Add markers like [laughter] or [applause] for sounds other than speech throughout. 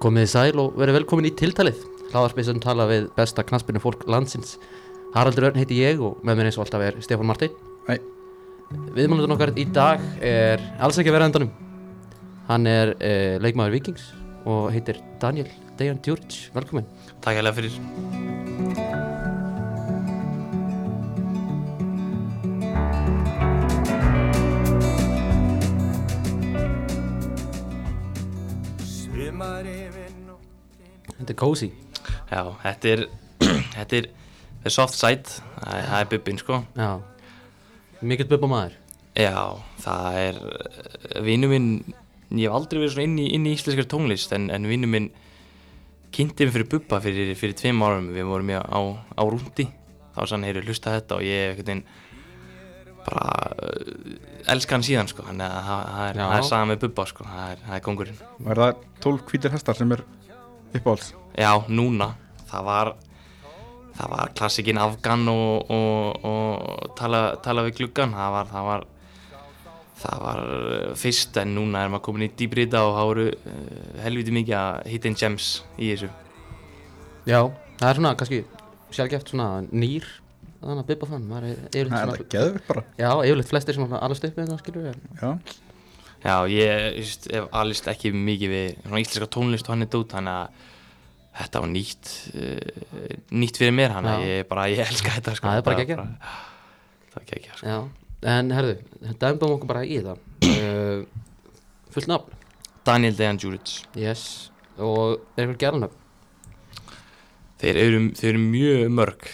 Komið þið sæl og verið velkomin í tiltalið Hlaðarspeysun tala við besta knaspinu fólk landsins Haraldur Örn heiti ég og með mér eins og alltaf er Stefán Martin Hæ. Viðmálundun okkar í dag er alls ekki að vera endanum Hann er eh, leikmaður Vikings og heitir Daniel Dejan Djuric Velkomin Takk hérlega fyrir Þetta er cozy Já, þetta er, [clears throat] þetta er, þetta er soft side, það er- það er bubbin sko Já Mikill bubba maður Já, það er, vinnu minn, ég hef aldrei verið svona inn í, inn í íslenskar tónlist en, en vinnu minn kynnti mig fyrir bubba fyrir, fyrir tveim árum, við vorum mjög á, á rúndi þá sann heyri hlusta á þetta og ég einhvern veginn bara uh, elska hann síðan sko, þannig að það- það er, Já. það er saga með bubba sko, það er, það er kongurinn Og er það 12 hvítir hestar sem er uppáhalds? Já, núna Það var Það var klassikinn Afgan og, og, og tala, tala við gluggan Það var Það var, það var eh, fyrst en núna er maður komin í dýbri þetta og það voru uh, helviti mikið að hit and gems í þessu Já Það er svona kannski sjálfgeft svona nýr Þannig að bubba fann Maður er yfirleitt Það er svona það geðvikt bara. Já, yfirleitt flestir sem allast upp með þetta skilur við Já. Já, ég just, hef alist ekki mikið við svona íslenska tónlist og hann er dót þannig að þetta var nýtt uh, nýtt fyrir mér hann Já. ég bara, ég elska þetta sko Það er bara geggjað. geggjað Það er geggjað sko Já, en herðu, dæmbum okkur bara í það uh, Fullt nafn Daniel Dejan Djuric Yes, og er eitthvað gerðanöfn Þeir eru, þeir eru mjög mörg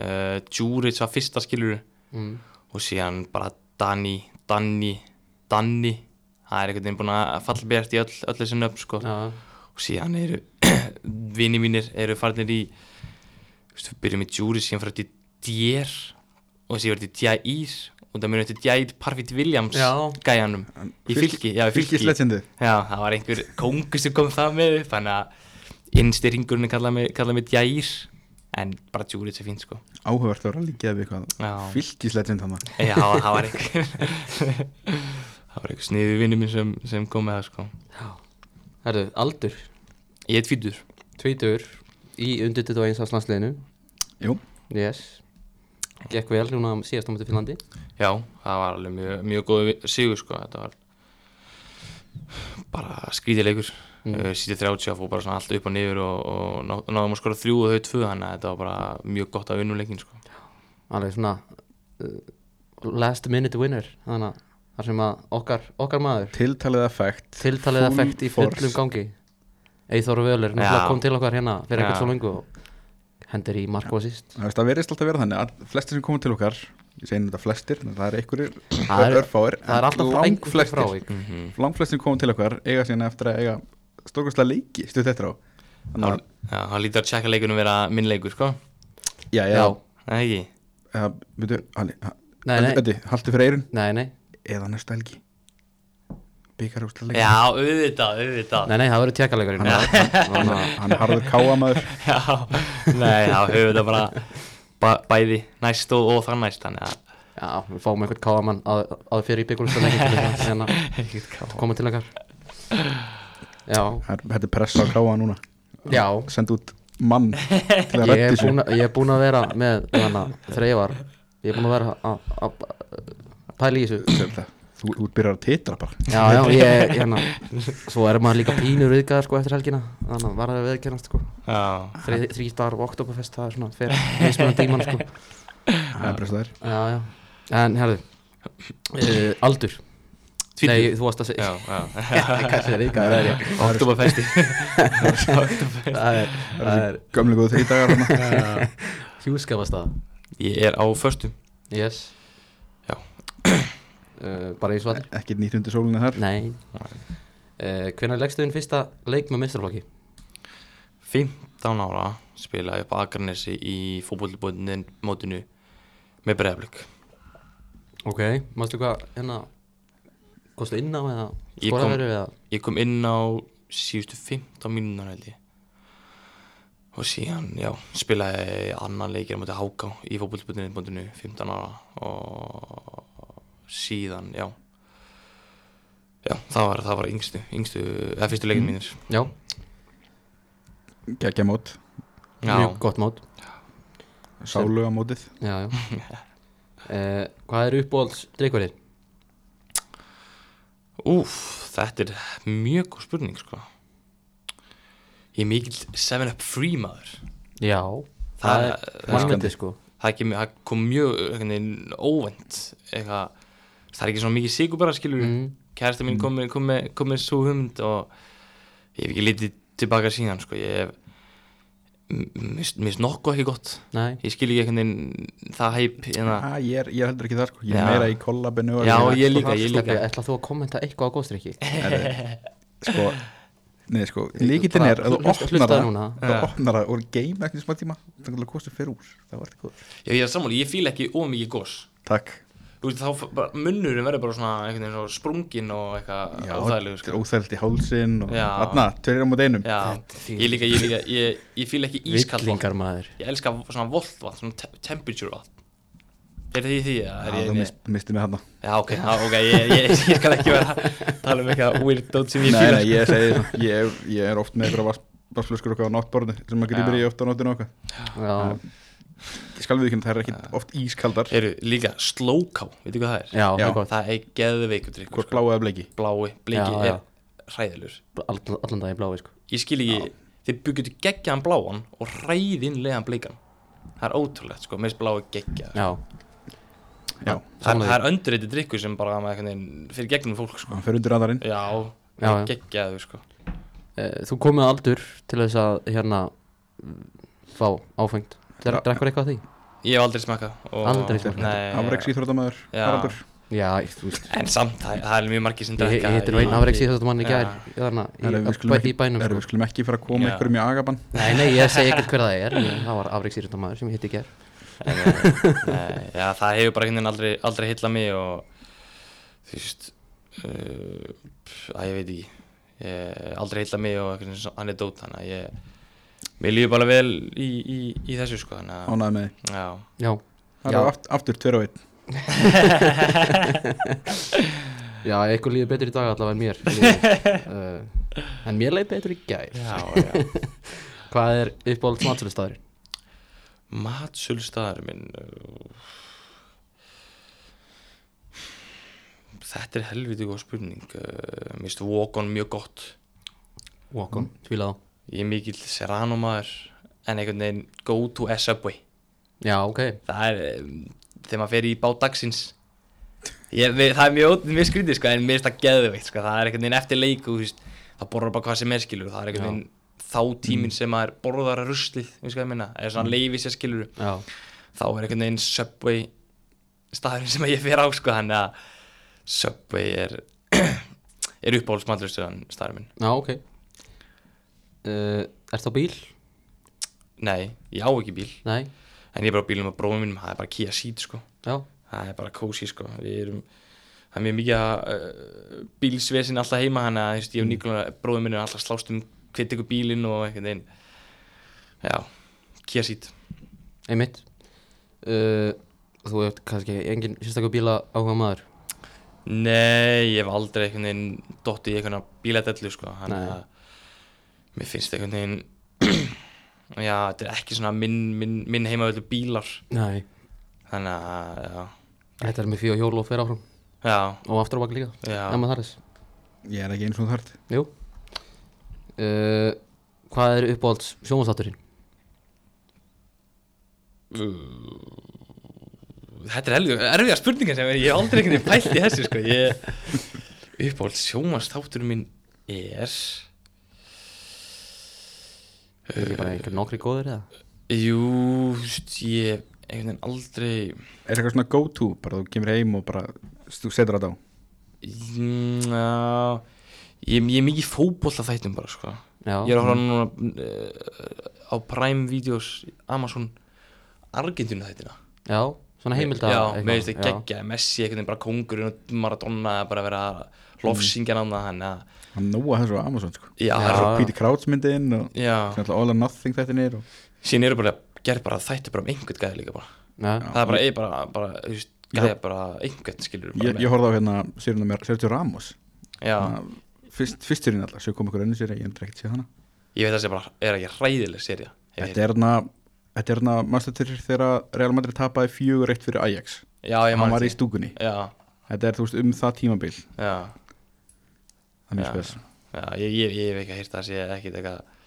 uh, Djuric var fyrsta skilur mm. og síðan bara Danny, Danny, Danny það er einhvern veginn búin að fallbjart í öll, öll þessi nöfn sko. Já, og síðan eru [clears throat] vini mínir eru farinir í þú veist, við byrjum í Djuric síðan fyrir til Djér og þessi verður til Djær og það mjög eftir Djær Parfit Williams Já. gæjanum í fylki, já, í fylki, Fylkis legendið. Já, það var einhver kongur sem kom það með upp Þannig að innstyrringurinn kallaði mig, kallaði mig Djær En bara Djúrits er fínt sko Áhugavert að vera líka við eitthvað. Já, Fylkis legend hann. Já það var einhver [laughs] Það var einhver sniðu vinnu minn sem, sem kom með það sko já Herðu, aldur, Ég er tvítur tvítur í undir 21 árs landsliðinu Jú. Yes Gekk vel núna um síðast á mútið Finnlandi Já, það var alveg mjög, mjög góð vi- sigur sko Þetta var bara skrítilegur Mm. mm. Sýtti 30 fór bara svona allt upp og niður og, og ná, náðum að skora þrjú og þau tvö Þannig að þetta var bara mjög gott að vinna leikin sko Alveg svona uh, last minute winner Þannig að þar sem að okkar, okkar maður Tiltalið effekt. Tiltalið Full effekt í fullum force. gangi Eithor Völur, náttúrulega Já. kom til okkar hérna fyrir Já. ekkert svo lengu og hendur í mark og assist Það veist, það verðist alltaf að vera þannig að flestir sem komum til okkar, ég segi nú þetta flestir, en það er einhverjir Það er- örfáir, Það er alltaf einhver langflestir, Mhm. frávik mm -hmm. Mhm. langflestir sem komum til okkar eiga síðan eftir að eiga stórkvæmstlega leiki stutt eftir á. Þannig að, Já, hann lítur að tjekka leikunum vera minn leikur, sko já, já, Já, Það ekki já, veitu, Halli, Nei, nei. Öddi, haltu fyrir eirun, nei, nei, eða næsta helgi, byggar úrstlega Já, auðvitað, auðvitað nei, nei, það verður tjekkaleikur hann, hann, hann, hann harður káamaður Já, nei, þá höfum við það bara ba bæði næst og, og þann næst Þannig að [laughs] Já, við fáum einhvern káamann að, að fyrir í byggulustafleikin [laughs] en að hérna. koma til okkar Já, Það er- þetta er pressa á káa núna já senda út mann [laughs] til að Ég reddi er sér búinn að- ég er búinn að vera með hana, þreifar Ég er búinn að vera að- að að pæla í þessu Þetta- þú, þú byrjar að titra bara Já, já, ég, hérna Svo er maður líka pínur viðgæðar sko eftir helgina Þannig að var að viðgæðast sko Já, Þrý dagar og oktoberfest, það er svona fyrir mismunandi í mann [laughs] sko það er pressa þær Já, já, en herðu uh, Aldur Tvítugur. Nei, þú varst að segja já, [laughs] já Kansi er ykkar, það er [laughs] ég Oktoberfesti Það er, það er gömlega góð þrý dagar hana. hjúskapastaða Ég er á föstum Yes [clears throat] Já. uh, Bara eins og allir ekkert nýtt undir sólinu þar Nei uh, Hvenær leggstu þinn fyrsta leik með minnstraflokki? 15 ára spilaði upp Akarnesi í fótbollibótinu mótinu með breyðablík Ok Mástu hvað, hérna Kostu inn á eða Ég kom- skoraverið eða Ég kom inn á síðustu 15 mínúnar held ég og síðan, já, spilaði annan leikir á móti Háká í fótbollbundinu 15 ára og síðan, já já, það var, það var yngstu, yngstu eða fyrstu leikin mínir Já geggja mót, mjög Já, gott mót sáluga mótið já, já. [laughs] uh, Hvað er uppbóls dreikvarðir? úf, þetta er mjög góð spurning sko Ég er mikill 7up free maður Já, það, Það- er mannvendið sko Það, kem, það kom mjög einhvern veginn óvænt eitthvað, það er ekki svona mikið sigur bara skilur mm, kærasta mín kom, með- kom, með, kom með svo hugmynd og ég hef ekki litið tilbaka síðan sko, ég hef mist, mist nokkuð ekki gott Nei, ég skil ekki einhvern veginn það hæp hérna. ah, ég, er, ég er heldur ekki þar sko, ég Já. er meira í kollabinu og- Já, ég líka, ég Steppi, líka ætla þú að kommenta eitthvað á góðstrykki? Herri, sko Nei, sko, líkitinn er að þú Hlusta- opnar hlustaðu það núna. þú Já. opnar það og game ekki smá tíma þannig að kostum fyrir úr, það var þetta góður Já, ég er sammála, ég fíla ekki ómikið gos Takk, Þú veist, þá f- bara- munnurinn verður bara svona einhvern veginn svona sprungin og eitthvað já, óþægilegu þetta er sko. óþælt í hálsin og Já. aðna, tverir á mót einum Já, Þetta er ég líka, ég líka, ég, ég fíla ekki ískall vatn Villingar maður Ég elska svona voltvatn, svona te temperature vatn Er þið í því? eða Já, Er ég þú eini- mist, mistið mig hann Nei, Já, ok, já, ok, ég, ég, [laughs] ég skal ekki vera að tala um eitthvað weird dot sem ég fíla sko. nei, ég segi það, ég, er- ég er oft með eitthvað vassflöskur okkar á náttborðinu sem maður grýpir Já. í oft á nóttinu okkar Já, Ég skal við ekki, það er ekki oft ískaldar Eru líka slóká, veitu hvað það er? já, Já. já. Gott, Það er geðveikur drikkur Hvort sko. bláa eða bleiki Blái, bleiki, Já, já. er hræðilur all, allan daginn blái sko Ég skil ekki, þið byggjum til geggjaðan bláan og hræðinlegan bleikan Það er ótrúlegt, sko, meðs blái geggjað Já, Já, það, sammála það er öndurreiti drikkur sem bara með einhvern veginn fyrir gegnum fólk, sko hann fyrir undir radarinn Já, Já, já. geggjaður, sko uh, Þú komið á aldur til þess að hérna mm, fá áfengt Já. Drekkur eitthvað af því? Ég hef aldrei smakað og- Aldrei smakkað. Nei, Afreks íþrótamaður, Já. Haraldur Já, ég- þú veist En samt, það, það er mjög margir sem Ég drekka ég hitti nú í- einn afreks í þessum manni í Já. gær Þannig Herri, við skulum í ekki- bænum herri, sko. Við skulum ekki fara að koma Já. einhverjum í agabann Nei, nei, ég [laughs] segi ekkert hver það er en Það var afreks í þessum maður sem ég hitti í gær [laughs] En, eh, nei, já, það hefur bara einhvern veginn aldrei, aldrei hitla mig og þú veist uh, að ég veit ekki ég, aldrei hitla mig og einhvern veginn anedót þannig að ég mér líður bara vel í, í, í þessu sko þannig að Ánæði með því já, Já, Það Já. er aft- aftur tver og einn já, eitthvað líður betur í dag allavega en [laughs] mér því miður. uh, En mér leið betur í gær já, já. Hvað er uppáhalds matsölustaður? matsölstaðar minn uh, þetta er helviti góð spurning uh, mér finnst Wokon mjög gott Walkum, Mm. tvílað á ég er mikill Serrano maður en einhvern veginn go to a subway Já, ok það er um, þegar maður fer í bát dagsins ég, við, það er mjög, ótt- mjög skrítið sko, en mér finnst það geðveikt sko. það er einhvern veginn eftir leik og þú veist, það borðar bara hvað sem er skilur það er einhvern Já. veginn þá tíminn sem maður borðar að ruslið veist hvað ég minna, eða svona mm. leifi sér skilur Já, þá er einhvern veginn Subway staðurinn sem ég fer á sko þannig að Subway er [clears throat] er uppáhaldsmallurstuðan staðurinn minn já ok uh, Ertu á bíl? nei, ég á ekki bíl Nei, en ég er bara á bílum á bróðum mínum, það er bara Kia Ceed sko já, það er bara kósi sko við erum það er mjög mikið uh, bílsvesin alltaf heima hann að þú veist, ég og Nikola bróðum minn er alltaf að slást um hvitt ykkur bílinn og einhvern veginn já Kia Ceed einmitt uh, Þú ert kannski engin sérstaklega bíla áhuga maður nei ég hef aldrei einhvern veginn dottið í einhvern bíladellu sko hann Nei. að mér finnst einhvern veginn [clears throat] já þetta er ekki svona minn, minn, minn heimavöldu bílar Nei þannig að já Þetta er með fyrir hjól og fyrir áfram já, og aftur á bak líka já. Ef maður þarðis Ég er ekki eins og þart Jú uh, Hvað er uppáhalds sjónvarsátturinn? Þetta er helgur, erfiða spurningar sem ég hef aldrei einhvern veginn pælt í þessu sko ég, uppáhald sjómanstáttur minn er Eh, Er ekki bara einhver nokkri góður eða? jú, þú veist, ég einhvern veginn aldrei Er eitthvað svona go to, bara þú kemur heim og bara þú setur þetta á mm, á, ég, ég er mikið fótbolta þættum bara sko Já, ég er að horfa núna uh, á Prime Videos Amazon Argentínu þættina já svona heimilda Já, með þetta já. geggja, Messi einhvern veginn bara kóngurinn og Maradona bara að vera lofsingjan mm. annað hann að Hann nóa þessu á Amazon sko Já, Já. það er svo- ah. Píti Krautsmyndin og já. alltaf All or Nothing þetta niður og síðan eru bara gerð bara þættir bara um einhvern gæði líka bara Já. það er bara, er bara, bara þú veist, gæði bara einhvern skilur bara Ég, ég horfði á hérna sérjuna mér, Sergio Ramos með. já, Svona Fyrst, fyrst sérjun alltaf, svo kom ykkur önnur sérjun, ég endur ekkert séð hana Ég veit að það sé bara, er ekki hræðileg serja Þetta er hérna Þetta er hérna mastertur þegar Real Madrid tapaði fjögur eitt fyrir Ajax Já, ég Hann man var í eftir stúkunni því. Já, Þetta er þú veist um það tímabil já, Það er mjög Já. spes já Ég, ég, ég hef ekki heyrt að það sé ekkit eitthvað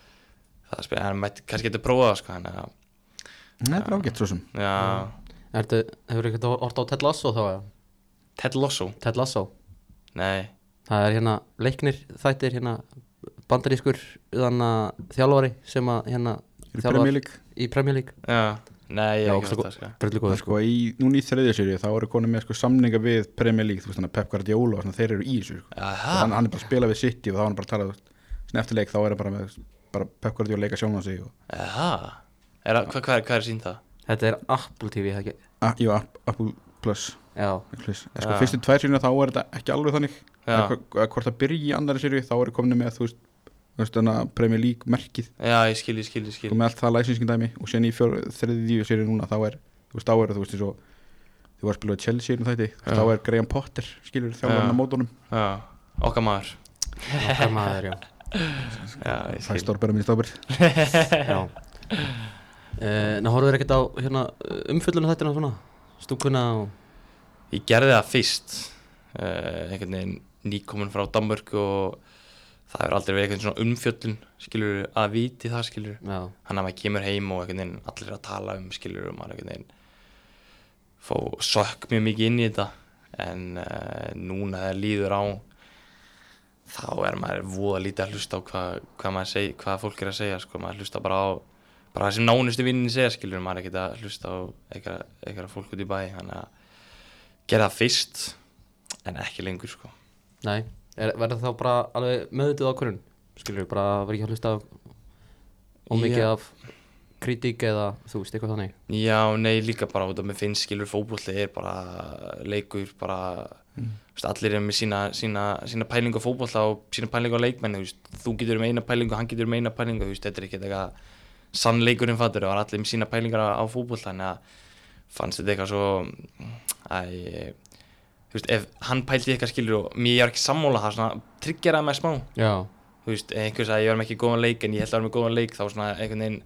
Það er spil, hann mætti kannski getur prófað það, sko, hann að Þetta er ágætt svo sem Já, Ertu, hefur ekkert orðið á Ted Lasso þá? eða? Ted Lasso Ted Lasso Nei, Það er hérna leiknir þættir hérna bandarískur þannig að þjálfari sem að hérna Þeir eru Premier League í Premier League já, nei, ég Já, hef ekki ógeðslega gó- heyrt það, sko bröllu Það góður er sko í, núna í þriðja séri þá eru konum með sko samninga við Premier League, þú veist hann Pep Guardiola og svona, þeir eru í þessu sko. Aha, hann, hann er bara að spila við City og þá er hann bara að tala þú veist, svona eftir leik þá er hann bara með bara Pep Guardiola leika sjónan sig og, aha Er það, hvað, hvað, er- hvað er sínt það? Þetta er Apple TV það ekki að, Ah, jú, App- Apple Plus, [laughs] Já, Plus. En, sko, Já. fyrstu tvær sérina þá er þetta ekki alveg þannig Ah. Já. Eða hv- eða hvort það byrji í andari séri þá eru komin með þú veist, þú veist hana, Premier League merkið Já, ég skil, ég skil, ég skil og með allt það læsinskin dæmi og sen í fjör, þriðju séri núna þá er þú veist þá eru þú veist eins og þú var að spila Chelsea um þætti, þú veist, Já. þá er Graham Potter skilur Já. þjálfarinn á mótunum Já, okkar maður okkar maður, já, Já, það er ég skil stórbæra minn stórbæra já. Uh, Ná horfðu þér ekkert á hérna, umfyllunum þættina svona stúkuna og Ég gerði það fyrst uh, einhvern veginn nýkomin frá Danmörk og það hefur aldrei verið einhvern svona umfjöllun skilur að viti það skilur já, hann að maður kemur heim og einhvern veginn allir að tala um skilur og maður einhvern veginn fó sökk mjög mikið inn í þetta en uh, núna þegar líður á þá er maður voða lítið að hlusta á hvað, hvað, maður seg, hvað fólk er að segja sko, maður hlusta bara á bara það sem nánustu vinnin segja skilur maður er ekkert að hlusta á einhverja einhverja fólk út í bæ þannig að gera það fyrst en ekki lengur sko nei er, verður þá bara alveg meðutuð á hverjum skilur bara verður ekki að hlusta á og mikið Já. af kritík eða þú veist eitthvað þannig Já, nei, líka bara út af mér finnst skilur fótbolli er bara leikur, bara mm. veist, allir er með sína, sína, sína pælingu á fótbolla og sína pælingu á leikmenni, þú, veist, þú getur um eina pælingu, hann getur um eina pælingu, þú veist, þetta er ekki eitthvað sann leikurinn fattur og allir með sína pælingar á, á fótbolla, þannig að fannst þetta eitthvað svo, að ég, þú veist, ef hann pældi í eitthvað skilur og mér er ekki sammála það, svona, tryggjara með smá, Já, þú veist, einhvers að ég var með ekki góðan leik en ég held að var með góðan leik þá svona einhvern veginn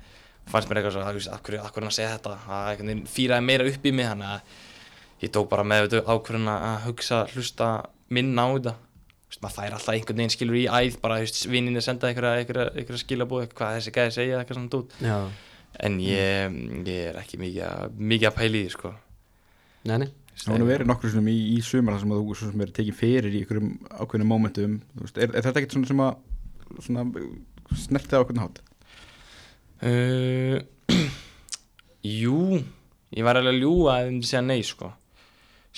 fannst mér eitthvað svona, þú veist, af hverju, af hverju er hann að segja þetta að einhvern veginn fýraði meira upp í mig þannig að ég tók bara með þetta ákvörðun að hugsa, hlusta, minna á þetta þú veist, maður fær alltaf einhvern veginn skilur í æð bara, þú veist, vinninni senda einhverja, einhverja, einhverja skilabóð, hvað þessi gæði segja, eitthvað svona dút já, en ég, ég er ekki mikið, að- mikið að pæli því, sko nei, nei Það hann verið nokkru sinum í, í sumar þar sem að þú svo sem er tekin fyrir í einhverjum ákveðnum mómentum Þú veist, er, er þetta ekkert svona sem að svona, snertið á ákveðnum hát Uh, [clears throat] jú, ég var alveg að ljúga ef ég myndi segja nei sko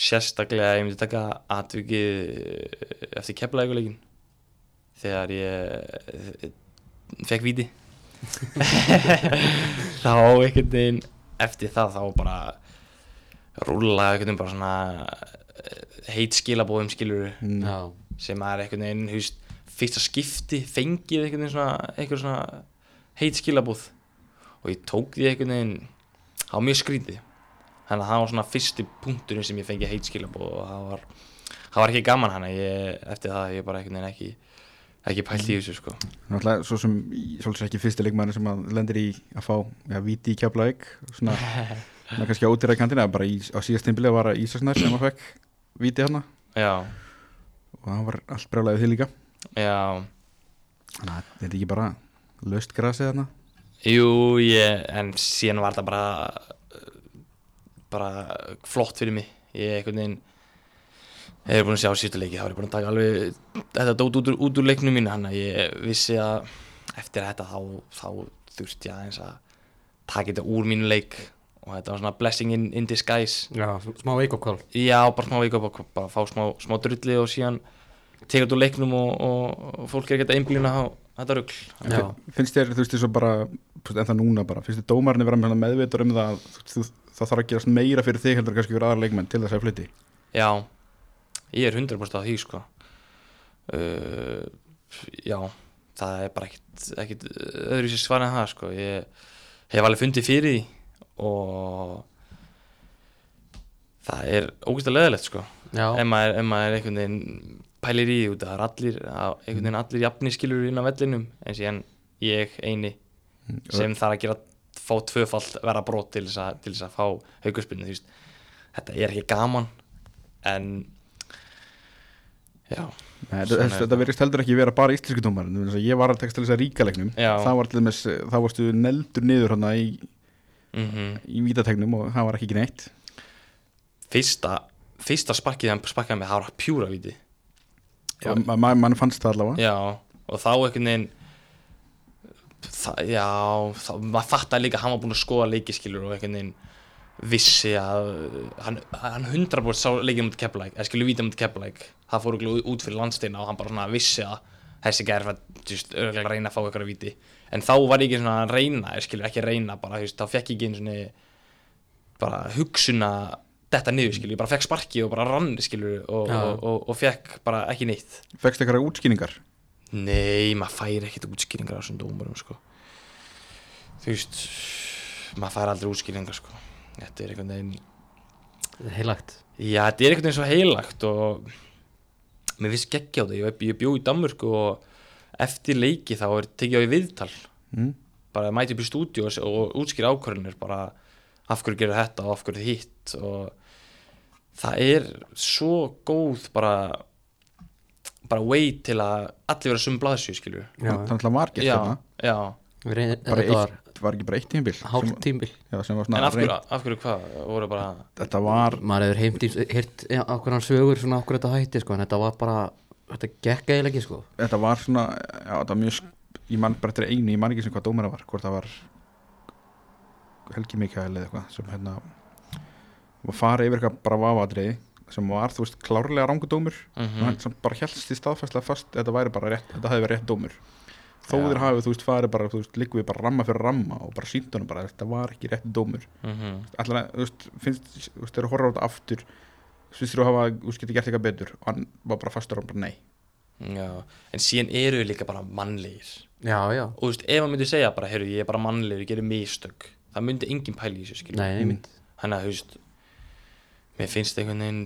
Sérstaklega ef ég myndi taka atvikið eh, eftir keflaðikuleikin Þegar ég eh, fekk víti [laughs] Þá einhvern veginn eftir það þá bara rúlaði einhvern veginn bara svona uh, heit skilabóðum skilur mm. Já, sem er einhvern veginn, þú veist, fyrsta skipti fengið einhvern veginn svona, einhver svona heit skilabúð og ég tók því einhvern veginn, það var mjög skrítið, þannig að það var svona fyrsti punkturinn sem ég fengið heit skilabúð og það var, það var ekki gaman hann ég, eftir það hef ég bara einhvern veginn ekki, ekki pælt í þessu sko. Náttúrulega svo sem í- svolítið ekki fyrsti leikmæður sem að lendir í að fá ja, viti í keflaðik svona, svona kannski ódýra kantina bara í, á síðast tímbilið var að Ísaksnær sem að fekk viti hana Já, og það var allt brjálæðið því líka já, þannig að þetta er ekki bara löst grasið hana jú, ég, en síðan var þetta bara, eh, bara flott fyrir mig, ég einhvern veginn, Þeir eru búin að sjá síðustu leiki, þá er ég búin að taka alveg þetta dót út úr, út úr leiknum mínu hann að ég vissi að eftir þetta þá, þá þurfti ég aðeins að taka þetta úr mínu leik og þetta var svona blessing in, in disguise. já smá wake-up call Já, bara smá veika, bara, bara fá smá, smá drulli og síðan teka þetta úr leiknum og, og, og fólk er ekki að einblýna á þetta rugl. Já. Fin- finnst þér, þú veist, þess að bara þú veist, en það núna bara, finnst þér dómarni vera með- meðvitur um það að þú- þú, það þarf að gerast meira fyrir þig heldur en kannski fyrir aðra leikmenn til þess að flytti Já, ég er 100% á því sko uh, Já, það er bara ekkit, ekkit öðru sér svar en það sko Ég hef alveg fundið fyrir því og það er ógæst að leðilegt sko Já, ef maður, ef maður einhvern veginn pælir í því út að það er allir, að einhvern veginn allir jafni skilur inn á vellinum en síðan ég eini sem þarf að gera fá tvöfalt vera brot til þess að, til þess að fá haugaspinnu þú veist þetta er ekki gaman en já Nei, Svona þetta, er þetta það. verðist heldur ekki vera bara íslensku dómarinn vegna þess að ég var að texta lýsa ríkalegnum Já. það var til dæmis, þá varstu neldur niður hana í, mhm í vítategnum og það var ekki neitt fyrsta fyrsta sparkið hann sparkaði mig það var pjúra viti Já. og ma ma mann fannst það allavega já og þá einhvern veginn það, já þá, maður fattaði líka að hann var búinn að skoða leikiskilur og einhvern veginn vissi að hann, hann 100% sá leikið mútið keplæk eða skilur vítið mútið keplæk það fór okkur út fyrir landsteina og hann bara svona vissi að þessi gæri fyrir að þú veist, örugglega reyna að fá eitthvað að víti en þá var ég ekki svona að reyna eða skilur ekki að reyna bara þú veist, þá fekk ég ekki einu svona bara hugsun að detta niður skilur ég bara fekk sparki og bara rann skilur og, Já. og, og, og fekk bara ekki neitt fegst eitthvað útskýningar Nei, maður fær ekkert útskýringar á þessum dómurum sko. Þú veist maður fær aldrei útskýringar sko. Þetta er einhvern veginn heilagt Já, þetta er einhvern veginn svo heilagt og mér finnst geggja á það ég, ég bjó í Danmörku og eftir leiki þá er tekið á í viðtal mm. bara mæti upp í stúdíu og, og útskýra ákvörðinir bara af hverju gerir þetta og af hverju hitt og það er svo góð bara bara way til að allir vera sum blaðsjú skilju Já, þannig að það var gert hérna. já, þarna. já. Við reynum, bara þetta var eitt, var ekki bara eitt tímbil hálf tímbil já, sem var en svona af hverju, reynt- af hverju hvað voru bara þetta var maður hefur heimt í hirt okkur hann sögur svona okkur þetta hætti sko en þetta var bara þetta gekk eiginlega ekki sko þetta var svona, já þetta var mjög sk- ég man bara eftir einu, ég man ekki sem hvað dómara var hvort það var Helgi Mikael eða eitthvað sem hérna var farið yfir eitthvað bara vafatriði sem var, þú veist, klárlega rangu dómur mm og hann sem bara helst í staðfæslega fast þetta væri bara rétt, þetta hefði verið rétt dómur þó Já. þeir hafið, þú veist, farið bara, þú veist, liggum við bara ramma fyrir ramma og bara síntunum bara, þetta var ekki rétt dómur mhm, allan að, þú veist, finnst, þú veist, þeir eru að horfa á þetta aftur finnst þér að hafa, þú veist, geti gert eitthvað betur og hann var bara fastur og hann bara nei já. en síðan eru við líka bara mannlegir já já og þú veist, ef hann myndi segja bara heyrðu, ég er bara mannlegur, ég gerir mistök það myndi engin pæli í þessu skilur nei, einmitt þannig að, þú veist mér finnst einhvern veginn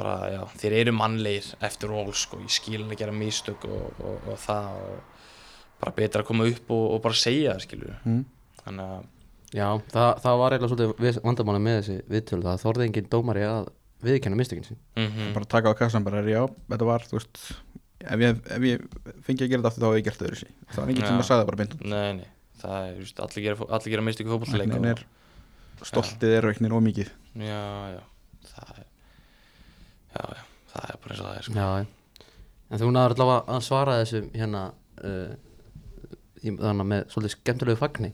bara, já, þeir eru mannlegir eftir all, sko, ég skil að gera mistök og, og, og það og bara betra að koma upp og, og bara segja það skilur mm. þannig að, já það, það var eiginlega svolítið vandamáli með þessi viðtölu það þorði engin dómari að viðkenna mistökin sín mm bara taka á kassan bara, já, þetta var, þú veist ef ég, ef ég fengi að gera þetta aftur þá hef ég gert það öðru sí það var enginn sem Já. að sagði það bara beint út. nei, nei það er, þú veist, allir gera, allir gera mistök í fótbollleik Einhvern veginn er stoltið er veiknir og mikið Já, já, það er Já, já, það er bara eins og það er sko. já já. en þú náður allavega að svara þessu hérna uh, í- þannig að með svolítið skemmtilegu fagni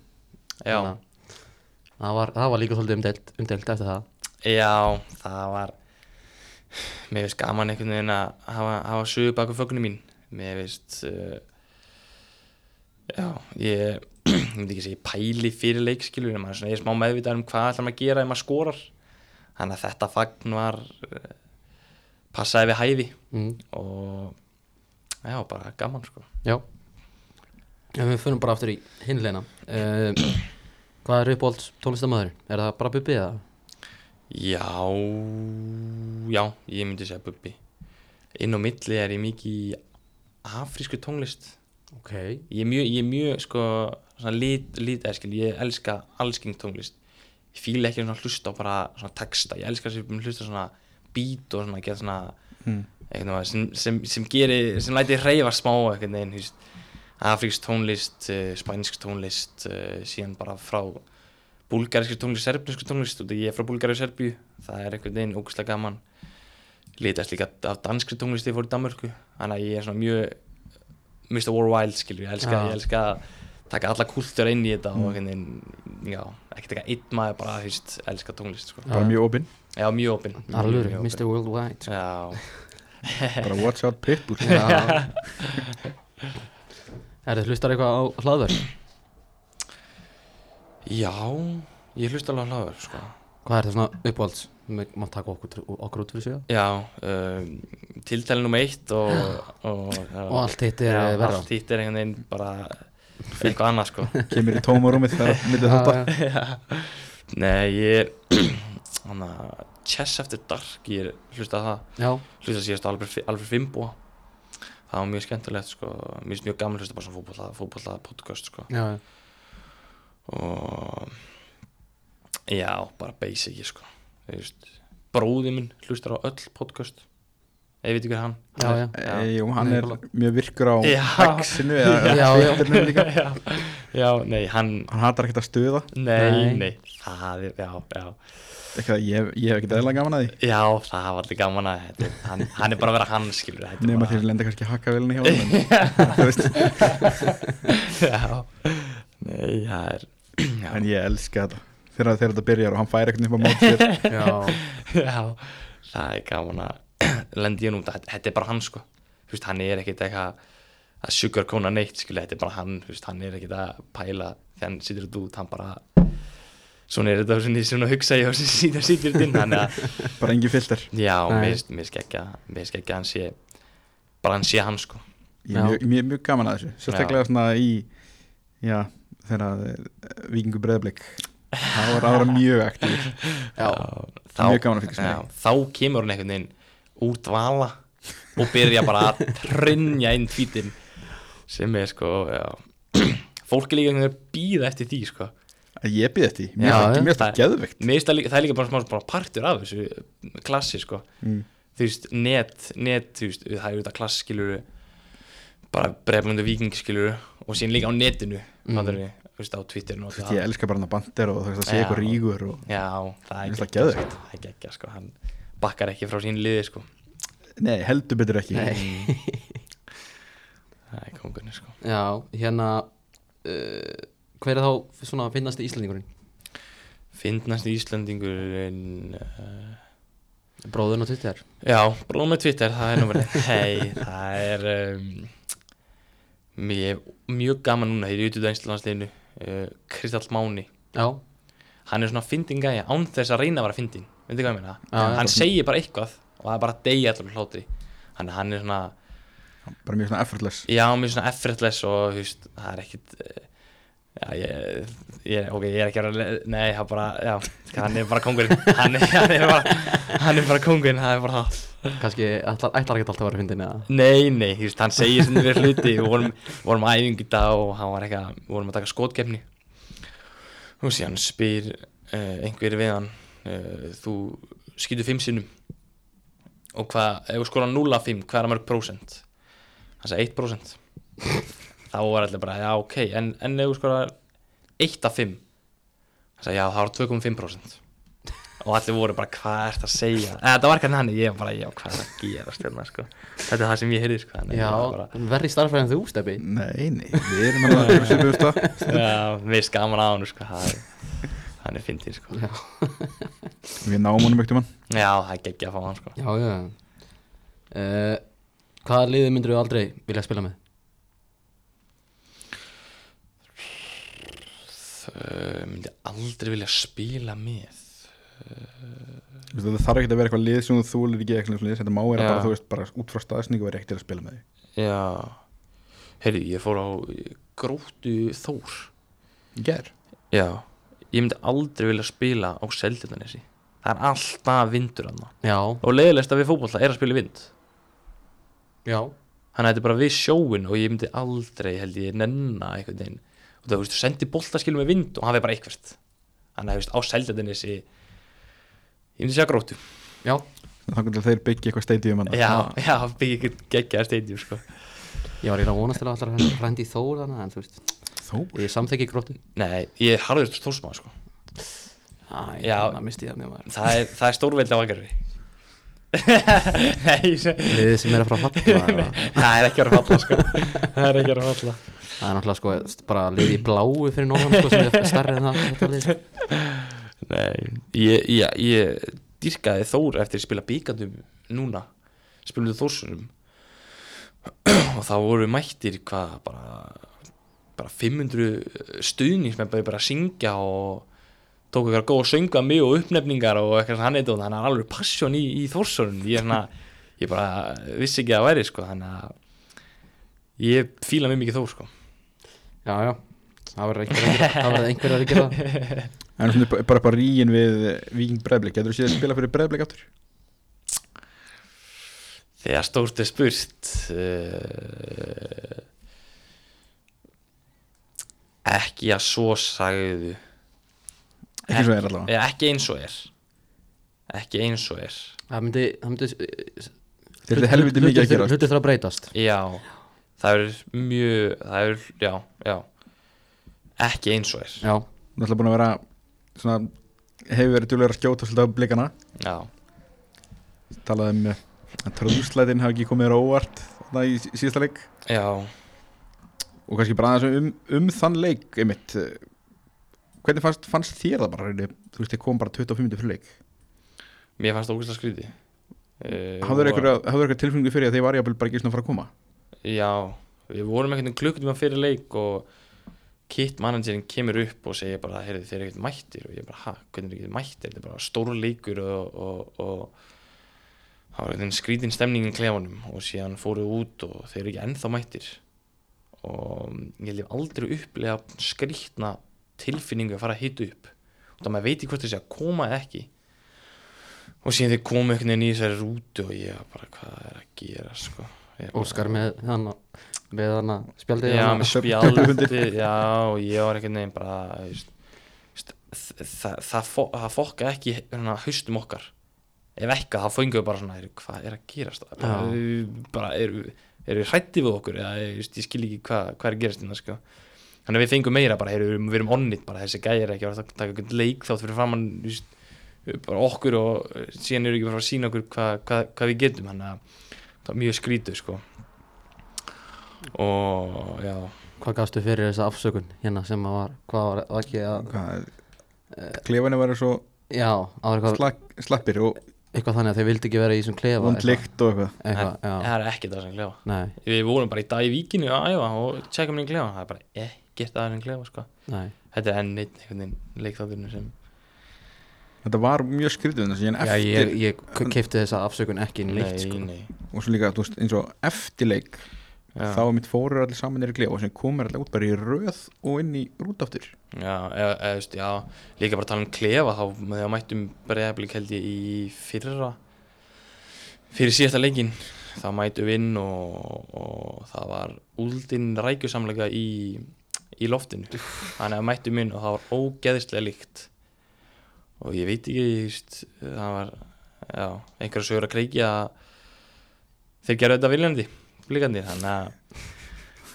Já, Þannig að það var, það var líka svolítið umdelt, umdelt eftir það já, það var Mér finnst gaman einhvern veginn að hafa, hafa sögu baku fögnu mín Mér finnst uh, Já, ég [clears throat] ég myndi ekki segja, ég pæli fyrir leikskilur en maður er svona, ég er smá meðvitað um hvað ætlar maður að gera ef maður skorar Þannig að þetta fagn var uh, passaði við hæfi mm. og já, bara gaman sko Já En við fyrir bara aftur í hinleina uh, Hvað er uppáhalds tónlistamöður? Er það bara Bubbi eða? Já, já, ég myndi segja Bubbi. Inn á milli er ég mikið í afrísku tónlist. Ok Ég er mjög, ég er mjög, sko, svona lit, lit, eða skil, ég elska allsking tónlist. Ég fíla ekki svona að hlusta á bara svona texta, ég elska sem hlusta á svona beat og svona geta svona, mm. einhvern veginn, sem, sem, sem gerir, sem læti reyfa smá einhvern veginn, þú veist, afrísk tónlist, uh, spænsk tónlist, uh, síðan bara frá búlgarísku tónlist, serbnesku tónlist, og ég er frá Búlgaríu og Serbíu, það er einhvern veginn ógustlega gaman, litast líka af danskri tónlist þegar ég fór í Danmörku, þannig að ég er svona mjög Mr. Worldwide, skilur, ég elska, Já. Mm. ég elska að taka alla kultur inn í þetta og einhvern veginn, já, ekki taka einn maður bara, þú veist, elska tónlist, sko. bara Já. mjög opinn, Já, mjög opinn. Arlur, mjög Mr. [laughs] opinn. Worldwide Já, bara watch out pitbull Já. Er þið hlustar eitthvað á hlaðverð? Já, ég hlusta alveg á hlaður sko. Hvað er það svona uppáhalds? Má má taka okkur, okkur út fyrir sig Já, um, tiltæli nummer eitt og, [gasps] og, Og allt hitt er já, verra. Allt hitt er einhvern veginn bara eitthvað annað sko kemur í tómarúmið þegar myndið þetta [laughs] Já, já. Nei, ég [clears throat] hann að Chess After Dark, ég hlusta á það Já, hlusta síðast á Alfred, Alfred Fimbo það var mjög skemmtilegt sko, mér finnst mjög gaman að hlusta bara svona fótbolta, fótbolta podcast sko já, já. og já, bara basic sko, þú veist bróði minn hlustar á öll podcast eða ég veit ekki hver hann Já, hann er- já. e, Jú, hann Nei, er Nikola. mjög virkur á Já. X-inu eða [laughs] Já, já. Twitternum líka já, [laughs] já, nei, hann Hann hatar ekkert að stuða Nei, Nei. nei, það er, já, já ekki að ég, ég hef ekkert eðla gaman að því Já, það var allir gaman að þetta, hann, hann er bara að vera hann, skilur þetta er nema bara- þeir lenda kannski hakkavelinu hjá honum, en, þú [laughs] veist, Já, nei, það er Já, en ég elska þetta þegar, þegar þetta byrjar og hann fær ekkert upp á mót sér [laughs] Já, já það er gaman að lendi ég nú þetta, þetta er bara hann, sko Þú veist, hann er ekkit eitthvað að sugarkona neitt, skilur, þetta er bara hann Þú veist, hann er ekkit að pæla þegar hann situr þetta út, hann bara Svona er þetta svona, svona hugsa ég og síðan situr þetta inn, þannig að bara engin filter Já, Nei. mér finnst- mér finnst ekki að mér finnst ekki að hann sé bara hann sé hann sko ég Já. er mjög, mjög, mjög gaman að þessu sérstaklega svona í já, þegar eh, vikingu breðablik það var ára mjög aktíf já, þá, Mjög gaman að fylgjast með. já, þá kemur hann einhvern veginn úr dvala og byrja bara að [laughs] trynja inn tvítin sem er sko já. [clears throat] fólk er líka einhvern veginn að býða eftir því sko ég býði þetta í, Já, mér já. finnst- mér finnst það geðveikt Mér finnst það, líka- það er líka bara, smá, bara partur af þessu klassi sko Mm. þú veist, net, net þú veist, það er auðvitað klass skilur bara breflundu viking skilur og síðan líka á netinu Mm. mm. við, þú veist, á Twitterinu og Þú veist, ég elska bara hann að bandir og þú veist að Já. segja eitthvað rígur og Já, Mér það er finnst það geggjað, geðveikt. sko, Það er geggja, sko, hann bakkar ekki frá sín liði, sko nei, heldur betur ekki Það er kongunni, sko já Hérna uh, Hver er þá svona finnast íslendingurinn? Fyndnast Íslandingurinn uh, Bróðurinn á Twitter Já, bróð með Twitter, það er nú verið Hei, það er um, mjög, mjög gaman núna þegar ég er út út af Íslandsliðinu uh, Kristall Máni Já, Hann er svona fyndin gæja án þess að reyna að vera fyndin Veitir hvað ég meina? Já, hann segir bara eitthvað og það er bara degi allar með hlátri Hann, hann er svona bara mjög svona effortless Já, mér svona effortless og þú veist, það er ekkit eh, Já, ég, ég, ok, ég er ekki að vera le- Nei, það er bara, já, hann er bara kongurinn Hann er, hann er bara, hann er bara kongurinn, það er bara það kannski ætlar, ætlar ekki alltaf að vera fyndin eða Nei, nei, þú veist, hann segir sem við hluti Við vorum, vorum á æfingu í dag og hann var eitthvað Við vorum að taka skotkefni Og síðan spyr uh, einhver við hann uh, Þú skýtur fimm sinnum Og hvað, ef þú skora 0 af 5, hvað er að mörg prósent? Hann sagði 1 prósent Þá var allir bara, já, ok En, en ef þú skora 1 af 5 Hann sagði, já, það var 2,5 prósent Og allir voru bara, hvað ert að segja? Eða, þetta var hvernig hann, ég var bara, já, hvað er að gera stjórna, sko. Þetta er það sem ég heyrði, sko. þannig að Já, ég var bara, verri starffræðin þú, Steppi nei, nei, við erum alveg að gera sér bústa Já, mér er skaman á hann, sko. Það er, hann er fyndið, sko. Já. Já, við náum honum ekkert um hann það er geggja að fá hann, sko. Já, já uh, Hvaða liði myndir þú aldrei vilja spila með? Uh, myndi aldrei vilja spila með. Þú veist, það þarf ekki að vera eitthvað lið sem þú þúlir ekki eitthvað lið, þetta má vera Já. bara, þú veist, bara út frá staðsningu verið ekki til að spila með Já. Heyrðu, ég fór á gróttu Þór. því ger, Já. Ég myndi aldrei vilja spila á Seldjarnanesi. Það er alltaf vindur hann. Já, Og leiðilegst að við fótbolta er að spila í vind. já Þannig að þetta er bara við sjóin og ég myndi aldrei held ég nenna einhvern veginn og það, þú veist, þú sendir boltaskilum með vind og hann veið bara eitthvert þannig að, þú veist, á seldjarninsi ég myndi segja grótu Já, þannig til að þeir byggja eitthvað stadium hann já, já, byggja eitthvað geggjaðar stadium sko. ég var eiginlega að vonast til að alltaf hrendi í þór þannig en þú veist, þó, ég samþekki gróttu nei, ég er harður stórsmáð sko. Æ, Já. þannig að misti ég það mjög maður það er, það er stórveldi á aðgerfi [laughs] nei, ég seg- Liðið sem er að fara [laughs] að falla eða- [laughs] það er ekki að vera falla sko. það er ekki að vera falla Það er náttúrulega sko st- bara liðið í bláu fyrir norðan sko sem er starri en það þetta lið Nei, ég, ég, ég dýrkaði Þór eftir að spila bíkandum núna, spilum við Þórsunum og þá voru við mættir hvað bara, bara 500 stuðnismenn bara, bara að syngja og tók eitthvað góð að sönga mig og uppnefningar og eitthvað sem hann eitthvað, þannig að hann er alveg passion í, í Þórsunum, ég er svona ég bara vissi ekki að það væri sko, þannig að ég fíla mjög mikið Þór sko Já, já, það verður einhverjar að gera- það verður einhverjar að gera það. en svona bara, bara, bara ríin við Viking Breiðblik, getur þú séð að spila fyrir Breiðblik aftur? Þegar stórt er spurt uh, Ekki að svo sagðu Ekki svo er allavega Já, Ekki eins og er Ekki eins og er Það myndi, það myndi Þetta er helviti mikið að gera Hlutir þarf að breytast Já, það er mjög Það er, já, já Ekki eins og er Já, Náttúrulega búin að vera svona, Hefur verið djúlega að skjóta svolítið á blikana Já, Talaði um eh, að tröðslætin hafi ekki komið þér á óvart Þannig í sí- síðasta leik já Og kannski bara aðeins um, um þann leik einmitt eh, Hvernig fannst, fannst þér það bara? reyni? Þú veist, þið kom bara 25 minnir fyrir leik Mér fannst það ógæslega skríti uh, Hafður eitthvað tilfengu fyrir að þið var jafnvel bara ekki svona að fara að koma? Já, við vorum einhvern veginn klukkutíma fyrir leik og kitt managerinn kemur upp og segir bara, heyrðu þeir eru ekkert mættir og ég bara, hæ, hvernig eru ekkert mættir þetta er bara stóru leikur og, og, og það var einhvern veginn skrítin stemning í klefanum og síðan fóruð út og þeir eru ekki ennþá mættir og ég hef aldrei upplega skrítna tilfinningu að fara að hita upp og það maður veit ekki hvort þessi að koma eða ekki og síðan þeir komu einhvern veginn í þessari rútu og ég var bara, hvað er að gera sko Ég er bara- Óskar með hann með hann að spjaldið hérna. Já, þarna. með Stöp- spjaldi, já, og ég var einhvern veginn bara, þú veist, veist, þ- það, það, fo- það fokka ekki hérna, haustum okkar, ef ekki, þá fengum við bara svona, heyrðu, hvað er að gerast, bara, Já. við- bara eru er við hrætti við okkur, eða, þú veist, ég skil ekki hvað, hvað er að gerast hérna, sko. Þannig að við fengum meira bara, heyrðu, við erum- við erum onnit bara, þessi gæri ekki, að fara að taka einhvern leik þátt fyrir framann, þú veist, bara okkur og eh, síðan eru ekki bara að sína okkur hvað hva, hva við getum, þannig að það er mjög skrítið, sko. Og, já, Hvað gafstu fyrir þessa afsökun hérna sem að var Hvað var var ekki að Hvað? Klefani var svo Já, Eh, það var eitthvað, slak, slappir og eitthvað þannig að þeir vildi ekki vera í þessum klefa eitthvað- vondlikt og eitthvað Eitthvað, já, það er ekkert að sem klefa nei, við vorum bara í dag í víkinu að æfa og tjekkum inn í klefa það er bara ekkert að sem klefa sko. nei þetta er enn einn einhvern veginn leikþátturinn sem Þetta var mjög skrítið um þess að ég Já, eftir ég, ég keipti þessa afsökun ekki inn neitt sko nei og svo líka, þú veist, eins og eftirleik já, þá er mitt fórur allir saman er í klefa og sem komur allir út bara í röð og inn í rút aftur já, eða, eða, þú veist, já, líka bara tala um klefa þá þegar mættum breyðablik held ég í fyrra fyrir síðasta leikin þá mættum við inn og, og það var úldin rækjusamleika í, í loftinu þannig að mættum inn og það var ógeðislega líkt og ég veit ekki ég veist, það var já, einhverja sögur að kreikja að þeir gerðu þetta viljandi blikandi þannig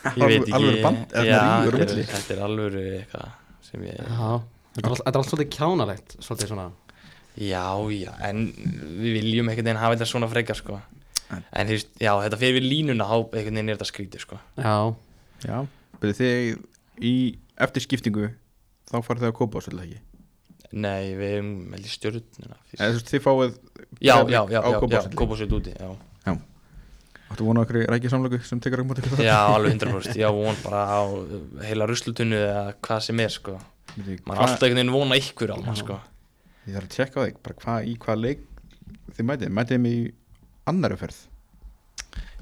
að ég veit ekki Alvöru band, eða já, svona rígur á þetta, milli. er, þetta er alvöru eitthvað sem ég Já, þetta er allt- þetta er allt svolítið kjánalegt Svolítið svona já, já, en við viljum einhvern veginn hafa þetta svona frekar sko En- en þú veist, já, þetta fyrir við línuna á einhvern veginn er þetta skrítið sko Já, Já, betur þið í eftir skiptingu þá farið þið að kópa á svolítið ekki nei, við erum með stjórnuna fyrst. eða þú veist, þið fáið já, já, já, á já, já, kópa á svolítið kópa sér úti [laughs] já Áttu vona okkur í rækja samlöku sem tekur um át ykkur Já, alveg 100% Ég á von bara á uh, heila ruslutunni eða hvað sem er sko það Man er alltaf einhvern veginn vona ykkur á mann sko Ég þarf að tjekka á þig bara hvað í hvað leik þið mætið, mætið þið mig í annar umferð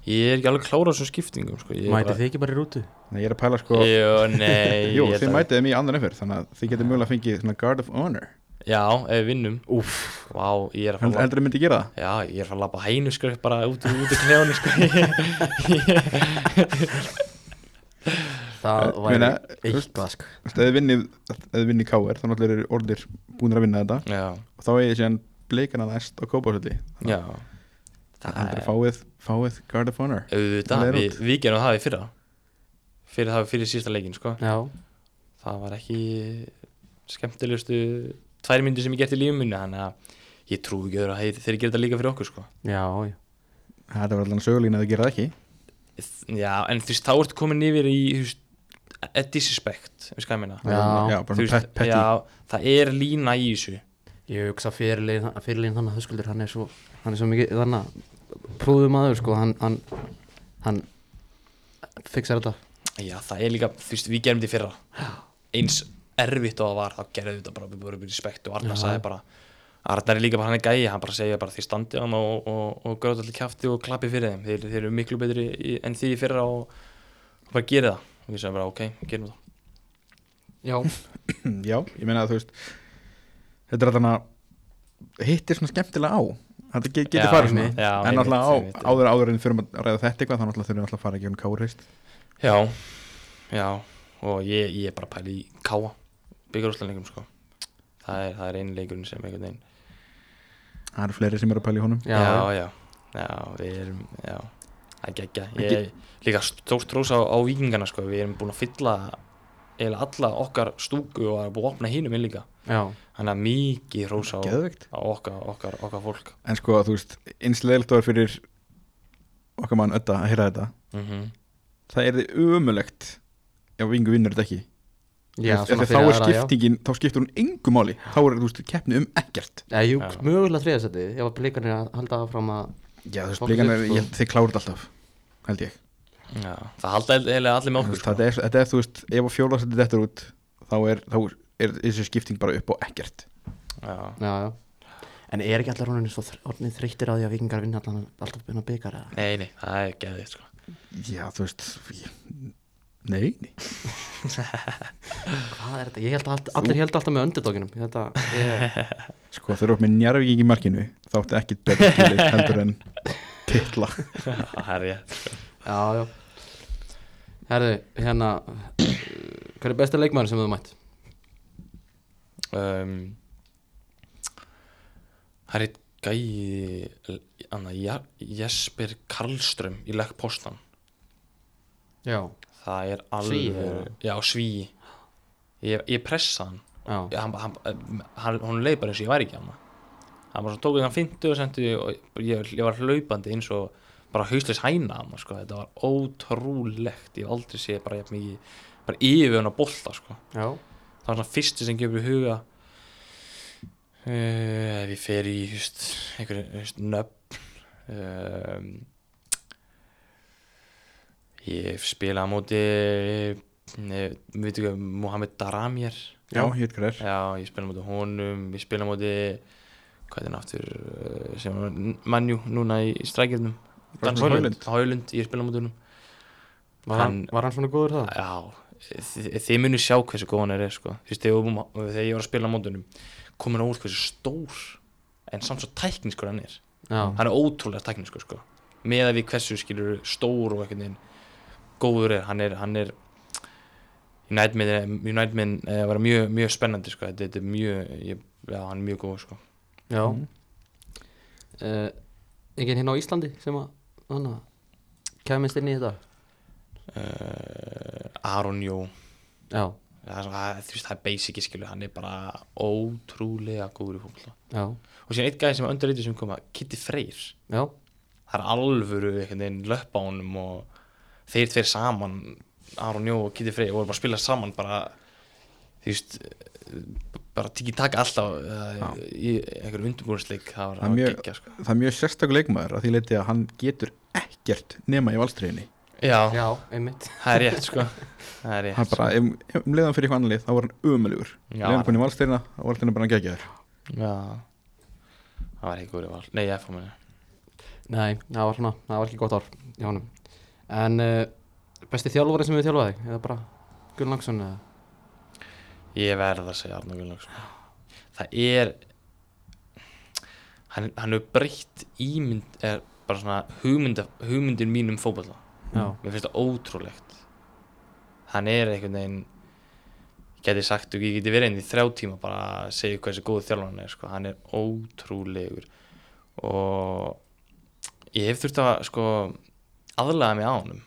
Ég er ekki alveg klára á þessum skiptingum sko Ég er mætið bara- þið ekki bara í rútu Nei, ég er að pæla sko Jú, nei [laughs] Jú, ég held þið að- mætið þeim í andan umferð þannig að þið getur mjögulega að fengið svona guard of honor Já, ef við vinnum Úff, Vá, ég er að Held, fara heldur þið myndi gera það? Já, ég er að fara að labba hænu sko bara út úr út úr klefanum sko það Ég væri meina, eitthvað sko Þú veist, Ef þið vinnið, ef þið vinnið KR þá náttúrulega eru orðir búinir að vinna þetta Já, og þá eigið síðan bleikana næst á kópásöldi já heldur þið fáið, fáið guard of honor Auðvitað, Það er við, við gerum það í fyrra Fyrir það fyrir sísta leikin sko Já, það var ekki skemmtilegustu tvær myndir sem ég gert í lífum minni þannig að ég trúi ekki öðru að þeir, þeir gera þetta líka fyrir okkur sko. já, já Þetta var allan sögulín að þið gera það ekki já, en þú veist, þá ertu komin yfir í þú veist, a disrespect veist hvað ég meina Já. já bara Þú svona pet, petty [clears throat] já, það er lína í þessu Ég hugsa fyrirlið þannig að Höskuldur hann er svo, hann er svo mikið þannig prúðum aður sko hann, hann, hann fixar þetta já, það er líka, þú veist, við gerum þetta í fyrra eins erfitt og það var þá gerðum við þetta bara, við vorum í respekt og Arnar Já. sagði bara Arnar er líka bara hann er gæi, hann bara segja bara því standi hann og, og, og gráðu allir kjafti og klappi fyrir þeim, þeir, þeir eru miklu betri í, en því í fyrra og og bara gera það og við sagðum bara ok, gerum það Já, já, ég meina að þú veist þetta er allan að hittir svona skemmtilega á Þetta ge- getur Já, farið svona einmitt. já, En einmitt, náttúrulega á, einmitt. áður áður en fyrir að ræða þetta eitthvað þá náttúrulega þurfum við náttúrulega að fara ekki um kárist Já, já og ég, ég er bara að pæla í káa byggarúslanleikum sko það er, það er einu leikurinn sem einhvern veginn Það eru fleiri sem eru að pæla í honum Já, já, já, já, við erum já, það er geggja ég er líka stórt rós á, á vikingana sko, við erum búin að fylla eða alla okkar stúku og það er búin að opna hinum inn líka, já, þannig að mikið rós á, á Geðveikt. okkar, okkar, okkar fólk En sko þú veist, einslegilt var fyrir okkar mann ötta að heyra þetta mm -hmm. Það er þið umulegt ef vingu vinnur þetta ekki já Þú svona veist, af því Þá fyrir er aðra, já. skiptingin, þá skiptir hún engu máli Þá er þú veist, keppni um ekkert Já, jú, Já. mögulega þriðasætið, ef að blikarnir að halda áfram að Já þú veist, Fólk blíkan er, vill, sko. ég held þið kláruð alltaf Held ég já, það halda eiginlega allir Þú með okkur veist, sko. Þetta er, þetta er, þú veist, ef að fjóðlagsætti þetta út þá er, þá er þessi skipting bara upp á ekkert já, Já, já En er ekki allar honum svo þr- orðnir þreyttir á því að vikingar vinna allan alltaf byrna byggar eða? nei, nei, það er geðið sko. Já, þú veist ég, Nei, nei Hvað er þetta? Ég held að allt- allir held alltaf með öndudókinum Þetta, ég, Sko þeir eru upp með njárvíking í markinu þá áttu ekkit betur skilið heldur [laughs] en titla það er ég já, já Herðu, hérna [clears throat] Hver er besta leikmaður sem þú mætt? um, það er eitt gæi anna, Ja- Jesper Karlström í legg postan Já, það er Svíi, alveg já, svíi ég, ég pressa hann já, Já, hann, hann, hann, hann leið bara eins og ég væri ekki hann hann bara svona tók hann fintu og sendi og ég, ég var hlaupandi eins og bara hausleis hæna hann sko. þetta var ótrúlegt ég hef aldrei sé bara, jafn mikið, bara yfir hann að bolta sko. já, það var svona fyrsti sem gefur í huga uh, ef ég fer í just, einhverju just, nöfn um, ég hef spilað á móti eh, við veitum ekki, Mohamed Daramir Já, hétt hver er já, ég spila á móti honum ég spila á móti hvað er hann aftur eh, sem var mannjú núna í, í strækjörnum Rasmus Højlund. Hólund, ég spila á móti honum var hann, Hann- var hann svona góður það? Já, þið, þið munir sjá hversu góðan er sko. Þú veist, þegar, við vorum að- þegar ég var að spila á mótunum kom hann óvart hversu stór en samt svo tækniskur hann er Já, hann er ótrúlega tækniskur sko. með að við hversu skilur stór og einhvern veginn góður er hann er, hann er United Men, United Men eh, var mjög, mjög spennandi sko. þetta, þetta er mjög ég, já, hann er mjög góð sko. já uh, Engin Mm. hérna á Íslandi sem að, hann að kemist inn í þetta? uh, Aron Jó Já, það er, svona- það- þú veist, það er basic skilur hann er bara ótrúlega góður í fólkla já, og síðan eitt gæði sem öndurreitið sem koma Kitty Freyr, já, það er alvöru einhvern veginn löpp á honum og þeir tveir saman Aron Jó og Kitty Freyr voru bara að spila saman bara þú veist eh, bara tikið taka alltaf uh, í einhverjum undurbúrnsleik það var Það er að mjög- gegja sko Það er mjög sérstakur leikmaður að því leiti að hann getur ekkert nema í valstriðinni já, já, einmitt það er rétt sko það hann er rétt sko. bara, ef, ef um leiðan fyrir eitthvað annað lið þá var hann ömulegur Já. leiðan konið í valstriðina, þá var hann bara að gegja þér já það var ekki góður val nei, ég fór mér Nei, það var svona, það var ekki gott ár hjá honum En uh, besti þjálfari sem við þjálfaði, eða bara Gunn Langsson eða Ég verð að segja Arnar Gunnlaugs sko. Það er hann, hann hefur breytt ímynd er bara svona hugmynda, hugmyndin mín um fótballa Já, Mér finnst það ótrúlegt Hann er einhvern veginn ég geti sagt og ég geti verið inn í þrjá tíma bara að segja hversu góðu þjálfur hann er sko. hann er ótrúlegur og ég hef þurft að sko aðlaga mig á honum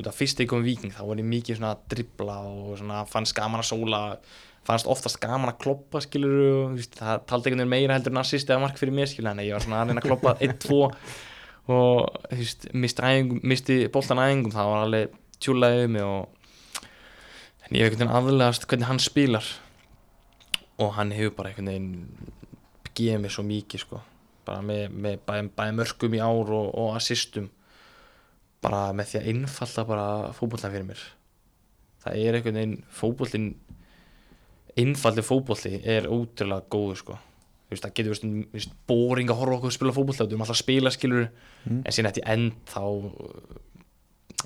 út af fyrst ég kom í viking þá var ég mikið svona að dribla og svona fannst gaman að sóla fannst oftast gaman að kloppa skilur og þú veist, það taldi einhvern veginn meira heldur en assist eða mark fyrir mér skilur þannig að ég var svona að reyna að kloppa 1-2 og þú veist, misti, æfingum, misti boltan æfingum það var alveg tjúlaðið um mig og en ég hef einhvern veginn aðlagast hvernig hann spilar og hann hefur bara einhvern veginn gefið mér svo mikið sko bara með, með bæði, bæði mörgum í ár og, og assistum bara með því að innfalla bara fótbollan fyrir mér það er einhvern veginn fótbollin innfaldi fótbolli er ótrúlega góður sko Þú veist, það getur veist, veist, boring að horfa á okkur að spila fótbolli við erum alltaf að spila skilur Mm. en síðan eftir end þá uh,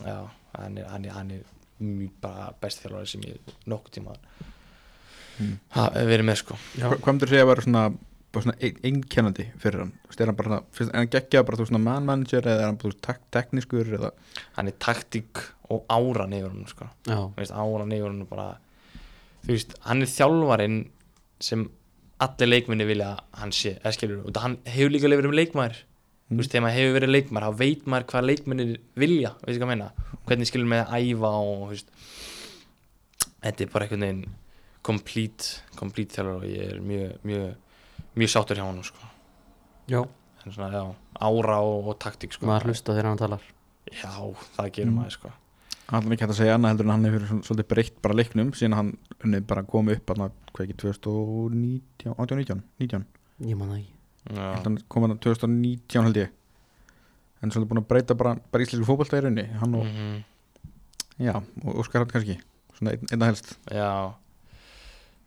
já, hann er, hann er, hann er mjög bara besti þjálfari sem ég nokkuð tíma Mm. mm. verið með sko já, Hva- hvað myndir segja að vera svona bara svona ein, einkennandi fyrir hann Þú veist, er hann bara, svona- finnst- er hann geggjað bara þú veist, svona man manager eða er hann bara þú veist, tek, teknískur eða hann er taktík og áran yfir hann sko. já, Þú veist, áran yfir hann er bara þú veist, hann er þjálfarinn sem allir leikminni vilja að hann sé, eða skilur, og hann hefur líka verið um leikmaður, þú veist, þegar maður hefur verið leikmaður, þá veit maður hvað leikminni vilja veist hvað ég meina, Og hvernig skilur með að æfa og þú veist þetta er bara einhvern veginn complete, complete þjálfar og ég er mjög mjög, mjög sáttur hjá hann sko. já, En svona, já, ára og, og taktík sko. maður hlusta þegar hann talar já, það gerir Mm. maður sko. hann er ekki hægt að segja annað heldur en hann hefur svona- svolítið breytt bara leiknum síðan hann unni bara kom upp hann hvað ekki 2019 18, 19, 19 ég man það ekki Já. hann kom hérna hann 2019 held ég en svolítið búin að breyta bara, bara íslensku fótbolta í raunni hann og, Mhm. Mm. já, og Óskar hann kannski svona ein, einna helst Já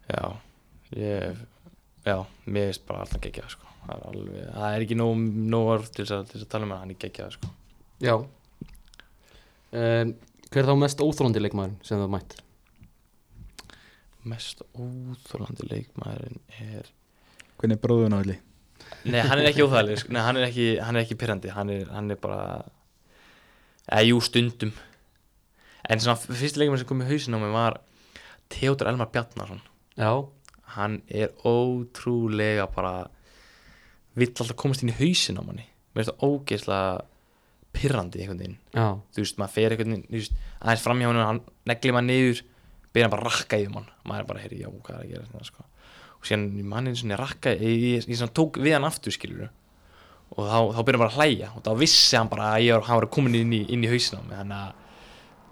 Já ég, Já, mér finnst bara alltaf geggjað sko. það, er alveg, það er ekki nóg, nóg orð til þess, að, til þess að tala um hann, hann er geggjað sko. já um, hver er þá mest óþrólandi leikmaðurinn sem það mætt Mest óþólandi leikmaðurinn er hvernig er bróðun á allir Nei, hann er ekki óþægileg sko. Nei, hann er ekki, hann er ekki pyrrandi hann, er- hann er bara eða jú, stundum En svona, fyrsti leikmaður sem kom í hausinn á mig var Theodor Elmar Bjarnarsson já, hann er ótrúlega bara vill alltaf komast inn í hausin á manni mér finnst það ógeðslega pirrandi einhvern veginn, já, þú veist, maður fer einhvern veginn þú veist, aðeins framhjá hann, hann neglir maður niður byrja bara að rakka yfir mann maður er bara, heyri, já, hvað er að gera þetta, sko og síðan mannin svona rakka ég, ég, ég, ég svona tók við hann aftur, skilur og þá, þá byrja hann bara að hlæja og þá vissi hann bara að ég var, hann var komin inn í, inn í hausin á mig, þannig að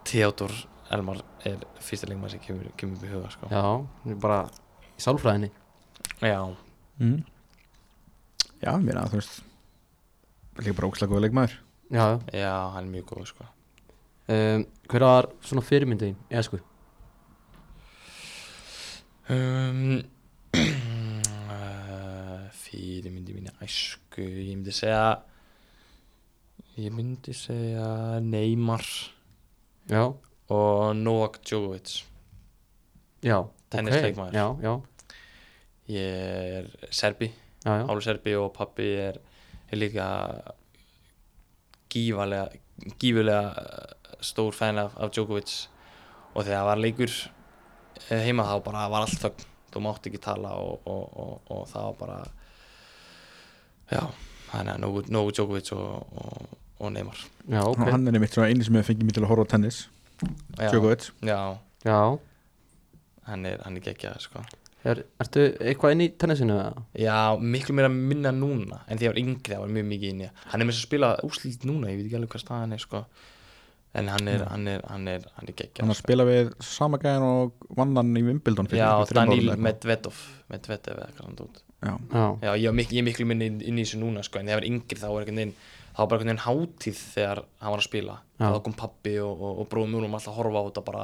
Theodor Elmar er fyrsta leikmann sem kemur, kemur upp í huga, sko já hann er bara í sálfræðinni já, mm. já, mér að þú veist líka bara ókslega góð leikmaður já, já já, hann er mjög góð, sko um, hver var svona fyrirmyndin eða sko, um, [clears throat] uh, fyrir myndi mínu æsku ég myndi segja ég myndi segja Neymar já, og Novak Djokovic já ok. Tennisleikmaður. já, já, ég er serbi, já, já, álu serbi og pappi er, er líka gífalega gífulega eh, stór fan af, af Djokovic og þegar það var leikur eh, heima þá bara var allt þögn þú mátt ekki tala og, og, og, og það var bara já, þannig að nógu, nógu Djokovic og, og, og Neymar já, ok og hann er einmitt svona eini sem hefur fengið mér til að horfa á tennis já, Djokovic já, já, hann er, hann er geggjað sko. er, ertu eitthvað inn í tennisinu eða? já, miklu meira minna núna en því ég var yngri, það var mjög mikið inn í hann er með þess að spila úslit núna, ég veit ekki alveg hvað staðan er sko. en hann er, hann er, hann er, hann er geggjað hann að spila við sama gæðan og vann hann í Wimbledon fyrir Já, einhverjum þremur árum Daniel eða Medvedov Medvedev eða hvað hann tótt eitthvað. já, Já, ég, var mik ég er miklu minni inn, inn í þessu núna sko, en þegar ég var yngri þá var einhvern veginn þá var bara einhvern veginn hátíð þegar hann var að spila Já. þá kom pappi og, og, og bróðum úr og maður alltaf að horfa á þetta bara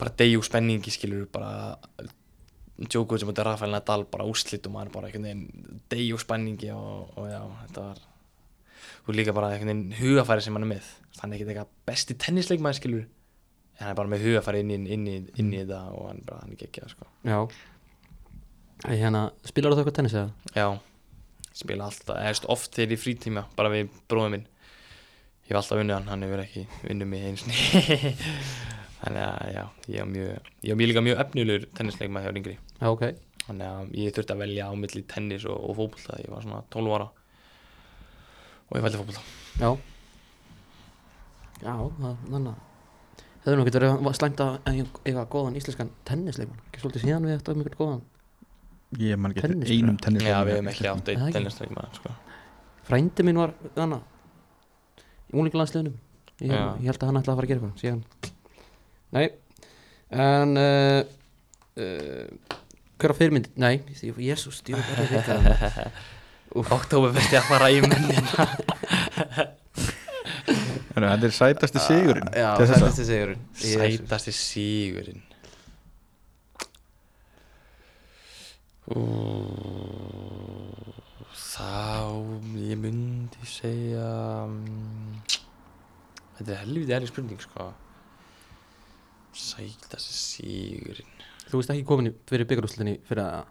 bara degi úr spenningi skilur bara Djokovic sem þetta Rafael Nadal bara úrslit og maður bara einhvern veginn degi úr spenningi og, og já, þetta var og líka bara einhvern veginn hugafæri sem hann er með hann er ekkert eitthvað besti tennisleikmaður skilur en hann er bara með hugafæri inn í, inn í, inn í þetta og hann, bara, hann er geggjað sko já Æ, hérna, spilar þú eitthvað tennis eða? Já, spila alltaf, eða veist, oft þegar í frítíma, bara við bróðum minn Ég hef alltaf unnið hann, hann hefur ekki unnið mig einu sinni [laughs] Þannig að já, ég var mjög, ég var mjög líka mjög efnilegur tennisleikma þegar ég var yngri já, ok, Þannig að ég þurfti að velja á milli tennis og, og fótbolta, ég var svona 12 ára Og ég veldi fótbolta já já, þannig að Það hefur nú getur verið slæmt að eiga- eiga góðan íslenskan tennisleikmann ekki svolítið síðan við eftir mjög góðan Já, ég man ekki Tennis, eftir einum bara. tennis Já, við hefum ekki átt Er það eitt ekki? tennisleikma, sko frændi minn var þannig í úlinglandsliðunum ég, Já. ég held að hann ætlaði að fara að gera eitthvað síðan nei en uh, uh, hver á fyrirmynd nei, jésús, ég er ekki eitthvað [laughs] Oktober verði að fara [laughs] í mennin Heru, Þetta er Ah, sætasti sigurinn já, til þessa. sætasti sigurinn Jesús. Sætasti sigurinn Ú, Þá ég myndi segja mm, Þetta er helviti erið spurning sko Sætasti sigurinn þú veist ekki komin í- fyrir byggarúslinni fyrir að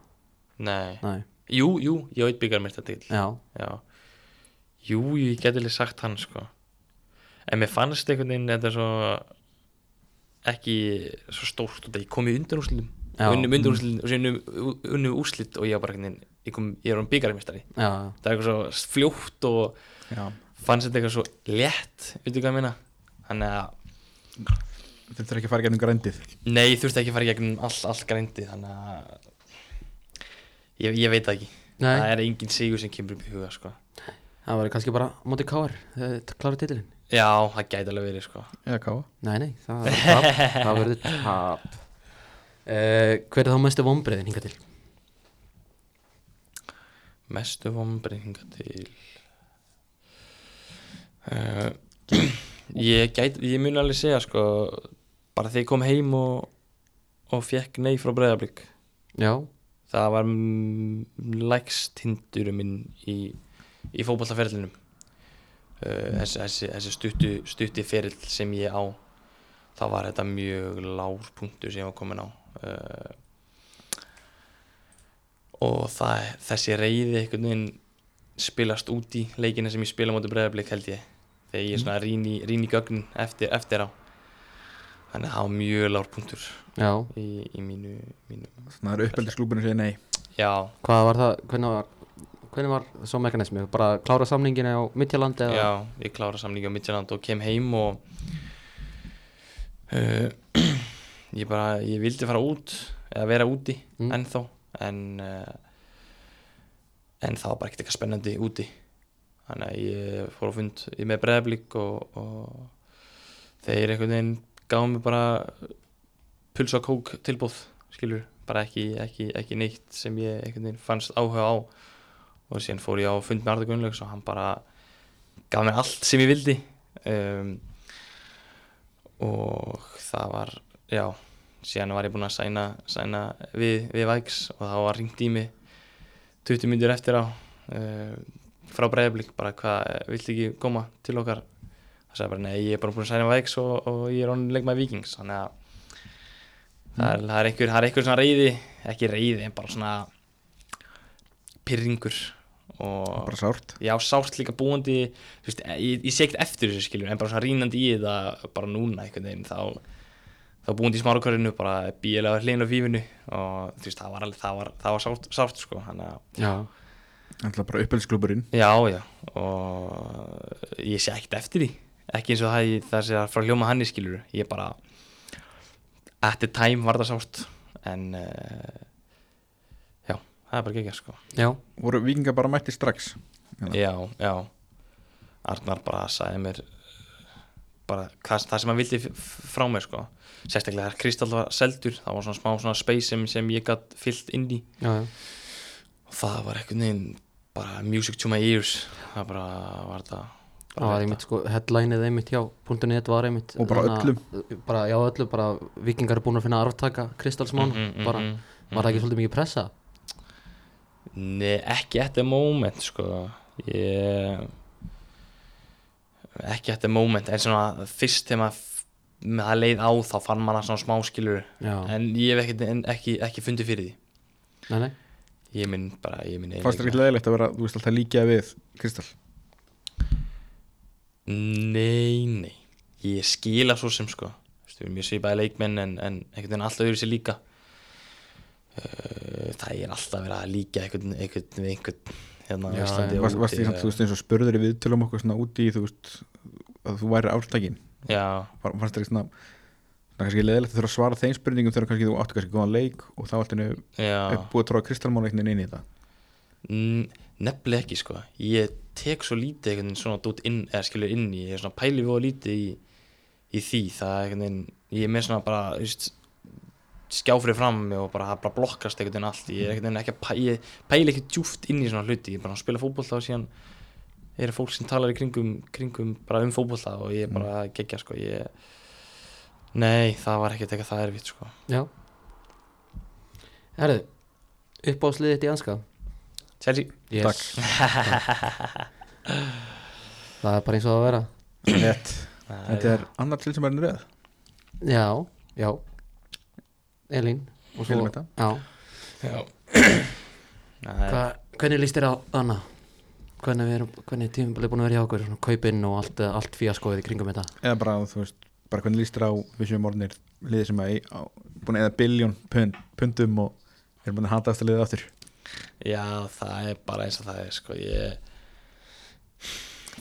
Nei, nei, Jú, jú, ég veit byggar mér þetta til já, Já Jú, jú, ég geti alveg sagt hann sko En mér fannst einhvern veginn þetta svo ekki svo stórt og þetta ég kom í undanúrslitum Já. Mm. unnum undanúrslitum og sér unnum, unnum úrslit og ég var bara einhvern veginn ég, kom, ég er um byggarmestari já, já, það er eitthvað svo fljótt og Já, fannst þetta eitthvað svo létt veitu hvað ég meina þannig að þetta er ekki að fara gennum grændið nei, ég þurfti ekki að fara í gegnum allt, allt grændi þannig að ég, ég veit það ekki Nei. það er engin sigur sem kemur upp í huga sko. það var kannski bara á móti KR, eh, klára titilin já, það gæti alveg verið sko. Eða káa Nei, nei, það verður tap, það verður tap. [laughs] Uh, Hver er þá mestu vonbreiðin hinga til? mestu vonbreiðinga til uh, [clears throat] ég gæti ég mun alveg segja sko bara þegar ég kom heim og og fekk nei frá breyðablík Já, það var lægstindur minn í, í fótballaferðlinum uh, þessi, þessi, þessi stuttu, stutti ferill sem ég á það var þetta mjög lár punktur sem ég var komin á uh, og það, þessi reyði einhvern veginn spilast út í leikina sem ég spila móti bregðarblik held ég þegar ég er svona rýn í, rýn í gögnin eftir, eftir á þannig að það var mjög lár punktur já, í, í mínu, mínu Þannig að það eru uppeldislúbunum segja nei já, hvað var það, hvernig var, hvernig var svo mekanismi? Bara klára samningin á Midtjaland eða? Já, ég klára samlingi á Midtjylland og kem heim og uh, [clears throat] ég bara, ég vildi fara út eða vera úti Mm. ennþá en uh, en það var bara ekkert eitthvað spennandi úti þannig að ég fór á fund í- með breðablík og, og þeir einhvern veginn gáðu mér bara puls og kók tilbúð skilur, bara ekki, ekki, ekki neitt sem ég einhvern veginn fannst áhuga á og síðan fór ég á fund með Arda Gunnlaugs og hann bara gaf mér allt sem ég vildi um, og það var já, síðan var ég búinn að sæna, sæna við, við Vægs og þá var ringt í mig 20 myndir eftir á um, frá breyðablík, bara hvað viltu ekki koma til okkar það sagði bara, nei, ég er bara búinn að sæna við Vægs og, og ég er honum leikmaði Víkings þannig að það er, það er einhver, það er einhver svona reyði ekki reyði, en bara svona pyrringur og Bara sárt já, sárt líka búandi þú veist, e, ég, ég sé ekkert eftir þessu skilur en bara svona rínandi í þetta bara núna einhvern veginn þá, þá búandi í smárakörinu bara bílega hliðin á fífinu og þú veist, það var alveg, það var, það var sárt, sárt sko, hann að Já, Þannig að bara uppeldislúburinn já, já, og ég sé ekkert eftir því ekki eins og það, í- það sé að frá hljóma hann í skilur ég bara at the time var það sárt en uh, já, það er bara geggjast sko já, Voru vikingar bara mætti strax Eða? já, já Arnar bara sagði mér bara hvað, það sem hann vildi f- f- frá mér sko sérstaklega þegar Kristall var seldur það var svona smá svona space sem, sem ég gat fyllt inn í já, já. og það var einhvern veginn bara music to my ears það bara var þetta bara Það var þetta. einmitt sko, headlineið einmitt hjá .net var einmitt Og bara þarna- bara, Já, öllum, bara vikingar er búin að finna arftaka Kristalsmán, Mhm, mhm, bara, mhm. var það ekki svolítið mikið pressa? Nei, ekki at the moment sko ég ekki at the moment en svona fyrst þegar maður f- með það leið á þá fann maður svona smáskilur Já, en ég hef ekki, en ekki, ekki fundið fyrir því nei, nei, ég minn bara, ég minn Fannst þér ekki leðilegt að vera, þú veist alltaf líkja við Kristall nei, nei, ég skila svo sem sko, Þú veist, við erum mjög svipaði leikmenn en, en einhvern veginn alltaf yfir sér líka Uh, það er alltaf verið að líka einhvern, einhvern, við einhvern hérna á Já, Íslandi já. og Varst varst úti því samt, og- þú veist eins og spurður í viðtölum okkur svona úti í, þú veist að þú væri ártakin já, Var- Fannst þér ekki svona svona kannski leðilegt að þurfa að svara þeim spurningum þegar kannski þú áttu kannski góðan leik og þá allt henni já. er búið að tróða kristallmálveiknin inn í þetta N- nefnilega ekki sko ég tek svo lítið einhvern veginn svona dót inn, eða skilur inn í, ég er svona pæli við og lítið í, í því, það er einhvern veginn ég er með svona bara, þú veist skjáfrið fram mig og bara, það bara blokkast einhvern veginn allt, ég er einhvern veginn ekki að pæ, ég pæli ekki djúft inn í svona hluti, ég er bara að spila fótbolta og síðan eru fólk sem talar í kringum, kringum bara um fótbolta og ég er bara að gegja sko, ég nei, það var ekkert eitthvað það erfitt sko já Herðu, uppáðsliðið þitt í anska Chelsea, yes. Það er bara eins og það á að vera Rétt Þetta er annar til sem er röð Já, já Elín og svo, Sko, Fylgum þetta. já, já Nei, Hva, hvernig líst þér á hana? Hvernig, við erum, hvernig tímabilið er búin að vera hjá okkur svona, kaupinn og allt, eh, allt fíaskoðið í kringum þetta eða bara, þú veist, bara hvernig líst þér á við séum orðinir liðið sem að á, búin að eða biljón pund, pundum og erum búin að hata eftir liðið aftur já, það er bara eins og það er sko, ég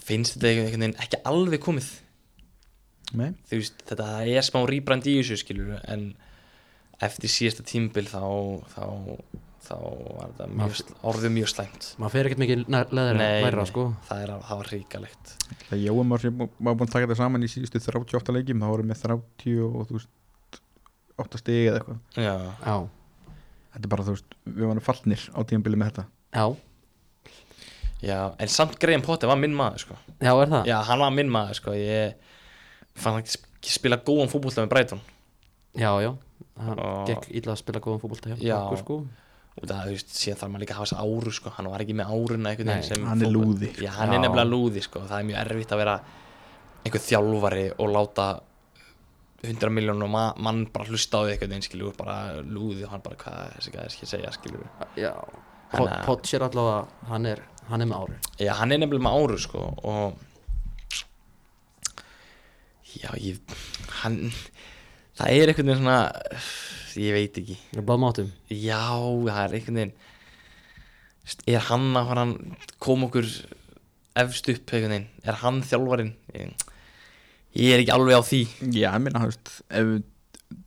finnst þetta einhvern veginn ekki alveg komið Nei, þú veist, þetta er smá rýbrand í þessu skilur en eftir síðasta tímbil þá þá, þá var þetta mjög, Maður- sl- orðið mjög slæmt maður fer ekkert mikið nær- leðra Nei, læra nei, sko það, er, al- það var ríkalegt það Jóum var, var búin að taka þetta saman í síðustu 38 leikjum, þá vorum við 30 og þú veist 8 stegi eða eitthvað já, já, Þetta er bara, þú veist, við varum fallnir á tímabilið með þetta já, já, en samt Graham Potter var minn maður sko. já er það já, já, hann var minn maður sko. ég fann hann ekki sp- ekki spila góðan fótbolta með Brighton já, hann Og- gekk illa að spila góðan fótbolta hjá Já. okkur sko og það, þú veist, síðan þarf maður líka að hafa þess áru sko. hann var ekki með áruna einhvern Nei, veginn sem hann er fótbol- lúði. já, hann Já. er nefnilega lúði, sko. það er mjög erfitt að vera einhver þjálfari og láta 100 miljónum ma mann bara hlusta á því einhvern veginn skilur, bara lúði og hann bara hvað er þessi gæði að segja skilur já, Hann er- Potts er allavega hann er, hann er með ári já, hann er nefnilega með áru sko og já, ég hann, það er einhvern veginn svona ég veit ekki er báðmátum Já, það er einhvern veginn Veist, Er hann að fara að koma okkur efst upp einhvern veginn Er hann þjálfarinn Ég, ég er ekki alveg á því Já, ég minna, þú veist, ef við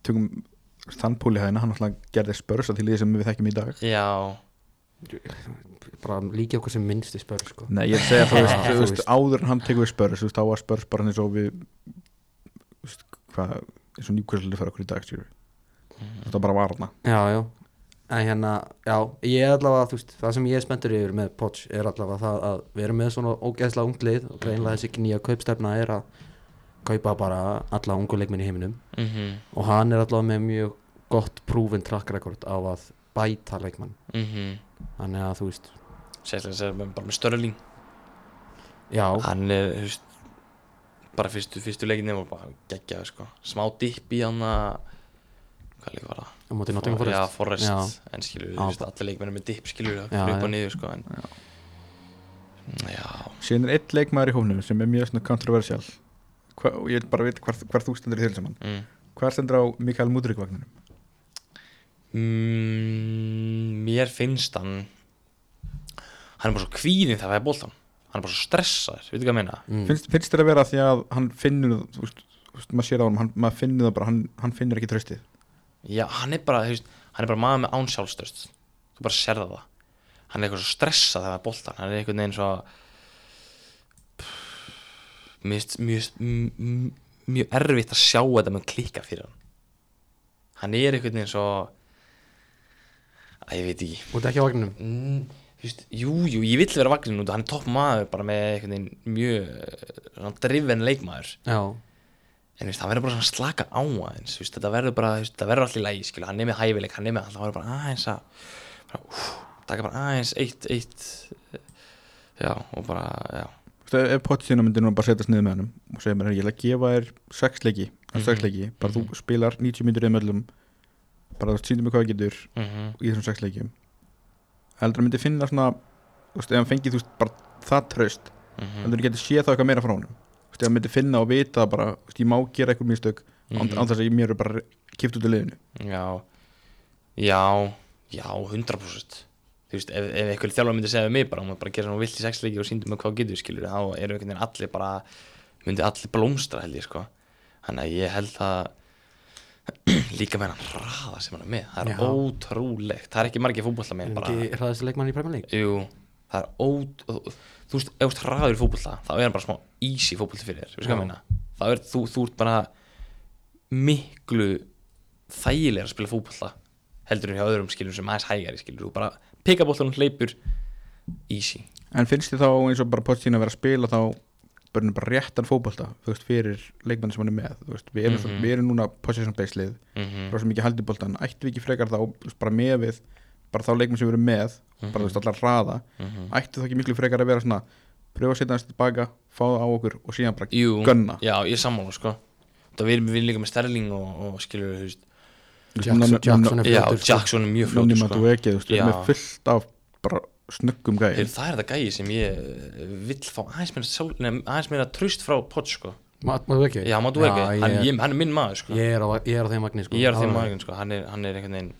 tökum þú veist, þann púli hæðina, hann alltaf gerði spörsa til liðið sem við þekkjum í dag Já, bara líki okkur sem minnst í spörð sko Nei, ég er að segja þú [laughs] veist, Já, þú þú veist, veist. áður en hann tekur við spörs, þú veist, þá var spörs bara eins og við, þú veist, hvað, eins og njúkvæslega fyrir okkur í dag, skilur við. Þetta bara var hana. Já, já En hérna, já, ég er allavega, þú veist, það sem ég er spenntur yfir með Poch er allavega það að við erum með svona ógeðslega unglið og greinlega þessi nýja kaupstefna er að kaupa bara alla ungu leikminni í heiminum mm og hann er allavega með mjög gott proven track record á að bæta leikmann mhm. þannig að þú veist, sérstaklega sér bara með Störling já, Hann er, þú veist bara fyrstu, fyrstu leikinni var bara geggjaði sko smá dipp í hann að hvað leik var það? á móti Nottingham Forest Já, Forrest, Já. en skilur við, Já, þú veist, allir leikmennir með dipp skilur við, Já, upp já. og niður sko en, já, Síðan er einn leikmaður í hófnum sem er mjög svona kontroversial. Hva, og ég vil bara vita hvar, hvar þú stendur í þeim saman. mm. Hvar stendur á Mikael Mudrik vagninum? Mm, mér finnst hann hann er bara svo kvíðin þegar það er bóltan hann er bara svo stressaður, veitu hvað ég meina mm. Finnst, finnst þér að vera því að hann finnur, það, þú veist, þú veist, maður sér á honum, hann, maður finnur það bara, hann, hann finnur ekki tröstið. já, hann er bara, þú veist, hann er bara maður með án sjálfstöðst þú bara serða það hann er eitthvað svo stressað þegar það er bóltan hann er einhvern veginn svo mjög, mjög, mjög, mjög erfitt að sjá þetta með klika fyrir hann hann er einhvern veginn svo að ég veit ekki út ekki á vagninum Mm, þú veist, jú, jú, ég vill vera vagninn út og hann er topp maður bara með einhvern veginn mjög eh, svona driven leikmaður Já, en þú veist, það verður bara svona að slaka á aðeins þú veist, þetta verður bara, þú veist, það verður allir lægi skilu, hann er með hæfileik, hann er með allt, það verður bara aðeins að bara, úf, taka bara aðeins eitt, eitt eh, já, og bara, já Þú veist, ef- ef pottsina myndi núna bara setjast niður með hannum og segja mér að ég ætla að gefa þér sex leiki, mm Mhm. sex leiki bara þú spilar 90 myndir eða möllum um, bara þú sýndir mig hvað það getur mm -hmm. í þessum sex leikjum heldur að myndi finna svona þú veist, ef hann fengið þú veist, bara það tröst Mhm. heldur að getur séð það eitthvað meira frá honum þú veist, ef hann myndi finna og vita bara þú veist, ég má gera eitthvað mistök mm Mhm. án þess að ég mér er bara kipt út í liðinu Já, já, já, 100% Þú veist, ef, ef einhver þjálfur myndi segja við mig bara, hún bara gera svona vilt í sexleiki og síndum með hvað getur, skilur, þá eru einhvern veginn allir bara, myndi allir blómstra held ég, sko. Þannig að ég held að [clears throat] líka með hann hraða sem hann er með, það er Já. ótrúlegt, það er ekki margir fótbolta með, bara, ekki hraðast leikmann í Premier League jú, það er ót, og- og- þú veist, ef þú ert hraður í fótbolta, þá er hann bara smá easy fótbolta fyrir þér, Já. við skalum meina, þá er, þú, þú ert bara miklu þægilega að spila fótbolla heldur en hjá öðrum skilur sem aðeins hægari skilur þú bara pika bóltanum hleypur easy en finnst þið þá eins og bara pottsina vera að spila þá bara bara réttan fótbolta þú veist, fyrir leikmann sem hann er með þú veist, við, erum, Mhm. við erum núna possession based lið rosa mikið haldið boltan, ættum við ekki frekar þá þú veist, bara með við, bara þá leikmenn sem við erum með bara þú veist allar hraða ættu þá ekki miklu frekar að vera svona pröfa að setja hans tilbaka, fá það á okkur og síðan bara Jú, gunna já ég er sammála sko það við erum við erum líka með Sterling og, og skilur þú veist Jackson, Jackson er já fljótur sko. Jackson er mjög fljóður fljótur sko. sko ekki, þú veist, við erum Já. með fullt af bara snöggum gæði Heyrðu, það er það gæi sem ég eh, vill fá aðeins meira, sjálf, nefn, aðeins meira tröst frá Pott sko. Máttu ekki? Já, maður þú ekki, hann, ég, ég, hann er minn maður sko. ég, er á, ég er á þeim magni sko. Ég er þeim Alveg. maður sko. hann, er, hann er einhvern veginn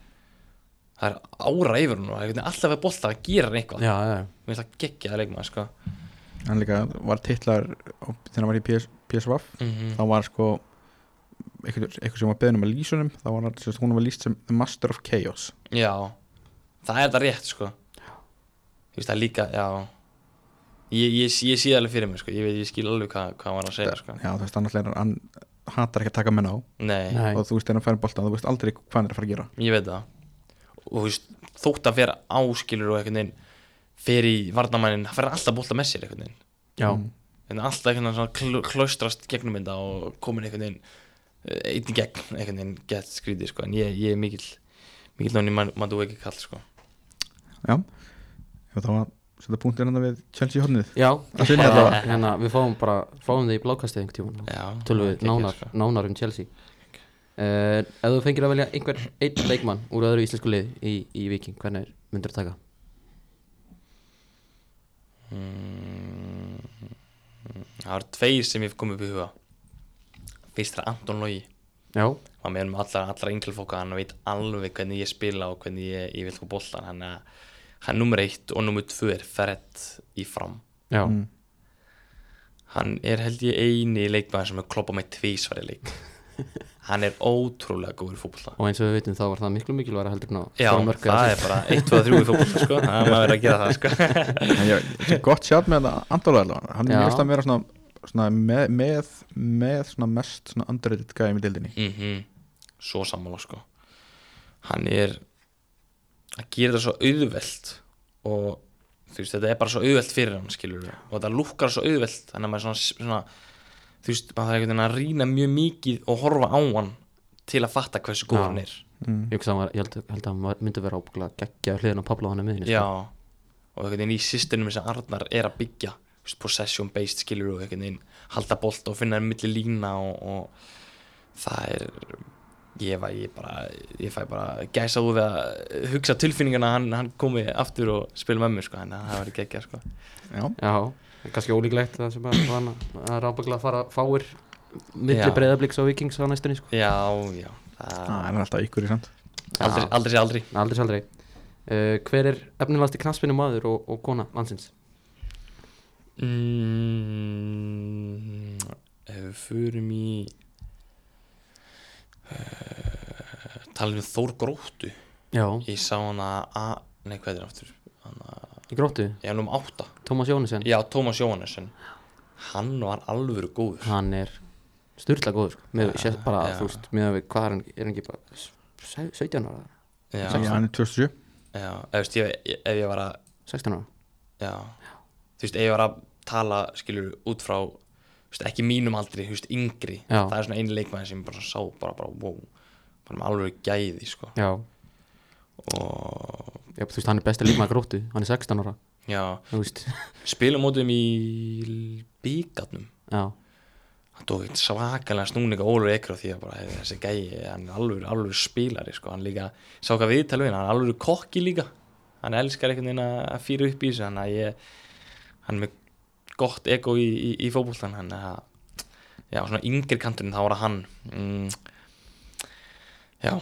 Það er ára yfir hún og einhvern veginn alltaf að bolta að gera eitthvað Já, já, já. Mér finnst það geggja að leikma sko. hann líka var titlar á- þegar hann var í PS, PSVaf mm þá var sko eitthvað, eitthvað sem var beðin um að lýsa honum þá var hann, sérst, hún var lýst sem The Master of Chaos Já, það er þetta rétt sko. Þú veist það er líka, já Ég, ég, ég sé það alveg fyrir mér sko. ég, veit, ég skil alveg hvað, hvað hann var að segja sko. já þú veist annars er hann hann hatar ekki að taka menn á Nei, Nei. og þú veist þegar hann fær um boltan þú veist aldrei hvað hann er að fara að gera ég veit það og þú veist, þótt að vera áskilur og einhvern veginn fer í varnamænin, það fer alltaf bólta með sér einhvern veginn já. en alltaf einhvern veginn svona kl klöstrast gegnum þetta og komin einhvern veginn eh, einn í gegn, einhvern veginn gett skrítið sko. en ég, ég er mikill mikill náni maður þú ekki kall sko. já og þá var setja punktir hann við Chelsea hodnið já. Að finna Bara, þetta. hérna, Við fáum bara fáum þið í blákastið einhvern tíma Já, tölum við það er nánar, geggjað, sko. nánar um Chelsea uh, Ef þú fengir að velja einhvern einn leikmann úr öðru íslensku lið í, í Viking, hvernig myndir taka? sko. mm, það eru tveir sem ég kom upp í huga fyrst er Anton Lógi Já, hann með um allra, allra ynglfóka hann veit alveg hvernig ég spila og hvernig ég, ég vil sko boltan hann er, hann nummer eitt og nummer tvö er ferrett í fram já, Mm. hann er held ég eini leikmaður sem er kloppa með tvísværi leik hann er ótrúlega góður í fótbolta og eins og við vitum þá var það miklu mikilværa heldur en á já, skora mörk eða það assist. er bara 1, 2, 3 í fótbolta sko, það er maður verið að gera það sko [laughs] En já, þetta er gott sjátt með þetta Andola allavega hann Já. er mjög að vera svona, svona með, með, með svona mest svona underrated gæði með dildinni mm svo sammála sko hann er að gera þetta svo auðvelt og þú veist þetta er bara svo auðvelt fyrir hann skilur og þetta lukkar svo auðvelt þannig að maður svona, svona þú veist maður þarf einhvern veginn að rýna mjög mikið og horfa á hann til að fatta hversu góð Já. hann er mm. Ég, hugsa að hann var, ég held, held að hann var- myndi vera ábyggla geggja hliðin á Pablo hann er miðinni já og einhvern veginn í systemum sem Arnar er að byggja þú veist, possession based skilur og einhvern veginn halda bolt og finna milli lína og, og það er ég, var, ég, bara, ég fæ bara gæsa úr við að hugsa tilfinningana að hann, hann komi aftur og spila með mér sko, þannig að það var geggja sko. já, Já, kannski ólíklegt það sem að hann að rábyggla að fara fáir milli Já. breyðabliks og vikings á næstunni sko. já, já það, það er alltaf ykkur í samt aldrei, aldrei sé aldrei Aldrei saldrei uh, Hver er efnilegasti knaspinu maður og, og kona landsins? mm, ef við förum í uh, talum við Þór Gróttu Já, Ég sá hana að, nei hvað er hann aftur hana, í gróttu, Ég hann um átta Tómas Jónisen Já, Tómas Jóhannesson Hann var alvöru góður Hann er styrla góður sko. með, Já, sér bara, já. þú veist, með við hvað er hann er hann ekki bara s- sau- 17 ára Já, já, já, hann er 2007 ef, veist, ég, ef ég var að 16 ára Já, þú veist, ef ég var að tala skilur út frá þú veist, ekki mínum aldri, þú veist, yngri Já. Það er svona einu leikmaður sem ég bara sá bara, bara, wow bara með alvöru gæði, sko Já, og já þú veist, hann er besti líkmaður gróttu hann er 16 ára, já, um þú veist spilum mótum í bíkarnum Já, hann tók eitt svakalega snúning á Ólur Ekro því að bara hey, þessi gæi, hann er alveg, alveg spilari sko, hann líka, sá hvað viðtalið hann er alveg kokki líka hann elskar einhvern veginn að að fýra upp í þessu hann, ég, hann er með gott ego í, í, í fótboltan hann er að, já, svona yngri kanturinn þá var það hann mm, já,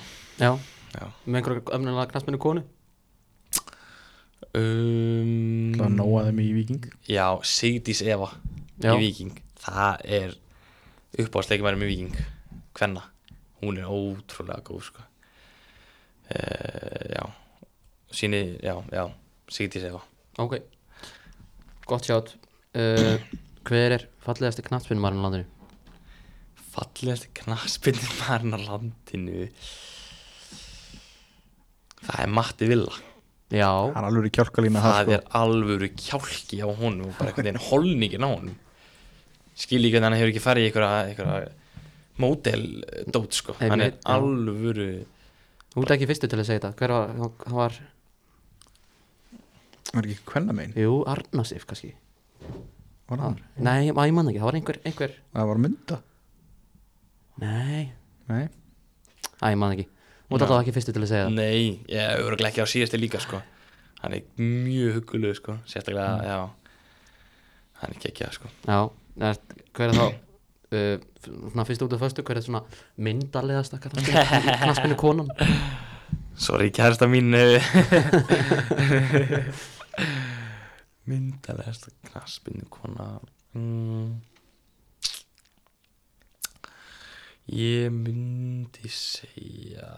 já, já með einhverja efnilega knaspinu konu Það var um, nóg að þeim í Viking já, Sigdís Eva Já. í Viking það er uppáðsleikimærum í Viking hvenna, hún er ótrúlega góð sko uh, já síni, já, já, Sigdís Eva Ok, gott sjátt uh, Hver er fallegasti knaspinu maður á landinu? fallegast knaspinnir maðurinn á landinu það er Matti Villa Já, Það er alveg í kjálkalína það það sko er alvöru kjálki á honum og bara einhvern veginn holningin á honum skil ekki að hann hefur ekki farið í einhverja, einhverja módeldót sko, hann er Einmitt, já. alvöru þú ert ekki fyrstu til að segja þetta Hver var, hann var, Það er ekki hvenna megin jú, Arnasif kannski Var Ah. það? Nei, ég maður ekki, það var einhver, einhver Það var mynda Nei, Nei Æ, ég maður ekki Þú ert alltaf ekki fyrstu til að segja það nei, ég er öruglega ekki á síðasti líka sko hann er mjög huggulegu sko sérstaklega, já hann er geggjað sko Já, er, hver er þá uh, svona fyrst út af föstu, hver er svona myndarlegasta [laughs] knaspinu konan sorry kærasta mín eh. [laughs] myndalegast knaspinu kona mm. ég myndi segja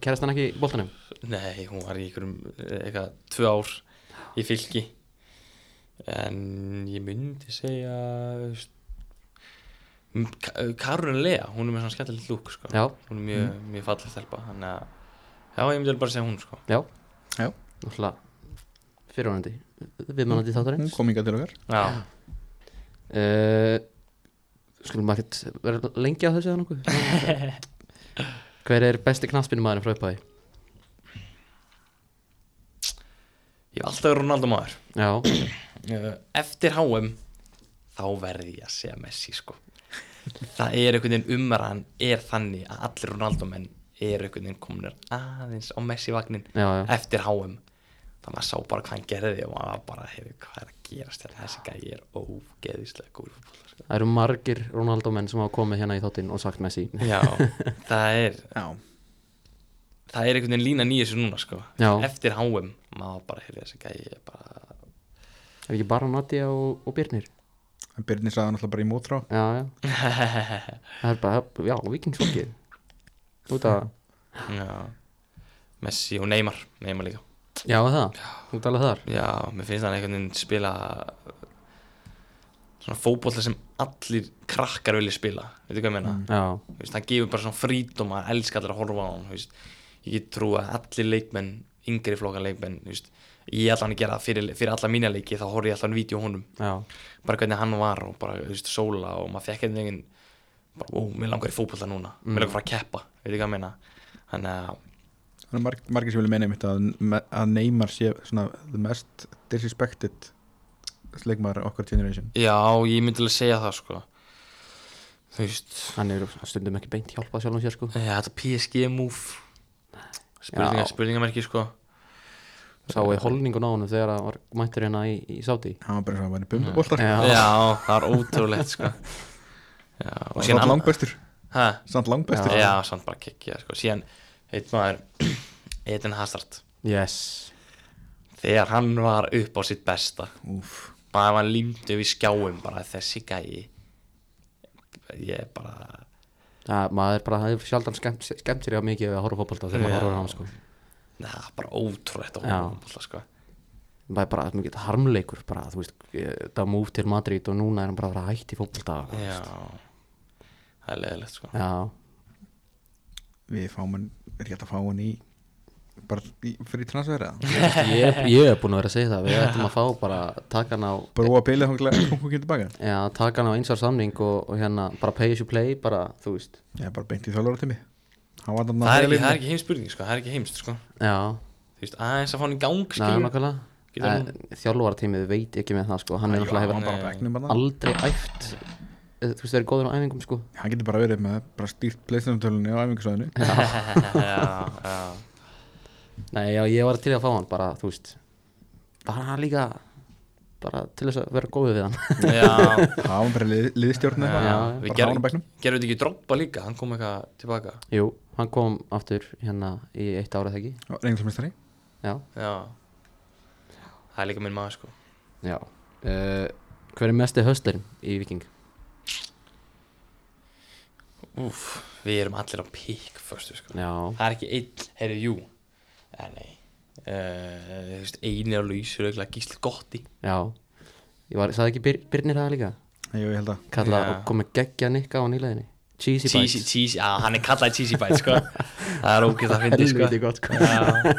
Kærast hann ekki í boltanum? nei, hún var í einhverjum eh, eitthvað, tvö ár í fylki en ég myndi segja þú veist, m- Ka- Karun Lea, hún er með svona skemmtilegt lúk sko. Já, Mm. hún er mjög, mjög falleg stelpa þannig að, já, ég myndi alveg bara segja hún sko. já Já. Náttúrulega fyrirvonandi viðmannandi hún þáttarins kom inga til okkar Já, uh, Skulum ekki vera lengi á þessu eða nokkuð [laughs] Hver er besti knaspinu maðurinn frá upphæði? ég hef alltaf verið Ronaldo maður Já, Eftir HM þá verði ég að segja Messi sko Það er einhvern veginn umar hann er þannig að allir Ronaldo menn er einhvern veginn kominir aðeins á Messi vagnin já, já eftir HM þannig að maður sá bara hvað hann gerði og maður var bara, heyrðu, hvað er að gerast hérna þessi gæði er ógeðislega góður fótbolta sko. Það eru margir Ronaldo menn sem hafa komið hérna í þáttinn og sagt Messi Já, [laughs] það er já, það er einhvern veginn lína nýja sér núna sko Já. eftir HM, maður bara, heyrðu, þessi gæði er [laughs] bara Er ekki bara Nadia og, og Birnir? en Byrni sagði hann alltaf bara í mótrá Já, já Það er bara, já, vikingsfólkið Út að, Já Messi og Neymar, Neymar líka já það, út alveg þar Já, mér finnst hann einhvern veginn spila svona fótbolta sem allir krakkar vilja spila veitu hvað ég meina, Já, mm. veist, hann gefur bara svona frítum að elska allir að horfa á hann þú veist. ég get trú að allir leikmenn yngri flokka leikmenn þú veist, ég ætla hann að gera það fyrir, fyrir alla mína leiki þá horf ég alltaf hann vídeo á honum já, bara hvernig hann var og bara, þú veist, sóla og maður fekk einhvern veginn bara, ó, mér langar í fótbolta núna mér langar að fara að keppa, veitu hvað ég meina þannig að þannig að marg, margir sem vilja meina einmitt að, að Neymar sé svona the most disrespected leikmar okkar generation Já, ég myndi alveg segja það sko Þú veist hann er stundum ekki beint hjálpað sjálfum sér sko eh, Þetta PSG move Já. Spurninga, Spurningamerki sko Sáu í holningun á honum þegar hann var mættur hérna í, í Sáti hann var bara svona bara í sko. bumbabóltar Já. Mm. Já, það var ótrúlegt sko Já, og samt síðan annan langbæstur Ha? samt langbæstur Já, samt bara kikja sko Síðan, heit maður [clears throat] Eden Hazard Yes Þegar hann var upp á sitt besta úf Maður var límdu við skjáum bara þessi gæi Ég bara Það, maður bara, það er sjaldan skemmt, skemmt sér hjá mikið við að horfa á fótbolta þegar maður Já. horfir á hann sko Það var bara ótrúlegt Já. að horfa á fótbolta, sko. Það er bara mikið harmleikur bara, þú veist, það múf til Madrid og núna er hann bara að vera hætt í fótbolta Já Það er leðilegt sko Já, við fáum hann, er ekki alltaf að fá hann í bara í, fyrir transfera ég, ég er búin að vera að segja það, við ættum að fá bara takan á brúa bilið þá kom hún ekki tilbaka Já, taka hann á einsar samning og, og hérna bara pay as you play, bara, þú veist ég er bara beint í þjálfara tími hann var þarna það er, þegar ekki, liðinu. það er ekki heimspurning sko, það er ekki heimst sko Já, Þú veist, aðeins að fá hann í gang næ, skilur Getur hann- nákvæmlega Þjálfvartímið veit ekki með það, sko Hann er Já, hann náttúrulega var hefur bara á bekknum bara aldrei æft eh, Þú veist, það er góður á æfingum, sko hann getur bara verið með bara stýrt pleistunartölunni á æfingasöðinu [laughs] já, já, Nei, já, ég var til í að fá hann, bara, þú veist Bara líka, bara til þess að vera góður við hann [laughs] já, það var bara lið, liðstjórn eða já. eitthvað. bara hafa Við hann á gerum, bekknum gerum þetta ekki droppa líka Hann kom eitthvað tilbaka Jú, hann kom aftur hérna í eitt árað ekki reynglismestari Já, Já Það er líka minn maður sko já uh, Hver er mesti höstlerinn í Viking? Úf, við erum allir á pík Förstu sko Já, Það er ekki einn, heyrðu, jú Eh, Nei, uh, þú veist, eini á lausur Öglega gísli gotti já Ég var, sagði ekki byr, Byrnir það líka? Jú, ég held að kalla Já. og kom með geggja nikka á nýleginni Cheesy Cheesy, Bites cheesy, já, hann er kallaði cheesy bite [laughs] sko Það er ógæð að fyndi sko Helviti gott, sko. Já,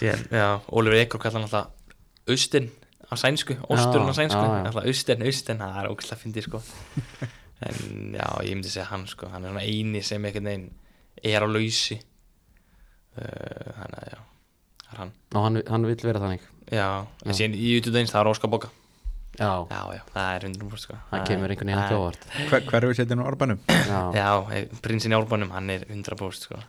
síðan, já, Ólfur Ekur kallar hann alltaf Austin á sænsku, Ósturinn á Já, já, sænsku já. Alltaf Austin, Austin, það er ógæð að fyndi sko [laughs] En já, ég myndi segja hann sko Hann er svona eini sem einhvern veginn er á lausi Uh, Þannig að já, það er hann og hann, hann vill vera þannig Já, en síðan í YouTube eins, það er Óskar Boga já, Já, já, það er 100% sko það kemur einhvern veginn ekki ávart hver, hverfið setja nú árbænum [laughs] já, Já, eh, prinsinn í Árbánum, hann er 100% sko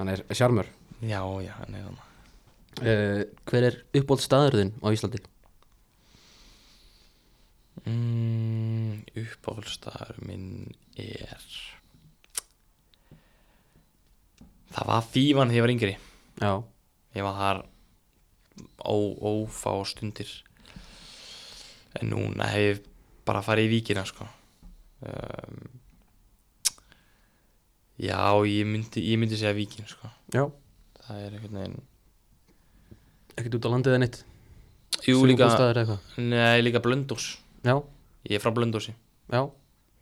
hann er sjarmur Já, já, hann er hann uh, Hver er uppbólt staðurðin á Íslandi? Mm, uppáhaldsstaður minn er Það var fífan þegar ég var yngri Já, Ég var þar ó, ófá stundir En núna hef ég bara farið í víkina sko um, Já, ég myndi, ég myndi segja víkin sko já, Það er einhvern veginn ekkert út á landið en eitt Jú, líka, Staður eitthvað nei, líka blöndós Já, Ég er frá blöndósi já,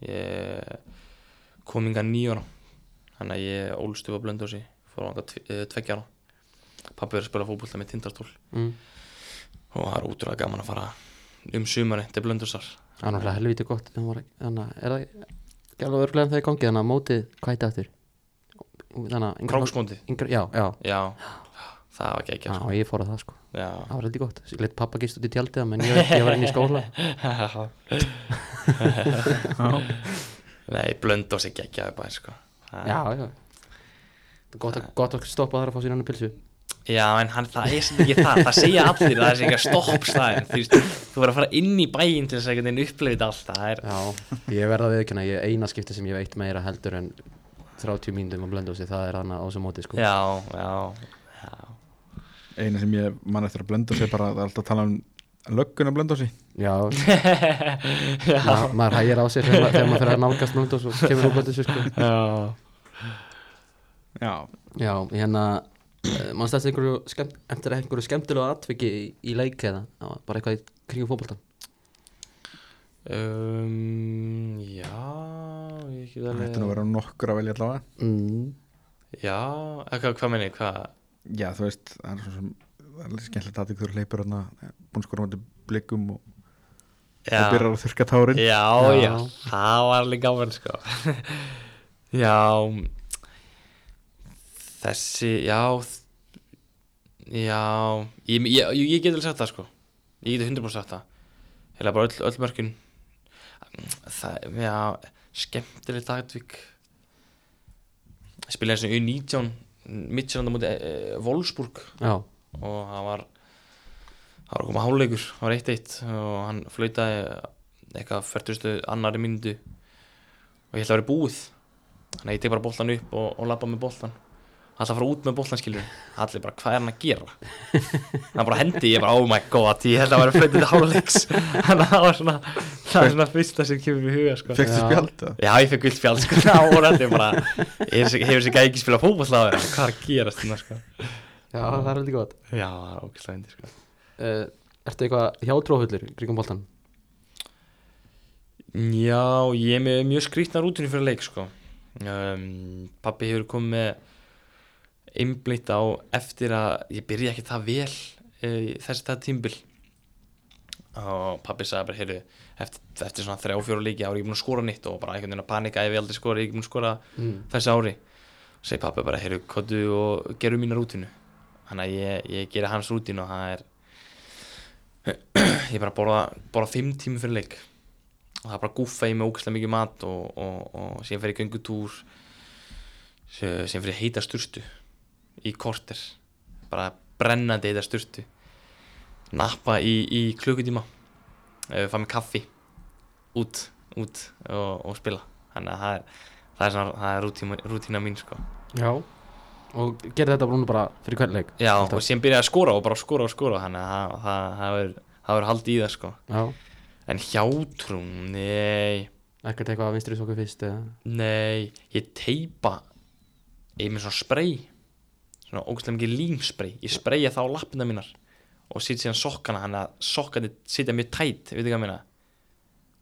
ég kom inga nýjóra þannig að ég ólst upp á blöndósi fór eh, langa tveggjára pappi er að spila fótbolta með tindartól mm. og það er útrúlega gaman að fara um sumari til blöndósar það er náttúrulega helviti gott Þannig að er það ekki alveg örglega en það er gangið Þannig að mótið hvað heitir aftur Þannig að yngra- kráksmótið, yngra- Já, já, já það var ekki já, ekki sko. ég fór að það sko já. Það var heldur gott, ég leitt pappa gist út í tjaldið menn ég, ég var inn í skóla [laughs] nei, blöndós er geggjaður bær sko. Það- Já, já Það er Gott að, gott að stoppa þar að fá sér hann að pilsu Já, en hann, það er sem ekki það, það segja allir að það er eitthvað stoppstæðin, þú veist, þú verður að fara inn í bæinn til þess að einhvern veginn upplifa þetta allt, það er, Já, ég verða að viðkynna, ég eina skipti sem ég veit meira heldur en 30 mínútum á blendósi, það er hana á þessum móti sko. já, já, já, eina sem ég man eftir að blenda sig bara, það er alltaf að tala um löggun að blenda sig Já, ma maður hægir á sér þegar ma- þegar maður fyrir að nálgast blendós og kemur úr blendósi sko. Já já, Já, hérna, mannst eftir einhverju, skemm, eftir einhverju skemmtilegu atviki í, í leik eða, Já, bara eitthvað í kringum fótbolta um, Já Ég ekki það alveg hættu nú að vera nokkur að velja allavega mm. Já, eitthvað, hvað meni, hvað já, þú veist, það er svona sem það er alveg skemmtilegt að þú hleypur hann að búin skora á móti blikum og, og Já, byrjar að þurka tárin já, Já. já Það var alveg gaman, sko [laughs] Já Þessi, já þ- Já Ég, ég, ég, ég get alveg sagt það, sko Ég get 100% sagt það Heila bara öll, öll mörkin Það, já, skemmtilegt atvik Spila eins og U19 Midtjölanda múti e, e, Wolfsburg Já, og það var það var að koma háleikur, það var 1-1 og hann flautaði eitthvað 40. annari mínútu og ég held að það væri búið þannig að ég tek bara boltan upp og, og labba með boltan hann ætla að fara út með boltan skilur allir bara hvað er hann að gera hann bara hendi ég bara oh my god ég held að það væri flautið háleiks þannig að það var svona það var svona fyrsta sem kemur í huga sko. fekstu Já. spjald eða? Já, ég fekk vilt fjall, sko, það voru allir bara, hefur þessi- hefur þessi gæði ekki spilað fókballega á þér, hvað er að gera þetta, sko? já, það er heldur gott Já, það var ógæslega indi, sko. uh, Ertu eitthvað hjátrúhullur í kringum boltan? Já, ég er með mjög skrýtna rútinu fyrir leik sko. um, Pappi hefur komið með einblýtt á eftir að ég byrja ekki það vel uh, þessi það tímbil og pappi sagði bara heyrðu, eftir, eftir svona þrjá fjóru leiki ári ég búin að skora nýtt og bara einhvern veginn að panika ef ég aldrei skora, ég er ekki búin að skora Mm. þessi ári og segi pappi bara heyrðu, kottu og gerum mína rútinu þannig að ég, ég gera hans rútinu og það er ég er [clears throat] bara að borða, borða fimm tími fyrir leik og það er bara gúffa í mig ógæslega mikið mat og, og, og síðan fer ég göngutúr síðan síðan fer ég heita sturtu í korter bara brennandi heita sturtu nappa í, í klukkutíma eh, fá mig kaffi út, út og, og spila þannig að það er það er, svona, það er rútíma, rútína mín sko Já Og gerði þetta bara núna bara fyrir hvern leik já Alltaf. og síðan byrja ég að skora og bara skora og skora þannig að það- það- það verður- það verður haldið í það sko Já, en hjátrún, nei ekkert eitthvað að vinstri sokka fyrst eða Nei, ég teipa ég er með svona spray svona ógustlega mikið límspray ég spraya þá lappina mínar og sýt síðan sokkana hann að sokkandi sitja mjög tætt, veit ekki hvað meina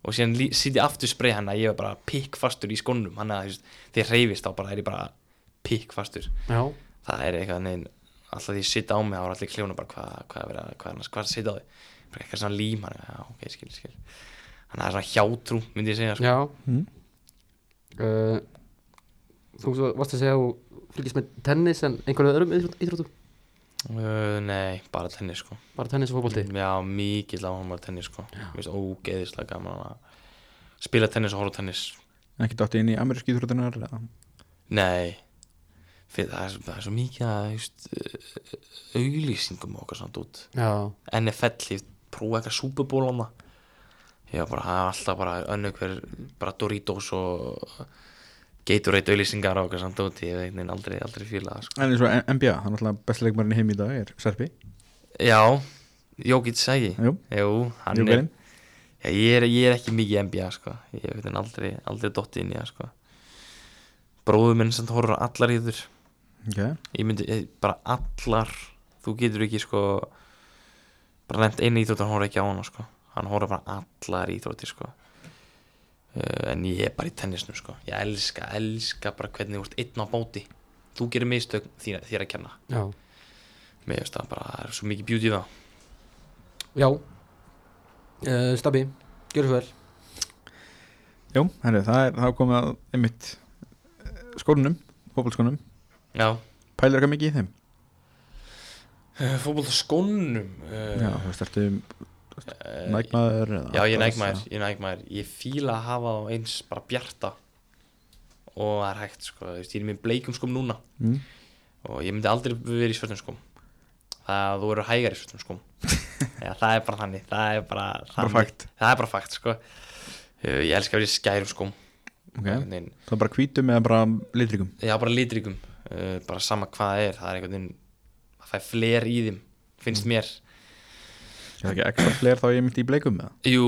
og síðan lí- sit ég aftur spray hann að ég er bara pikk fastur í skónum hann að þegar reyfist þá bara er ég bara pikk fastur Já, það er eitthvað neginn alltaf því ég sitt á mig, þá er allir kljóna bara hvað hva er verið, að- hvað er hann, hvað er að sitja á þig bara eitthvað svona lím, hann, já, ok, skil, skil hann er svona hjátrú, myndi ég segja sko. já Mm. uh, Þú svo varst að segja að þú fylgist með tennis en einhverju öðrum íþróttum uh, nei, bara tennis sko Bara tennis og fótbolti Já, mikill áhuga á tennis sko Mér finnst ógeðislega gaman að spila tennis og horfa á tennis ekki dætti inn í ameríski þrjóðunar Nei, fyrir það er, svo- það er svo mikið að just, eh, auglýsingum og okkar samt út já, NFL, ég prófa eitthvað súpuból ég var bara, það er alltaf bara önnu hver, bara Doritos og Gatorade auðlýsingar og okkar samt út, ég veit neinn aldrei, aldrei fíla það sko. En eins og M- NBA, hann er alltaf besti leikmarinn í heim í dag er Serpi, Já, Jókits segi jú, Jú, hann er, Jókerinn já, ég er ég er ekki mikið í NBA sko, ég veit neinn aldrei aldrei dotti inn í það sko bróður minn sem horfður á allar íður okay. ég myndi, ég, bara allar þú getur ekki sko bara nefnt einu íþrótt hann horfði ekki á hana sko hann horfði bara allar íþrótti sko uh, en ég er bara í tennisnum sko ég elska, elska bara hvernig þú ert einn á báti þú gerir mistök þér, þér að kenna já mér finnst það bara, það er svo mikið beauty í það já uh, Stabbi, gjör svo vel Jú, herri, það er, það er komið að einmitt eh, skólanum, fótbolskólanum já, Pælir eitthvað mikið í þeim? uh, fótbolta skónum uh, Já, þú veist, ertu nægmaður eða- eh, Já, ég er nægmaður, ég er nægmaður Ég fíla að hafa þá eins bara bjarta og það er hægt sko, þú veist, ég er með bleikum skum núna mm. og ég myndi aldrei verið í svörnum skum það þú eru hægar í [laughs] svörnum skum Já, það er bara þannig það er bara, þannig. fakt. það er bara fakt sko. Uh, ég elska að vera í skærum skum okay. Einhvern veginn. Það er bara hvítum eða bara litrikum Já, bara litríkum uh, bara sama hvað það er það er einhvern veginn það fæ fler í þeim finnst Mm. mér Ég er ekki ekstra fleir þá ég er myndi í bleikum eða Jú,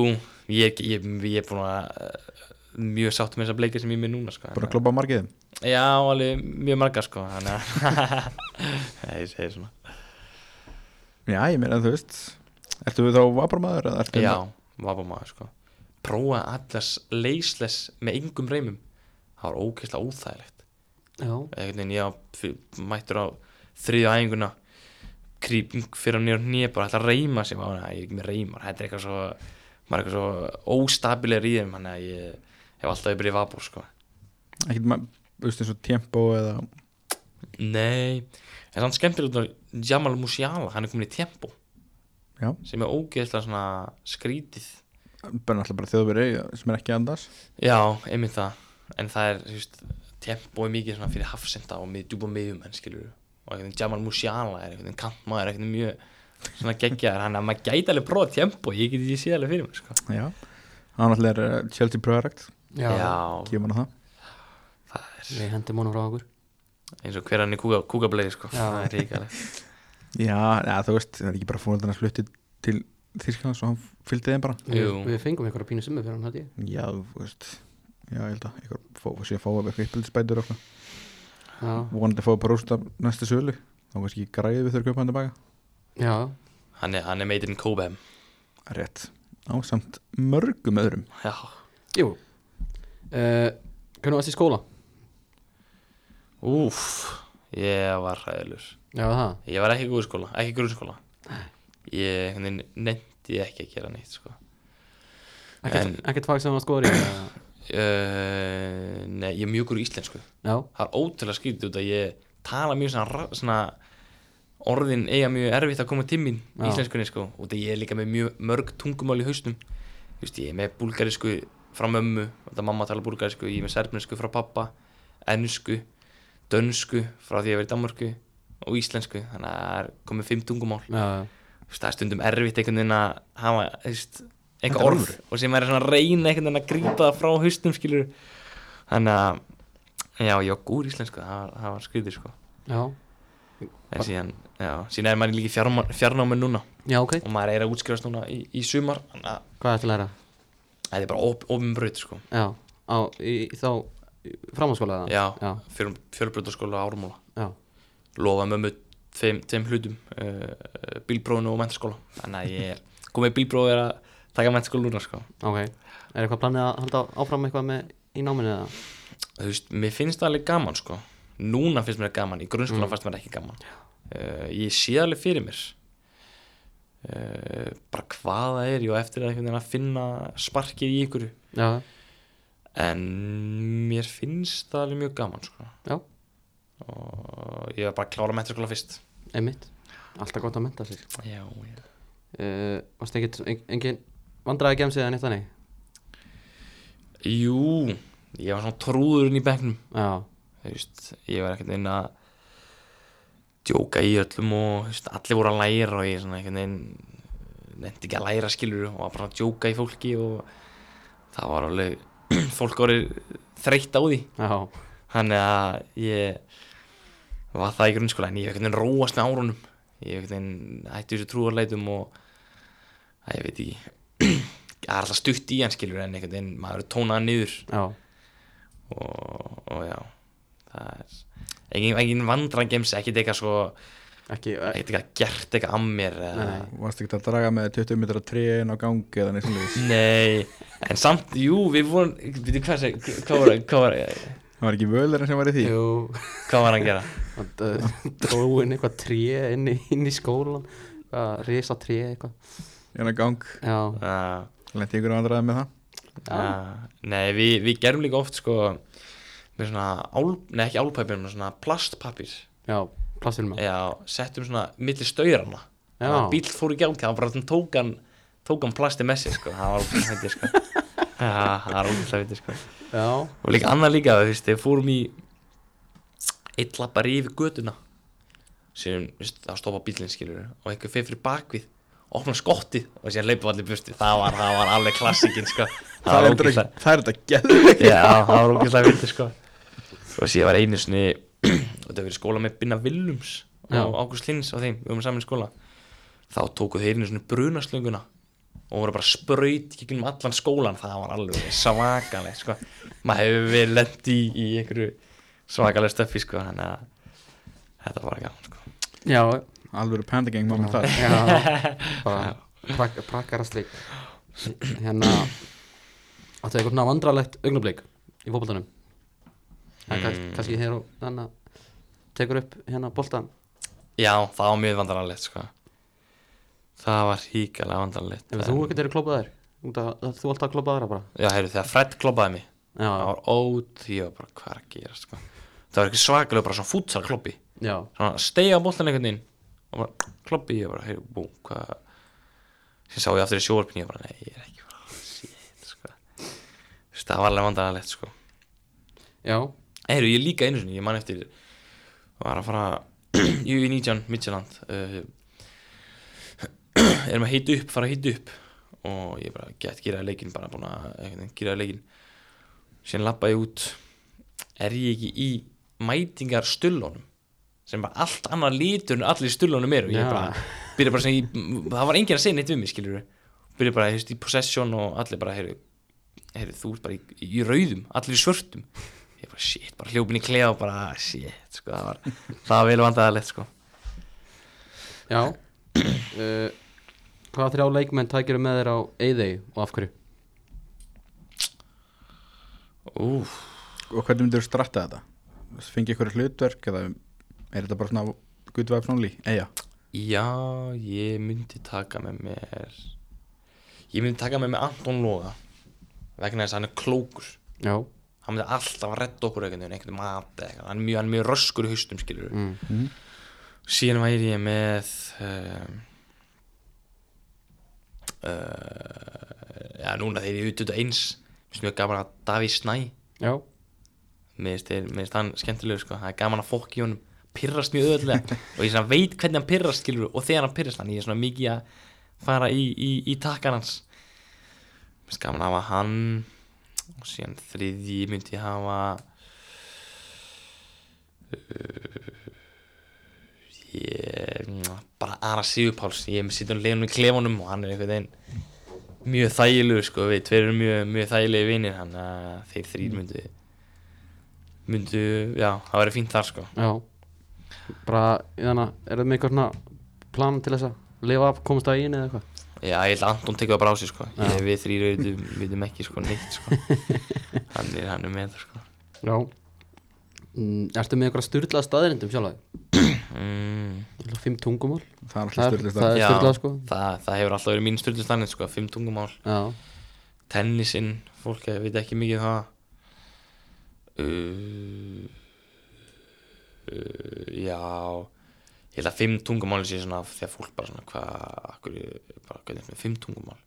ég, ég, ég er búin að uh, mjög sátt með þessa bleika sem ég er með núna sko. Bara kloppa margiðum Já, alveg mjög marga sko Þannig að [laughs] Nei, ég segi svona Já, ég meina þú veist Ertu þá vaparmaður eða ertu Já, vabba maður sko Prófa allas leysless með engum reymum Það var ógeðslega óþægilegt já, Einhvern veginn, ég á- f- mættur á þriðja æfinguna Krýping fyrir hann nýjur nýja bara ætla að reyma sig á hana Ég er ekki með reymar, þetta er eitthvað svo maður er eitthvað svo óstabilegur í þeim Þannig að ég hef alltaf yfir í vabur sko Ekkert ma- þú veist eins og tempo eða Nei, en þannig skemmtilega út af Jamal Musiala, hann er komin í tempo Já, sem er ógeðslega svona skrítið bara náttúrulega bara þjóðveri sem er ekki andars Já, einmitt það en það er, þú veist, tempo er mikið svona fyrir hafsenda og mið, djúpa miðum en skilur og einhvern veginn Jamal Musiala er einhvern veginn kantmaður, einhvern veginn mjög svona geggjaður, hann að maður gæti alveg prófa tempo, ég geti því séð alveg fyrir mér sko. Já, hann náttúrulega er eh, Chelsea Project já, Já, Gefum hann það það er við hendum honum frá okkur eins og hver hann er kúka, kúkableiði sko, Já. það er ríkalegt Já, ja, þú veist, það er ekki bara fórhaldarnas fluttið til Þýrskans og hann fylgdi þeim bara við, Jú. við fengum einhverja pínu summu fyrir hann held ég Já, þú veist Já, ég held að ykkur fó, sé að fá eitthvað yppildisbætur og svona já, vonandi að fá bara rústa næstu sölu þá kannski græði við þurfum kaupa hann tilbaka já, hann er, hann er meitirinn Kóbem Rétt, ásamt mörgum öðrum Já, jú uh, Eh, hvernig varst í skóla? úf ég var hræðilur já, það, Ég var ekki góð í skóla, ekki grunnskóla Ég nefndi ekki að gera neitt sko. En- ekkert, ekkert fag sem hann skoður í eða? uh, Nei, ég er mjög góð í íslensku já, Það er ótrúlega skrítið út að ég tala mjög svona, ra- svona orðin eiga mjög erfitt að koma til mín í Já. íslenskunni sko og það ég er líka með mjög mörg tungumál í hausnum Just, ég er með búlgarisku frá mömmu þetta mamma tala búlgarisku, ég er með serbnesku frá pappa ennsku, dönsku frá því að ég verið í Danmörku og íslensku, þannig að það er komið fimm tungumál já, já Þú veist, það er stundum erfitt einhvern veginn að hafa þú veist, Þetta einhver er orð alvöru. og sem er svona að reyna einhvern veginn að grípa það frá haustum skilur þannig að já, ég var gúr íslensku, það var, það var skriðið sko Já, en síðan, já, síðan er maður líka í fjarma- fjarnámi núna já ok, og maður er að útskrifast núna í, í sumar þannig að hvað ertu að læra? þetta er bara op, ofinbraut sko Já, á, í, í þá framhanskóla eða? já, Já, fjöl, fjölbrautaskóla árumóla já, lofa mömmu tveim, tveim hlutum uh, bílbróðinu og mentaskóla þannig að ég er komið bílbróð er að taka mentaskóla núna sko ok Er eitthvað planið að halda áfram eitthvað með í náminu eða? þú veist, mér finnst það alveg gaman sko núna finnst mér það gaman, í grunnskóla fannst mér það ekki gaman uh, ég sé alveg fyrir mér uh, bara hvað það er ég á eftir að einhvern veginn að finna sparkið í ykkur Já, en mér finnst það alveg mjög gaman sko já, og ég var bara að klára mentaskóla fyrst einmitt Alltaf gott að menta sér já, já. uh, Varst ekkert, en- engin vandræði gemsið eða neitt þannig? jú, ég var svona trúðurinn í bekknum Já, þú veist, ég var ekkert einn að djóka í öllum og þú veist, allir voru að læra og ég svona einhvern veginn nefndi ekki að læra skilur og var bara að djóka í fólki og það var alveg [clears throat] fólk voru þreytt á því Já, þannig að ég var það í grunnskóla en ég hef einhvern veginn róast með árunum ég hef einhvern veginn hætti þessu trúarleitum og að ég veit ekki [clears throat] það er alltaf stutt í hann skilur en einhvern veginn maður er tónað niður já, og, og já það er engin, engin vandrangems ekkert eitthvað svo ekki eh, ekkert eitthvað gert eitthvað að mér eða, Nei. Varst ekki að draga með 20 metra tréin á gangi eða neitt svona nei en samt, jú, við vorum við hvað, seg- hvað, var, hvað, var, Það var ekki vöðlarinn sem var í því Jú, hvað var hann að [laughs] gera dróin eh, eitthvað tré inn í, inn í skólan eitthvað, risa tré eitthvað En að gang, Já, það lenti ykkur á andraði með það Já. Ah, Nei, við, við gerum líka oft sko með svona, ál, nei ekki álpapir með svona plastpapir já, plastilma Já, Já, settum svona milli stauranna já, Bíl fór ekki álpapir, það var bara svona tókan tókan plasti með sér sko Það var ógæðlega fyndið [laughs] sko Já, Það var ógæðlega fyndið sko já, Og líka annað líka, þú veist, við fórum í eitt lappar yfir götuna sem, þú veist, það stoppa bílinn skilur og einhver fyrir bakvið opna skottið og síðan leipum allir burti það var, það var alveg klassíkin sko Það er ógeðslega- þetta- það er þetta gæðið Já, það var ógeðslega vildi sko Og síðan var einu sinni [clears throat] Þetta var í skóla með Binna Willums Já. Og Ágúst Lins og þeim, við varum saman í skóla Þá tóku þeir einu sinni brunaslönguna Og voru bara spraut í Gegnum allan skólan, það var alveg Svakaleg sko Maður hefur verið lendi í, í einhverju Svakaleg stöffi sko Þannig að þetta var gaman sko já, Alvöru pandagang mamma [laughs] þar já bara prak, prakkarastleik Hérna Áttu eitthvað svona vandralegt augnablik í fótboltanum Það mm. Mm. kannski hér og þannig að tekur upp hérna boltan Já, það var mjög vandrarlegt sko Það var híkalega vandrarlegt Ef þú ekkert eru klópaðir Þú alltaf klópaðir bara Já, heyrðu, þegar Fred kloppaði mig það Já, var ót, ég var bara hvað er að gera sko. það var ekki svakalega bara svona fútsal kloppi já, svona stegi á boltan einhvern veginn og bara kloppi, ég bara, hei, bú, hvað sem sá ég aftur í sjóarpinni ég bara, nei, ég er ekki bara, shit sko. Þú veist, það var alveg vandagalegt sko. já, Eyru, ég líka einu sinni, ég man eftir var að fara [clears throat] í U19 Midtjaland uh, erum að hýta upp, fara að hýta upp og ég bara gett gýraði leikinn bara búin að eh, einhvern veginn gýraði leikinn síðan lappa ég út er ég ekki í mætingar stullónum sem var allt annað litur en allir stullónum eru ég Já. bara, byrja bara sem ég það var enginn að segja neitt við mig, skilur byrja bara, hefst, í possession og allir bara, heyrðu heyrðu, þú ert bara í, í rauðum allir í svörtum ég bara, shit, bara hljópin í klefa og bara, shit, sko, það var það var vel vandaðalegt, sko já uh, Hvaða þrjá leikmenn tækiru með þér á Eyði og af hverju? Úf, Og hvernig myndir þú stratta þetta? Fengi ykkur hlutverk eða er þetta bara svona good vibes only? Eja, já, ég myndi taka með mér ég myndi taka með mér Anton Loga vegna þess að hann er klókur Já, hann myndi alltaf að redda okkur einhvern veginn, einhvern mat eða eitthvað, hann er mjög, hann er mjög röskur í haustum, skilur mm. síðan væri ég með um, uh, já, núna þeir eru út út eins mér finnst mjög gaman að Daví Snæ já, mér finnst þeir- mér finnst hann skemmtilegur sko. það er gaman að fokk í honum pirrast mjög öðlega og ég svona veit hvernig hann pirrast skilur og þegar hann pirrast hann ég er svona mikið að fara í, í, í takkan hans mér finnst gaman að hafa hann og síðan þriðji myndi ég hafa uh, ég bara Ara Sigurpáls ég er með sýttum leifunum í klefunum og hann er einhvern veginn mjög þægilegur sko við tveir eru mjög, mjög þægilegi vinir hann að þeir þrýr myndu myndu, já, það væri fínt þar sko já Bara, þannig að er það með eitthvað svona plan til þess að lifa af, komast að einu eða eitthvað? já, ég held að Anton tekur það bara á sig sko ég, Já. við þrýr veitum, veitum ekki sko neitt [laughs] sko hann er, hann er með það sko Já mm, Ertu með eitthvað styrlað staðirindum sjálf mm, að Fimm tungumál það er alltaf Það er- styrlist það að er- já, sturlað, sko. það, það hefur alltaf verið mín styrlustanir sko fimm tungumál, Já, tennisinn fólk eh, veit ekki mikið um það uh, uh, já ég held að fimm tungumáli sé svona þegar fólk bara svona hvað akkur, bara hvernig er með fimm tungumál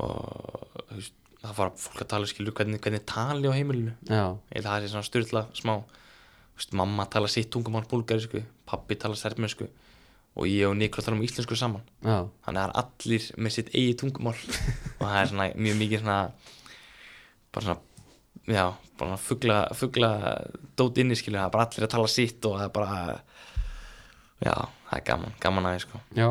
og þú veist, það fara fólk að tala skilur hvernig, hvernig tali á heimilinu já, ég held að það sé svona styrla smá veist, mamma tala sitt tungumál búlgarisku, pappi tala serbnesku og ég og Niklas tala um íslensku saman já, þannig að það er allir með sitt eigi tungumál og það er svona mjög mikið svona bara svona já, bara svona fugla, fugla dót inni skilur, það er bara allir að tala sitt og það er bara já, það er gaman, gaman aðeins sko já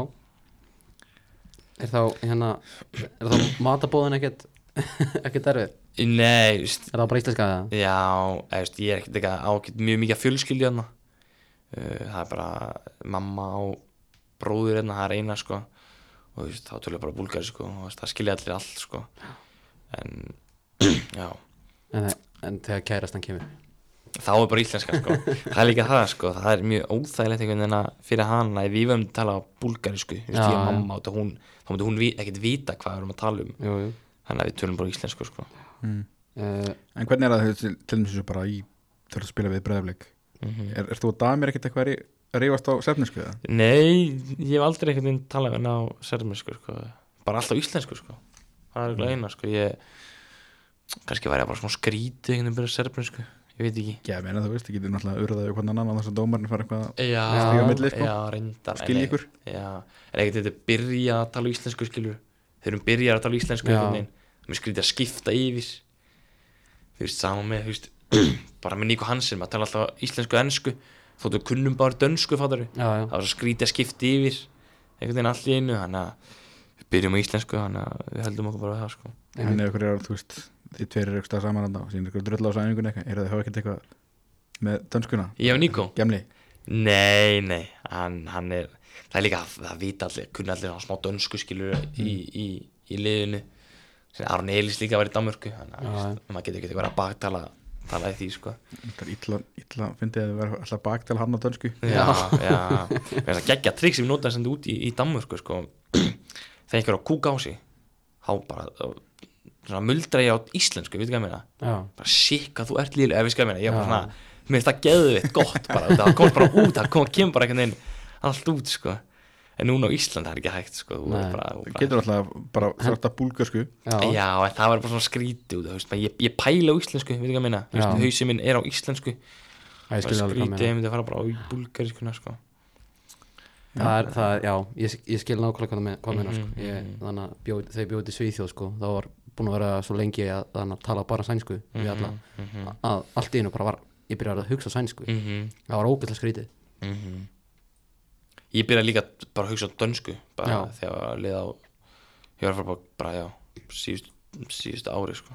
er þá hérna er þá matabóðin ekkert [laughs] ekkert erfið, Nei, veist, er það bara íslenska það já, eða, veist, ég er ekkert eitthvað ágætt mjög mikið að fjölskyldi hérna uh, það er bara mamma og bróður hérna, það er eina sko og þú veist, þá tölum við bara búlgari sko og þú veist, það skilja allir allt sko en, [clears throat] já en, en þegar kærastan kemur þá er bara íslenska sko það er líka það sko, það er mjög óþægilegt einhvern veginn að fyrir hana ef við verðum að tala búlgarísku, þú veist Já, ég og já. mamma og þetta hún, þá myndi hún vi- ekkert vita hvað við erum að tala um jú, jú. þannig að við tölum bara íslensku sko mm. Uh, En hvernig er það þú veist, til, til dæmis þessu bara í þurfa að spila við breyðafleik mm er, er þú að damir ekkert eitthvað að rí- að rífast á sefnisku eða? Nei, ég hef aldrei einhvern veginn talað við hana á sermisku sko bara alltaf íslensku sko það er eitthvað eina sko, ég kannski væri það bara svona skrítið einhvern veginn að byrja sermisku, ég veit ekki Já, ég meina þú veist, þið getur náttúrulega urðað hvernig annan annars að dómarinn fara eitthvað að Já, Stíga á milli, sko. já, reyndar en skilja nei. ykkur Já, en ekkert þetta byrja að tala íslensku skilur Þeir eru byrjar að tala íslensku Já. einhvern veginn Mér skrítið að skipta yfir Þú veist, sama með, þú veist [clears throat] Bara með Nico Hansen, maður tala alltaf íslensku og ennsku Þóttu kunnum bara dönsku, fattar við já, já, Það var svo skrítið að skipta yfir Einhvern veginn allt í einu, þannig að Við byrjum á íslensku, þannig að við höldum okkur bara að það sko En ef ykkur er, þú veist, þið tverir eru eitthvað saman andan og síðan ykkur drölla á sæningun eitthvað er það hafa ekkert eitthvað með dönskuna Ég og Nico? Gemli, Nei, nei, hann, hann er það er líka, það vita allir, kunna allir hann smá dönsku skilur í, Mm. í, í liðinu sem Aron Elís líka var í Danmörku þannig Já, að veist, maður getur ekki verið að baktala tala í því, sko þetta er illa, illa fyndið að þið vera alltaf bakt til hann á dönsku Já, já, það er geggja trikk sem við notaði sem út í, í Danmörku, sko [clears throat] þegar einhver á kúk á sig þá bara, þá- svona muldra ég á íslensku, veitu hvað ég meina já, bara sikk að þú ert lílu, ef við skæðum hérna ég var bara Já. svona, mér finnst það geðvitt gott bara, það komst bara út, það kom, kemur bara einhvern veginn allt út, sko en núna á Ísland það er ekki hægt, sko þú Nei. er bara, þú Það bara, getur alltaf bara svarta búlgarsku já, já, en það var bara svona skrítið út, þú veist, maður- ég, ég pæla á íslensku við ekki að minna, þú Já. veist, hausin minn er á íslensku Já, ég það skil er alveg hvað skrítið, meina ég myndi að fara bara á búlgariskuna, sko það er, það er, já, ég, ég skil nákvæmlega hvað það meina- hvað meina Mhm, sko. ég, þannig að bjó, þau bjóti Svíþjóð sko, þá var búin að vera svo lengi að þannig að tala bara sænsku Mhm, við alla, að allt í einu bara var ég byrjaði að hugsa sænsku, mm -hmm, Mhm. það var ógætla skrítið ég byrja líka bara að hugsa á dönsku bara Já. þegar ég var að liða á ég var bara, bara já, síðust, síðust ári, sko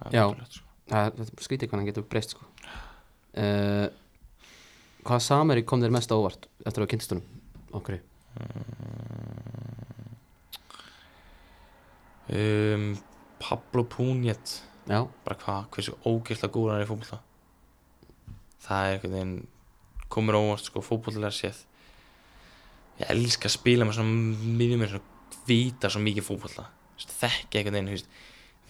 Það er Já. ótrúlegt, sko. það er- það er skrítið hvernig hann getur breyst sko. uh, hvað sameri kom þér mest á óvart eftir að kynstunum okkur um, Pablo Púnjet já, bara hvað, hversu ógeðslega góður hann er í fótbolta það er einhvern veginn komur óvart sko fótboltilega séð ég elska að spila með svona miðjum með svona vita svo mikið fótbolta þekki einhvern veginn, þú veist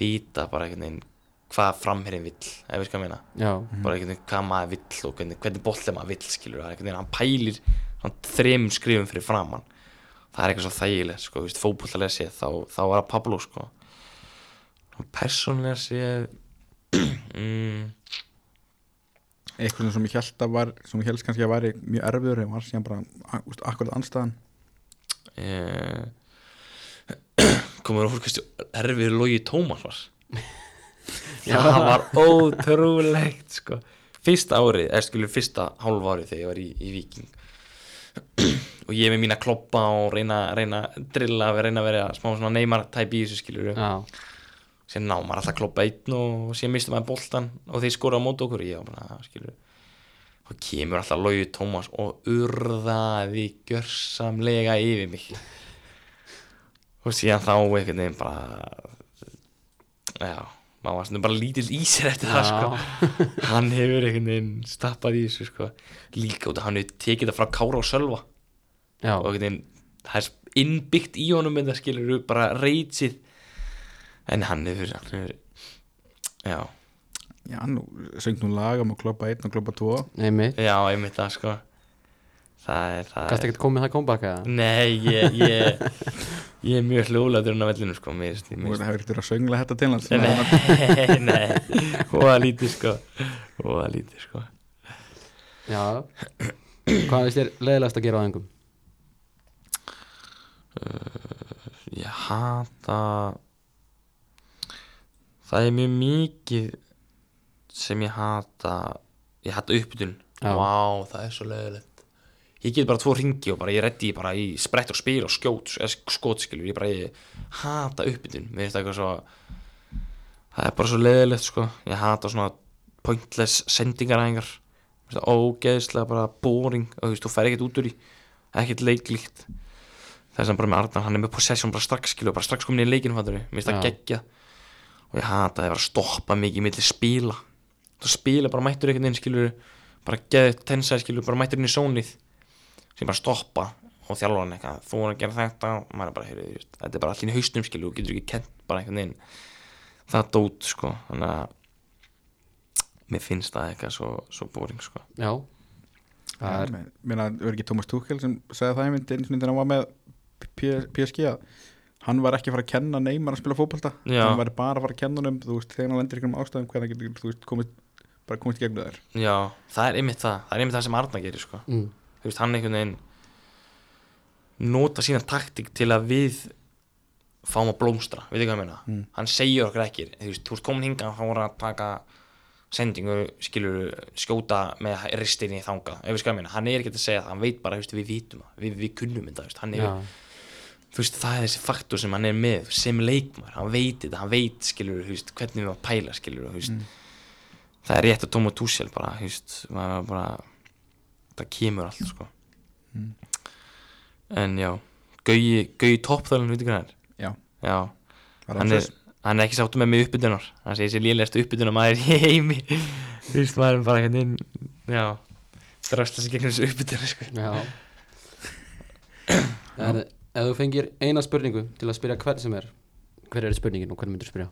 vita bara einhvern veginn hvað framherrin vill ef við skal meina, já, bara einhvern veginn hvað maður vill og hvernig, hvernig bolli maður vill skilur það er einhvern veginn, hann pælir hann þremum skrifum fyrir framann það er eitthvað svo þægilegt sko, þú veist, fótboltalega séð þá, þá var það Pablo sko og persónlega séð [clears throat] mm, Eitthvað sem ég held að var sem ég held kannski að væri mjög erfiður en var síðan bara a- úst, akkurat anstæðan [clears throat] uh, komur úr hversu erfiður logi Tómas var það var ótrúlegt sko. fyrsta árið, eða skilur fyrsta hálfa árið þegar ég var í, í Viking [clears throat] og ég með mína kloppa og reyna, reyna að drilla reyna að vera smá svona neymar tæp í þessu skilur já, sem ná maður alltaf að kloppa einn og síðan mistum maður boltan og þeir skora á móti okkur ég var bara, "Ah, skilur og kemur alltaf logi Tómas og urðaði gjörsamlega yfir mig og síðan þá einhvern veginn bara já, maður var svona bara lítill í sér eftir það sko hann hefur einhvern veginn stappað í þessu sko líka út að hann hefur tekið það frá Kára og Sölva já, og einhvern veginn það er innbyggt í honum en það skilur bara reytsið en hann hefur, hann hefur já, Já, nú söng nú lag um að kloppa einn og kloppa tvo neymi já, einmitt það sko það er, það gæst er ekkert komið það kombaka nei, ég ég, ég er mjög hljólaður hann að vellinu sko mér, finnst- og mér, það hefur ekkert verið að söngla þetta til hans [laughs] Nei, nei, hóða lítið sko Hóða lítið sko [coughs] Já Hvað finnst þér leiðilegast að gera á engum? Ég hata Það er mjög mikið sem ég hata Ég hata uppbytun Já. Vá, það er svo leiðilegt Ég get bara tvo ringi og bara ég reddi bara í sprett og spil og skjót eða skotskilur, ég bara ég hata uppbytun Mér finnst það eitthvað svo Það er bara svo leiðilegt sko Ég hata svona pointless sendingaræðingar Mér finnst það Ógeðslega bara boring og þú veist, þú fer ekkert út úr í ekkert leiklíkt þess að bara með Arnar, hann er með possession bara strax skilu, bara strax komin í leikinu fattur við, mér finnst það Já. geggja og ég hata að ég var að stoppa mikið millir spila, þú spila bara mættur einhvern veginn skilur, bara geðið tensað skilur, bara mættur inn í sónið sem bara stoppa og þjálfa hann eitthvað þú er að gera þetta, og maður er bara heyri, veist, þetta er bara allir í haustum skilur, þú getur ekki kent bara einhvern veginn, það er dót sko, þannig að mér finnst það eitthvað svo, svo boring sko. Já Það er Mér meina, verður ekki Thomas Tuchel sem segði það einmitt eins og þegar hann var með P- PSG að hann var ekki að fara að kenna Neymar að spila fótbolta Já. hann var bara að fara að kenna honum þú veist, þegar hann lendir ykkur um ástæðum hvernig hann getur, þú veist, komist bara komist í gegnum þær já, það er einmitt það, það er einmitt það sem Arnar gerir sko. mm, þú veist, hann einhvern veginn nota sína taktík til að við fáum að blómstra, veitu hvað ég meina Mm. hann segir okkur ekki, þú veist, þú ert komin hingað þá voru að taka sendingu skilur, skjóta með ristinni þanga, ef við skal meina, hann er ekki að segja það hann veit bara, þú veist, við vitum það, við, við kunnum þetta, þú veist, hann er, Já þú veist, það er þessi faktur sem hann er með sem leikmar, hann veit þetta, hann veit skilur, þú veist, hvernig við að pæla skilur þú veist, það er rétt að tóma túsjál bara, þú veist, maður bara það kemur allt, sko en já Gauji, Gauji toppþálinn, veitir hvað hann er já, já, var hann er, hann er ekki sáttu með mig uppbyndunar, hann segir sér lélegast uppbyndunar maður í heimi þú veist, maður er bara hvernig, já drastla sér gegnum þessu uppbyndunar, sko [coughs] Já Það er Ef þú fengir eina spurningu til að spyrja hvern sem er Hver er spurningin og hvern myndir spyrja?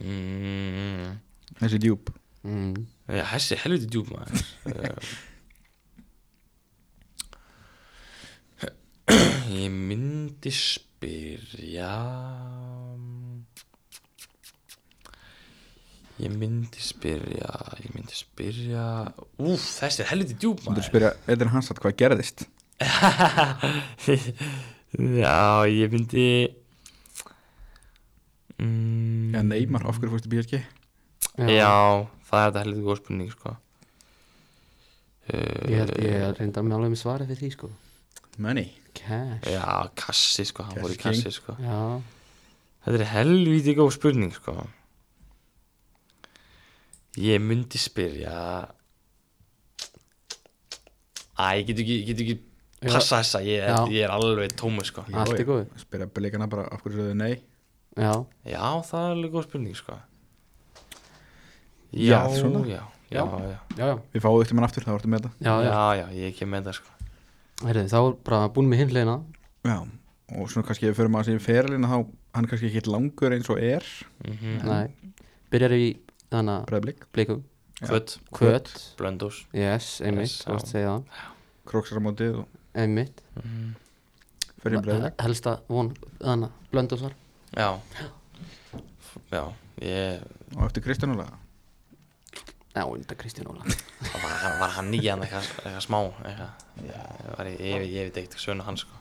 mm. þessi djúb Mm. Já, þessi er helviti djúb maður Eh, Ég myndi spyrja Ég myndi spyrja Ég myndi spyrja Úf, þessi er helviti djúb þú maður [laughs] spyrja, eða er hans að hvað gerðist Já, ég myndi mm, en Neymar, af hverju fórstu PSG Já, það er þetta helviti góð spurning sko. Eh, Ég held ég er reyndar með alveg með svarið fyrir því sko money Cash Já, kassi sko, hann voru í Cash kassi sko Já Þetta er helvíti góð spurning sko Ég myndi spyrja Æ, ég get ekki, ég get ekki Já. passa þessa, ég er, Já. ég er alveg tómu sko Já. Allt í góðu. spyrja bleikana bara, af hverju sögðu nei Já Já, það er alveg góð spurning sko Já, Já, já, svona. já, já, Já. já, Já já við fáum eftir mann aftur, það vartum með þetta Já já ég er ekki með það sko Herðu þá er bara búin með hinleina já, og svona kannski ef við förum að sér ferilina þá, hann er kannski ekki langur eins og er mm Nei Byrjar í þannig að breðblik, blikum Kvöt, Kvöt blöndós Yes, einmitt Yes, Þú vorst já. að segja það króksar á mótið og Einmitt fyrir í breðblik Helsta von Þannig að blöndósar Já Já, ég og eftir Kristjánulega Já, undar Kristján Óla var, hann- var hann í hann eitthvað, eitthvað smá eitthvað. Ég, var, ég, ég, ég veit eitthvað sögna hann sko.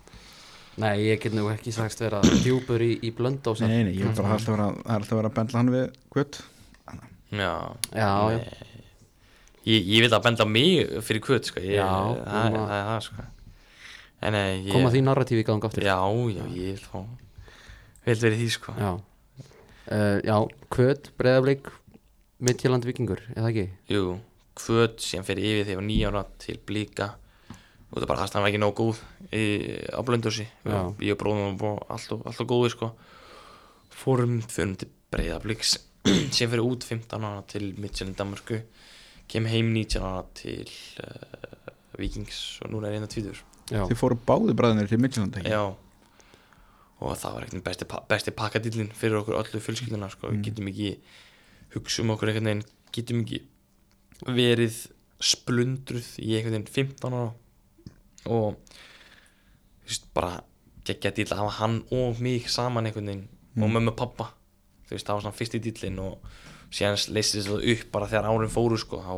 Nei, ég get nú ekki sagst vera djúpur í, í blöndósar Nei, nei, ég er bara alltaf að vera, það er alltaf að vera að bendla hann við Gutt já, Já, já, ég, ég vil að benda á mig fyrir kvöt sko. ég, Já, það, það, koma- það er það sko. en eh, ég, koma því narratífi í gang aftur já, já, ég vil fá vil verið því sko. Já, uh, já Kvöt, Breiðablik, Midtjöland Vikingur, eða ekki? jú, kvöt sem fyrir yfir þegar ég var nýja ára til blíka og það bara það hann var ekki nóg góð í, á blöndursi Já. ég og bróðum og alltaf, alltaf góði sko. fórum, fórum til breyðabliks [clears throat] sem fyrir út 15 ára til Mitchell í Danmarku kem heim 19 ára til uh, Vikings og núna er ég hérna enda tvítur Já, Þið fóru báði bræðinir til Midtjylland ekki? Já og það var eitthvað besti, pa- besti pakkadillin fyrir okkur öllu fjölskylduna sko. við getum ekki hugsa um okkur einhvern veginn getum ekki verið splundruð í einhvern veginn 15 ára og þú veist, bara geggja dill að hafa hann og mig saman einhvern veginn og mömmu og pappa þú veist það var svona fyrsti dillin og síðan leysið það upp bara þegar árum fóru sko, þá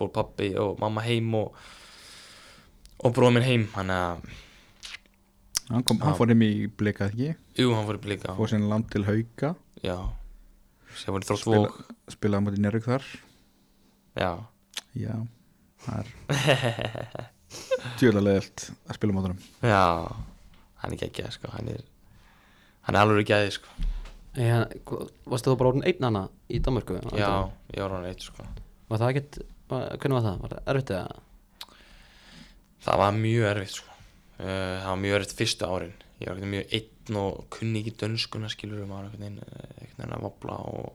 fór pappi og mamma heim og og bróðum minn heim hann að, hann, kom, hann Já. fór heim í blikað ekki jú, hann fór upp líka fór sinni land til hauka já, sem fór í þrótt spila, vók spilaði mútið Njörg þar já, já, [laughs] það er tjóðlega leilt að spila mútið já hann er geggjað sko, hann er hann er alveg geggjað sko Já, hva- varstu þú bara orðin einn hana í Danmarku? Já, ég var hann eitt sko Var það ekkert, var- hvernig var það? Var það erfitt eða? Það var mjög erfitt sko uh, Það var mjög erfitt fyrstu árin Ég var einhvern veginn mjög einn og kunni ekki dönskuna skilur maður einhvern veginn eh, einhvern veginn að vabla og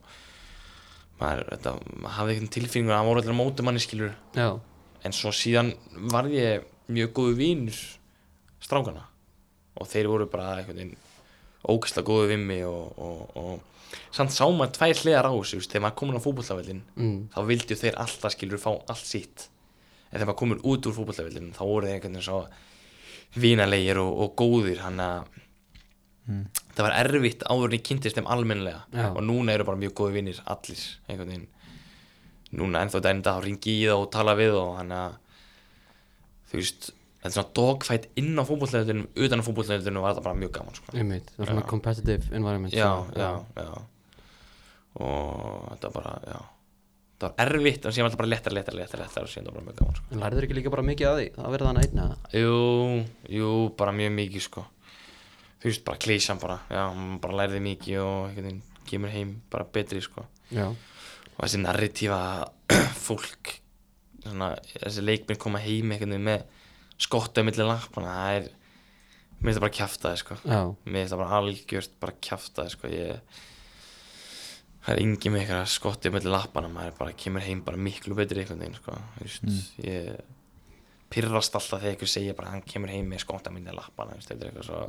maður, þetta, maður hafði einhvern tilfinningur að hann voru allir á móti manni skilur Já, en svo síðan varð ég mjög góðu vínur strákana og þeir voru bara einhvern veginn ógæslega góðu við mig og, og, og samt sá maður tvær hliðar á þessu þú veist, þegar maður komin á fótbollafellin mm, þá vildu þeir alltaf skilur fá allt sitt en þegar maður komur út úr fútbollavillin þá voru þeir einhvern veginn svo vínalegir og, og góðir hann að Mm. það var erfitt áður en ég kynntist þeim almennilega Já. og núna eru bara mjög góði vinnir allir einhvern veginn núna ennþá dæn dag þá ringi í það og tala við og hann að þú veist þetta er svona dogfight inn á fútbollavillinu utan á fútbollavillinu var þetta bara mjög gaman sko. einmitt, það var svona Já. competitive environment já, svona, já, já og þetta bara, já það var erfitt, en síðan var þetta bara lettar, lettar, lettar, lettar og síðan það var bara mjög gaman, sko En lærður ekki líka bara mikið að því, að verða hana einn eða? Jú, jú, bara mjög mikið, sko þú veist, bara klísan bara já, maður bara lærði mikið og einhvern veginn kemur heim bara betri, sko Já, og þessi narratífa að [clears throat] fólk svona, þessi leikminn koma heim einhvern veginn með skottu á milli lampana, það er mér finnst það bara að kjafta það, sko já, mér finnst það bara algjört bara kjafta sko. ég það er engin með eitthvað skottið með lappana maður bara kemur heim bara miklu betri einhvern veginn sko. Þú veist, ég pyrrast alltaf þegar ykkur segja bara hann kemur heim með skottið með lappana þú veist, þetta er eitthvað svo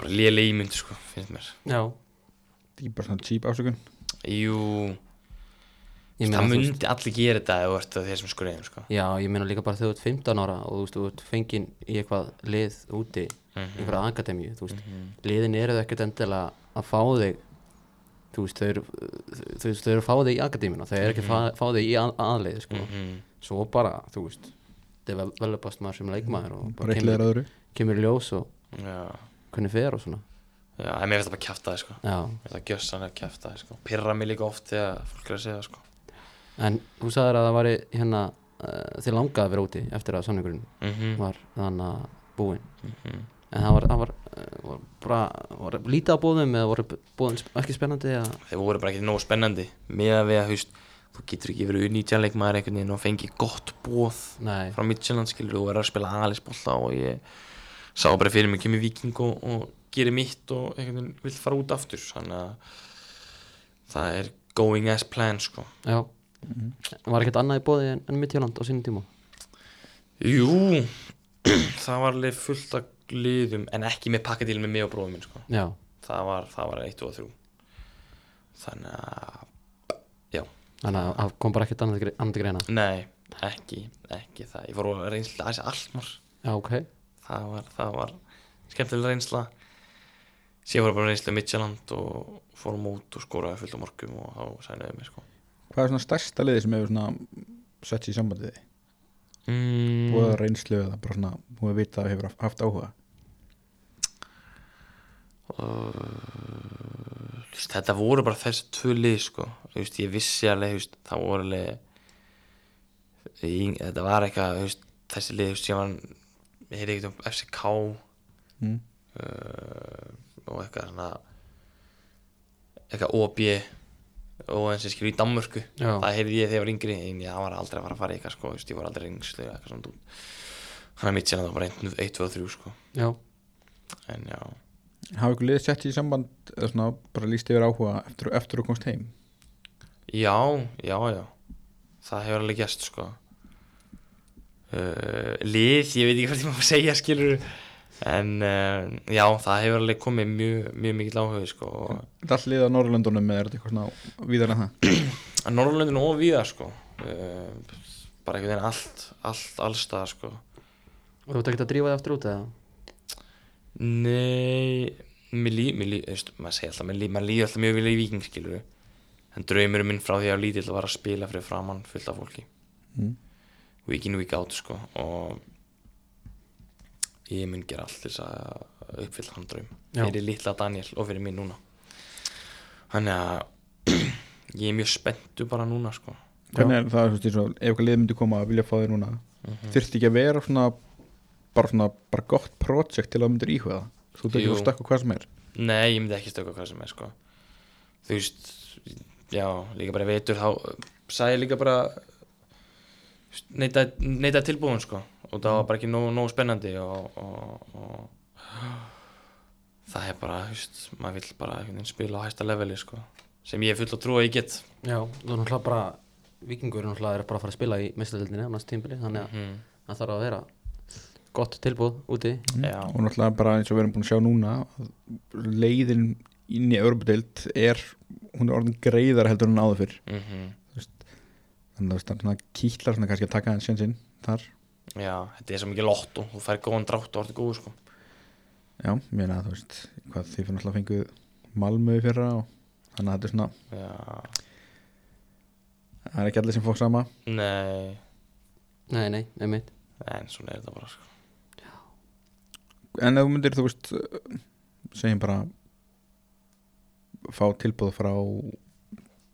bara lélega ímynd sko, finnst mér já það er bara svona típ afsökun jú, Ég meina, það þú veist- myndi allir gera þetta ef þú ert að þeir sem skurðin sko. Já, ég meina líka bara þegar þú ert 15 ára og þú veist, þú ert fenginn í eitthvað lið úti, Mhm. einhverja akademíu, þú veist, liðin eru ekkert endilega að fá þig, þú veist, þau eru, þau, þau eru að fá þig í akademíuna, þau eru ekki að fá, fá þig í að, aðlið, sko. Mhm. svo bara, þú veist developast maður sem leikmaður og bara bara eitt leður kemur, öðru kemur í ljós og já, hvernig fer og svona já, en mér finnst það bara kjafta það sko. já, mér finnst það gjössan að kjafta það sko. pyrra mig líka oft þegar fólk er að segja það, sko. en þú sagðir að það væri hérna uh, þið langaði að vera úti eftir að samningurinn mm var þannig að búinn Mhm. en það var, það var, uh, var bara var lítið á bóðum eða voru bóðum ekki spennandi eða, þeir voru bara ekki nógu spennandi með að við að haust þú getur ekki verið unnýtjanleik maður einhvern veginn og fengið gott bóð nei, frá Midtjylland skilur þú verður að spila aðalisbólta og ég sá bara fyrir mig kemur viking og, og gerir mitt og einhvern veginn vill fara út aftur þannig að það er going as planned sko já var ekkert annað í bóði en, en Midtjöland á sínum tíma jú [clears throat] það var alveg fullt af liðum en ekki með pakkadíl með mig og bróðum minn sko já, það var, það var eitt og þrjú þannig að já þannig að það kom bara ekkert annað, til gre- annað til greina Nei, ekki, ekki það Ég fór að reynsla aðeins allmar já, ok, Það var, það var skemmtileg reynsla Síðan fór ég bara á reynsla Midtjaland og fórum út og skoraði fullt á morgum og þá sænaði mig sko hvað er svona stærsta liði sem hefur svona sett sér í sambandið mm. búið að mm, reynslu eða bara svona hún hefur vitað að hefur haft áhuga veist, Þetta voru bara þessi tvö lið sko Þú veist, Ég vissi alveg, þú veist, það voru alveg ég, Þetta var eitthvað, þú veist, þessi lið þú veist, Síðan var, ég heyrði ekkert um FCK mm. uh, og eitthvað svona eitthvað OB og eins og skilur í Danmörku Já. það heyrði ég þegar ég var yngri en ég var aldrei að fara að fara í eitthvað sko, þú veist, ég var aldrei rengslu eða eitthvað svona dúl þannig að mitt sérna það var bara 1, 2 og 3 sko já, en já, hafa ykkur liðið sett sér í samband eða svona bara líst yfir áhuga eftir, eftir og komst heim já, já, já það hefur alveg gæst sko uh, lið, ég veit ekki hvað ég má [laughs] segja skilur en uh, já, það hefur alveg komið mjög, mjög mikill áhuga sko og Er þetta allt liðið á Norrlöndunum eða er þetta eitthvað svona víðar en það að Norrlöndin og víða sko Eh, bara einhvern veginn allt, allt allstaðar sko og þú ert ekkert að drífa þig aftur út eða nei, mér líf, mér líf, veist, maður segir alltaf, mér líf, maður líf alltaf mjög vilja í viking, skilur en draumurinn minn frá því að ég var lítill var að spila fyrir framann fullt af fólki Mm. week in, week out, sko og ég mun gera allt til þess að uppfylla hann draum Já. fyrir litla Daniel og fyrir mér núna þannig að [clears throat] ég er mjög spenntu bara núna, sko hvernig er það, þú veist, eins og ef eitthvað lið myndi koma að vilja fá þér núna Mhm. þurfti ekki að vera svona bara svona, bara gott projekt til að þú myndir íhuga það þú ert ekki Jú. að stakka hvað sem er Nei, ég myndi ekki stöka hvað sem er sko. Þú veist Já, líka bara í vetur þá uh, sagði ég líka bara þú veist, neita, neita tilbúin sko. og það var bara ekki nógu, nógu spennandi og, og, og það er bara, þú veist maður vill bara einhvern veginn spila á hæsta leveli sko. sem ég er full að trúa að ég get Já, þú er náttúrulega bara vikingur er náttúrulega er bara að fara að spila í mestardildinni á næst tímbili þannig að mm. það þarf að vera gott tilbúð úti Já, og náttúrulega bara eins og við erum búin að sjá núna að leiðin inn í Örbudeild er, hún er orðin greiðar heldur en áður fyrr mm þannig að þú veist, það er svona kýtlar svona kannski að taka hans sinn þar já þetta er svo mikið lott og þú fær góðan drátt og orðið góð sko. já, ég meina að þú veist hvað þið fyrir náttúrulega fenguð Malmöði fyrra og þannig að þetta er svona Já, það er ekki allir sem fók sama nei Nei, nei, einmitt en svona er þetta bara sko. en ef þú myndir, þú veist segjum bara fá tilbúð frá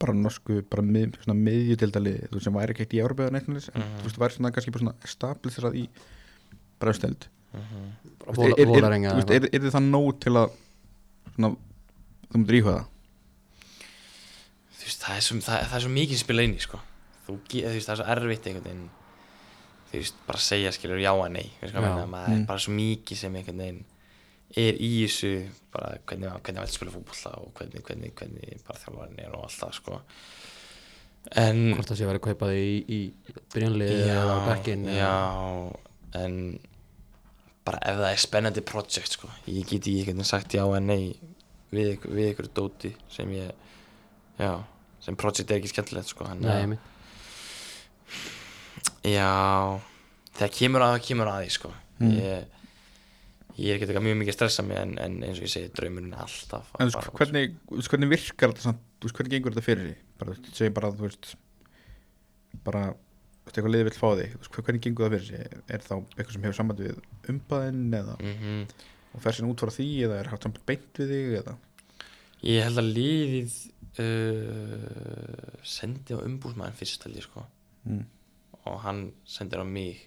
bara norsku, bara mið, svona miðjutildaliði, þú veist, sem væri ekki eitt í Európa eða neitt svoleiðis, en Mhm. þú veist, væri svona kannski bara svona stabliserað í bregðstöld mm Vola- Volarenga er, er, er þið það nóg til að svona, þú myndir íhuga það þú veist, það er svo, það, það er svo mikið spila inn í, sko. Þú, ge- þú veist, það er svo erfitt einhvern veginn, þú veist, bara segja skilur já að nei, þú veist hvað Já. meina, maður Mm. er bara svo mikið sem einhvern veginn er í þessu, bara hvernig, hvernig maður spila fútbolta og hvernig, hvernig, hvernig bara þjálfarinn er og allt það, sko. En, hvort það sé verið kaupað í, í byrjanlið eða á bekkin já, en bara ef það er spennandi projekt sko, ég geti ekki einhvern veginn sagt já en nei við, ykk- við ykkur dóti sem ég já, sem projekt er ekki skemmtilegt sko, hann Nei, einmitt já þegar kemur að það kemur að því sko ég, ég er ekki eitthvað mjög mikið að stressa mig en, en eins og ég segi draumurinn er alltaf en þú bara- veist, hvernig, þú veist, hvernig virkar þetta samt, þú veist, hvernig gengur þetta fyrir því bara, þú veist, segjum bara, þú veist bara, þú veist, eitthvað liðið vill fá þig þú veist, hvernig gengur það fyrir því, er þá eitthvað sem hefur samband við umbæðin eða Mhm. og fer sinna út frá því eða er haft samband beint við þig eða ég held að liðið uh, sendi á umbúsmaðin fyrst held ég sko mm. og hann sendir á mig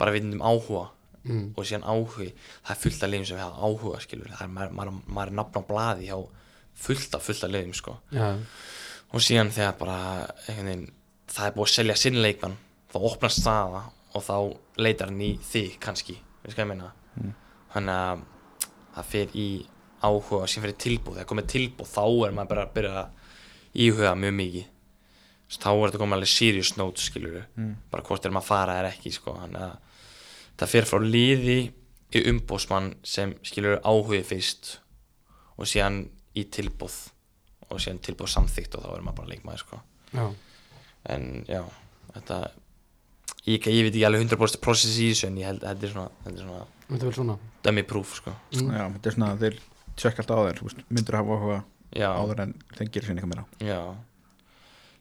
bara vitnum áhuga mm. og síðan áhugi, það er fullt af liðum sem hefða áhuga skilur, það er maður, maður, maður er nafn á blaði hjá fullt af fullt af liðum sko. Já, og síðan þegar bara einhvern veginn, það er búið að selja sinn leikmann þá opnast staða og þá leitar hann í þig kannski veist hvað ég meina Mm. þannig að það fer í áhuga og síðan fer í tilbúð, þegar komið tilbúð þá er maður bara að byrja að íhuga mjög mikið Þess, þá er þetta komið alveg serious notes skilur Mm. bara hvort er maður að fara eða ekki sko. þannig að það fer frá liði í umbósmann sem skilur áhugi fyrst og síðan í tilbúð og síðan tilbúð samþygt og þá er maður bara leikmaði sko. já, en já, þetta ég, ég veit ekki alveg 100% process í þessu en ég held að þetta er svona, þetta er svona þetta er vel svona dummy proof sko. Mm. já, þetta er svona, þeir tjekka alltaf á þér þú veist, myndur hafa áhuga já, áður en þeir gerir sinna eitthvað meira Já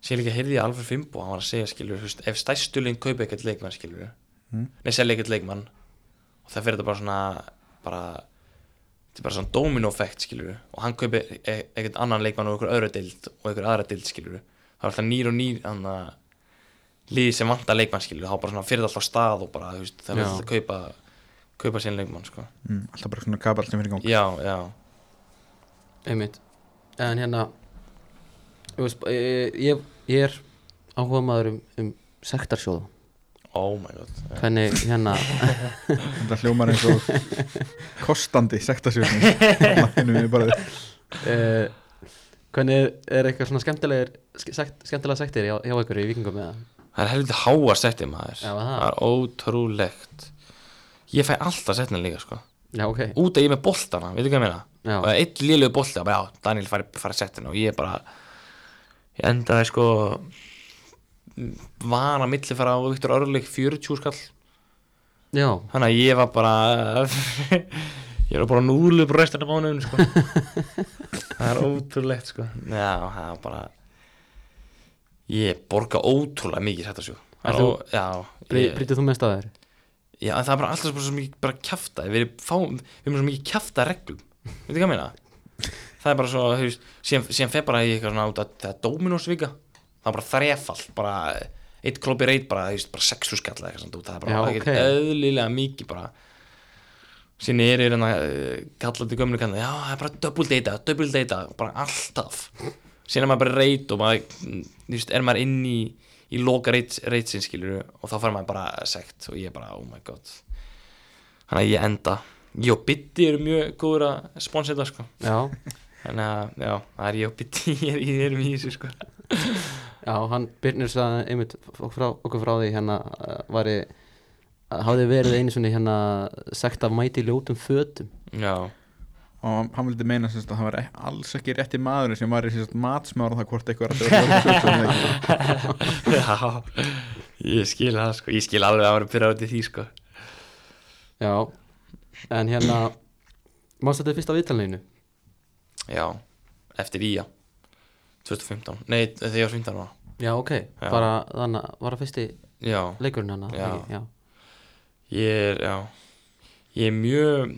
Sér líka heyrði ég Alfred Fimbo hann var að segja skilur, þú veist, ef stærstulinn kaupa ekkert leikmann skilur, Mm. nei selja ekkert leikmann og það fyrir þetta bara svona bara, þetta er bara svona domino effect skilur, og hann kaupa e ekkert annan leikmann og einhver öðru dild og einhver aðra dild skilur, það er alltaf nýr og nýr hann að liði sem vantar leikmann skilur, þá bara svona fyrir þetta alltaf af stað og bara, þú veist, Já. það er alltaf að kaupa kaupa sín leikmann, sko mm. alltaf bara svona kabal sem fyrir gang Já, já, einmitt En hérna þú veist, ég, ég, ég er áhuga maður um, um sektarsjóða oh my god já. Hvernig hérna þetta hljómar eins og kostandi sektasjóðning mannum við bara uh, Hvernig er, er eitthvað svona skemmtilegir ske- sekt, skemmtilega sektir hjá, hjá ykkur í vikingum eða? Það er helviti háa settir maður Já, það. er ótrúlegt Ég fæ alltaf settina líka sko Já, ok Út að ég er með boltana, veitu hvað ég meina Já. Og eitt lélegu bolti, þá bara já, Daniel fari, fari settina Og ég bara Ég endaði sko Var að milli fara á Viktor Örlík 40 skall Já, Þannig að ég var bara [laughs] Ég er að bara núlu bara restina mánuðin sko. [laughs] það er ótrúlegt sko. Já, það er bara Ég borga ótrúlega mikið þetta sjó Er Það er þú- ó- Já, ég- Brýtið þú mest að þér? já, en það er bara alltaf bara svo mikið bara kjafta Við erum, fá, við erum svo mikið kjafta reglum Veitir hvað ég meina? Það er bara svo, þú veist, síðan, síðan fer bara í eitthvað svona út að það er Dominos-vika Það er bara þrefall, bara eitt kloppi reit bara, þú veist, bara sexu skalla eitthvað svona út Það er bara Já, ekkert ok. eðlilega mikið bara síðan er ég reyna að kalla til gömlu kannan, já, það er bara double data double data, bara alltaf síðan er maður bara reyt og maður mm, þú veist, er maður inn í, í loka reyt, reytsin skilur og þá fær maður bara sekt og ég er bara, oh my god þannig að ég enda ég og Bitti eru mjög góður að sponsa þetta sko, Já, þannig að já, það er ég og Bitti, [laughs] ég er, ég er í þessu sko já, hann Birnir sagði einmitt fólk frá, okkur frá því hérna uh, var ég hafði verið einu svona hérna sagt af mæti í ljótum fötum já, og hann vildi meina sem sagt, að það var ek- alls ekki rétti maðurinn sem var í sem sagt, matsmára það hvort eitthvað er að það var [laughs] já ég skil það sko, ég skil alveg að vera pyrra út í því sko Já, en hérna Mást þetta fyrst af viðtalinu? Já, eftir í já 2015, nei þegar ég var 15 ára Já, ok, Já. bara þannig að var það fyrsti Já, leikurinn hann Já. já. ég er já, ég er mjög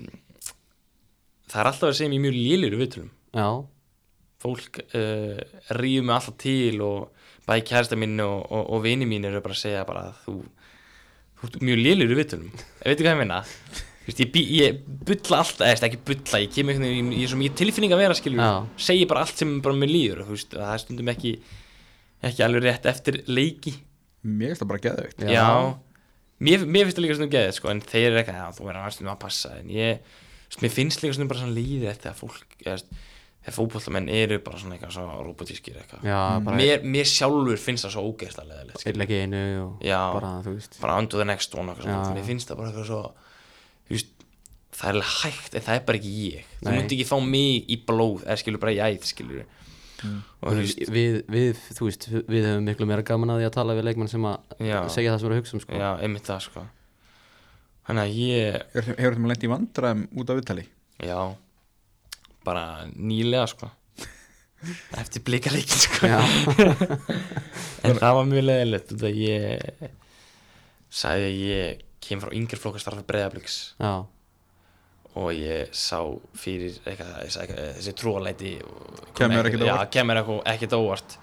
það er alltaf að segja mér mjög lélur viðtölum, já, fólk uh, rýjum mig alltaf til og bæði kærasta mín og, og, og vini mín eru bara að segja bara að þú þú ert mjög lélur viðtölum, veitir hvað ég meina Þú veist, ég, bý- ég bulla alltaf, eða þú veist, ekki bulla, ég kem einhvern veginn, ég er svo mikið tilfinning að vera skilur, Já. segi bara allt sem bara mér líður, þú veist, það er stundum ekki, ekki alveg rétt eftir leiki, mér finnst það bara geðveikt Já. Já, Mér, mér finnst það líka svona geðið sko, en þeir eru eitthvað, já, þú verður aðstum að passa en ég, svona, mér finnst líka svona bara svona líðið eftir að fólk, eða, þú veist, þegar fótbollamenn eru bara svona eitthvað svona robotískir eitthvað já bara Mm. mér, mér sjálfur finnst það svo ógeðst að leðilegt sko. einn leik í einu og Já, bara, þú veist bara on to the next one og eitthvað Já. svona, mér finnst það bara eitthvað svo þú veist, það er alveg hægt en það er bara ekki ég, þú Nei. munt ekki fá mig í blóð, eða skilur bara í æð, skilur og þú veist, við, við, þú veist, við höfum miklu meira gaman að því að tala við leikmann sem að Já. segja það sem er að hugsa um sko. já, einmitt það sko þannig að ég hefur hefur þeim lengt í vandræðum út af viðtali Já Bara nýlega [laughs] sko Eftir blikaleikin sko Já. [laughs] En það var mjög leðilegt Þetta ég Sæði að ég kem frá yngri flokka starfa breyðabliks já, Og ég sá fyrir eitthvað, ég sá eitthvað, þessi trúalæti og- Kemur ekkert Já, óvart. kemur eitthvað ekkert óvart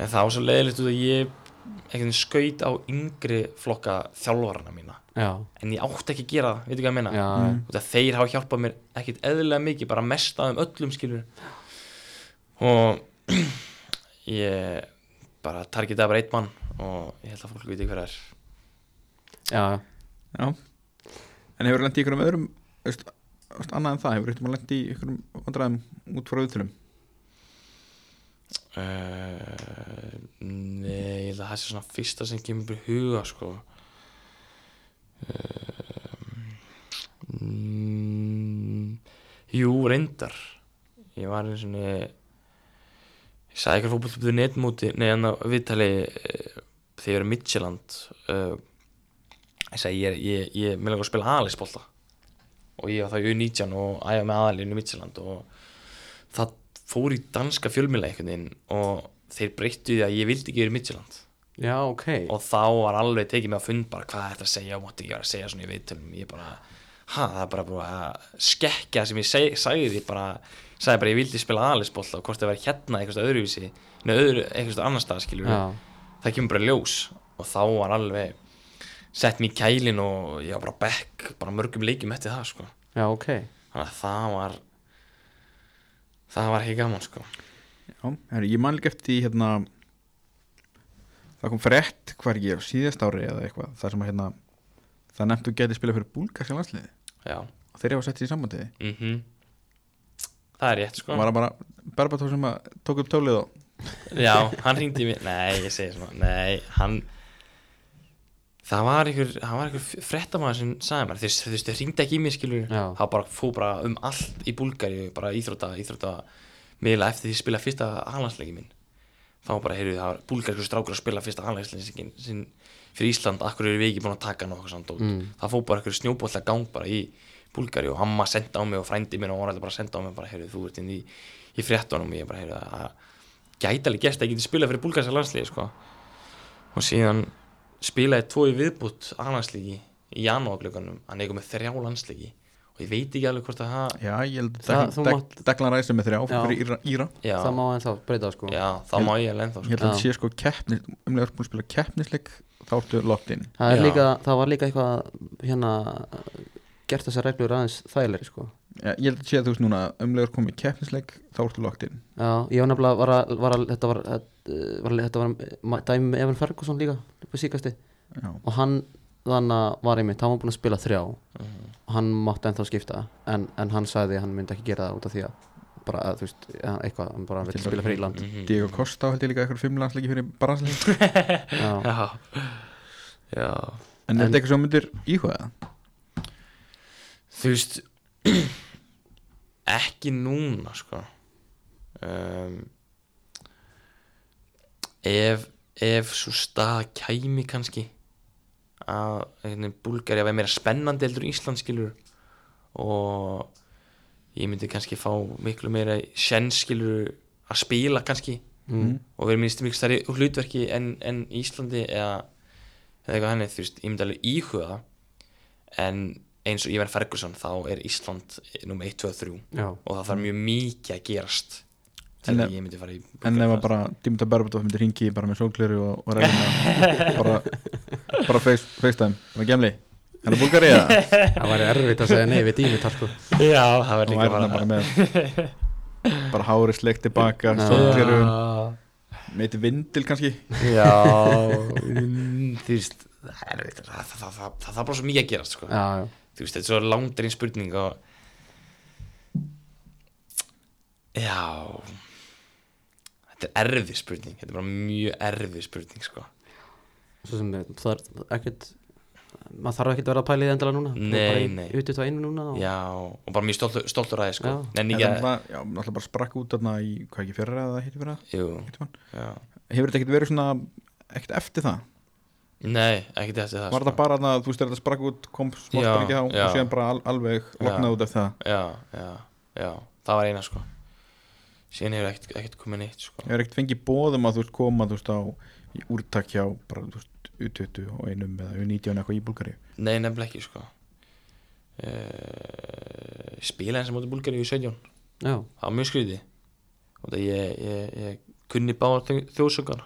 En það var svo leðilegt út að ég einhvern veginn skaut á yngri flokka þjálfarana mína já, En ég átti ekki að gera það, veitu hvað ég meina já, Mm. Út af þeir hafa hjálpað mér ekkert eðlilega mikið bara mest af þeim öllum skilur og [clears throat] ég bara targetaði bara eitt mann og ég held að fólk viti hver það er já, já en hefur lengt í ykkurum öðrum þú veist, þú veist, annað en það hefur eitthvað lengt í ykkurum vandræðum út frá viðtalum uh, Nei, ég held að það sé svona fyrsta sem kemur upp í huga sko uh, mm, Jú, reyndar Ég var eins og ég sagði eitthvað fótbolltöpuðu netmóti nei, en að viðtali eh, þegar ég er Midtjylland uh, ég sagði, ég, er- ég, ég mér langar að spila aðalisbólta og ég var þá í U19 og æfa með aðalinn í Midtjylland og það fór í danska fjölmiðla einhvern veginn og þeir breyttu því að ég vildi ekki verið Midtjylland já, ok og þá var alveg tekið mig að fund bara hvað er þetta að segja og mátti ekki vera að segja svona í viðtölum ég bara, ha, það er bara búið að skekkja það sem ég seg, sagði því bara sagði bara ég vildi spila aðlisbólla og hvort það væri hérna einhverstað öðruvísi neða öðru, einhverstað annar stað skilur já, það kemur bara í ljós og þá var alveg sett mér í kælin og ég var bara back bara mörgum leikjum eftir það sko já, ok þannig að það var það var ekki gaman sko já, herri, ég man líka eftir því, hérna það kom frett hvar ekki á síðast ári eða eitthvað þar sem að hérna það nefntu getið spila fyrir búlgarska landsliði já, og þeir hafa sett sér í sambandiði mhm það er rétt sko var það bara Berbató sem að tók upp tólið og Já, hann ringdi mér Nei, ég segi svona Nei, hann Það var einhver, hann var einhver frettamæður sem sagði mér Þeir, þeir, þeir ringdi ekki í mér skilur Já. Það bara fó bara um allt í Búlgari Bara íþrótta, íþrótta Miðla eftir því að spila fyrsta aðlandsleiki minn Þá bara, heyrðu, það var búlgarskur strákur að spila fyrsta aðlandsleikin sinn fyrir Ísland Akkur eru við ekki búin að taka hann og okkur samt dót Mm. Það fó bara einhver snjóbólla gang bara í Búlgari og hamma senda á mig og frændi minn og hann var alltaf bara að senda á mig bara, heyrðu, þú ert inn í, í fréttunum og ég bara, heyrðu, það gæti alveg gæst að ég geti spilað fyrir búlgarska landsliði, sko og síðan spilaði tvo í viðbútt aðlandslíki í janúarglökunum hann eitthvað með þrjá landslíki og ég veit ekki alveg hvort að það Já, ég held Það- að þú Dagl- mátt- Daglan ræsum með þrjá Já. fyrir Íra, Íra. já, það má ennþá breyta sko já, það má ég alveg ennþá Ég sko. held að þetta Já. sé sko keppni umlega er búin að spila keppnisleik þá ertu lokt inn það, er Já. líka, það var líka eitthvað hérna gert þessar reglur aðeins þægilegri sko Já, Ég held að sé að þú veist núna umlega er komið í keppnisleik þá ertu lokt inn Já, ég var nefnilega var að, var að þetta var, að, var, að, þetta var ma- dæmi með Evan Ferguson líka upp á síkasti Já, og hann þannig að var einmitt, hann var búinn að spila þrjá og hann mátti ennþá skipta en, en hann sagði að hann myndi ekki gera það út af því að bara, að, þú veist, að eitthvað hann bara vill Til spila fyrir Íland Diego Costa held ég líka eitthvað fimm landsleiki fyrir Bransleik [laughs] Já, já, já En er þetta eitthvað sem þú myndir íhugaða? þú veist [clears throat] ekki núna sko um, ef ef svo stað kæmi kannski að hérna, Búlgari að vera meira spennandi heldur en Ísland skilur og ég myndi kannski fá miklu meira sjenskilur að spila kannski mm. og verið minnst mikið stærri hlutverki en, en í Íslandi eða, eða eitthvað henni, þú veist, ég myndi alveg íhuga það. en eins og Ívan Ferguson þá er Ísland nummer 1, 2, 3 Mm. já, og það þarf mjög mikið að gerast til En að ef- ég myndi fara í En ef að bara Dimitar Berbatov myndir ringi bara með sólgleru og, og [laughs] ræðina bara, bara face, FaceTime bara gemli, hann er búlgari eða? [laughs] það væri erfitt að segja nei við sko. dými tarku já, það og verður líka væri hann bara með bara hári sleikt tilbaka Já. sólgleru, bara meiti vindil kannski já mm, þú veist það er veit, það, það, það, það, það er bara svo mikið að gerast sko. Já, já, þú veist, þetta er svo langdrein spurning og já þetta er erfið spurning þetta er bara mjög erfið spurning sko. svo sem eh, það er ekkert maður þarf ekkert að vera að pæla í því endilega núna Nei, nei. Út í það einu núna og, já, og bara mjög stoltur, stoltur aðeins sko. Já. en En ekki það að náttúrulega- já, náttúrulega bara sprakk út þarna í hvað ekki fyrra eða hittir fyrra jú, einhvern tímann. já. hefur þetta ekkert verið svona ekkert eftir það nei, ekkert eftir það var sko. það bara þarna, þú veist þetta sprakk út kom smátt Já, bara ekki þá já. og síðan bara al, alveg Já. loknað út eftir það já, já, já, það var eina sko. síðan hefur ekkert, ekkert komið neitt sko. hefur ekkert fengið bóðum að þú veist koma þú veist á í úrtak hjá bara þú veist U20 og einum eða U19 eitthvað í Búlgari nei, nefnilega ekki sko. uh, spila eins og móti búlgari í 17 já, það var mjög skrýti og það ég, ég, ég kunni báða þjóðsöngar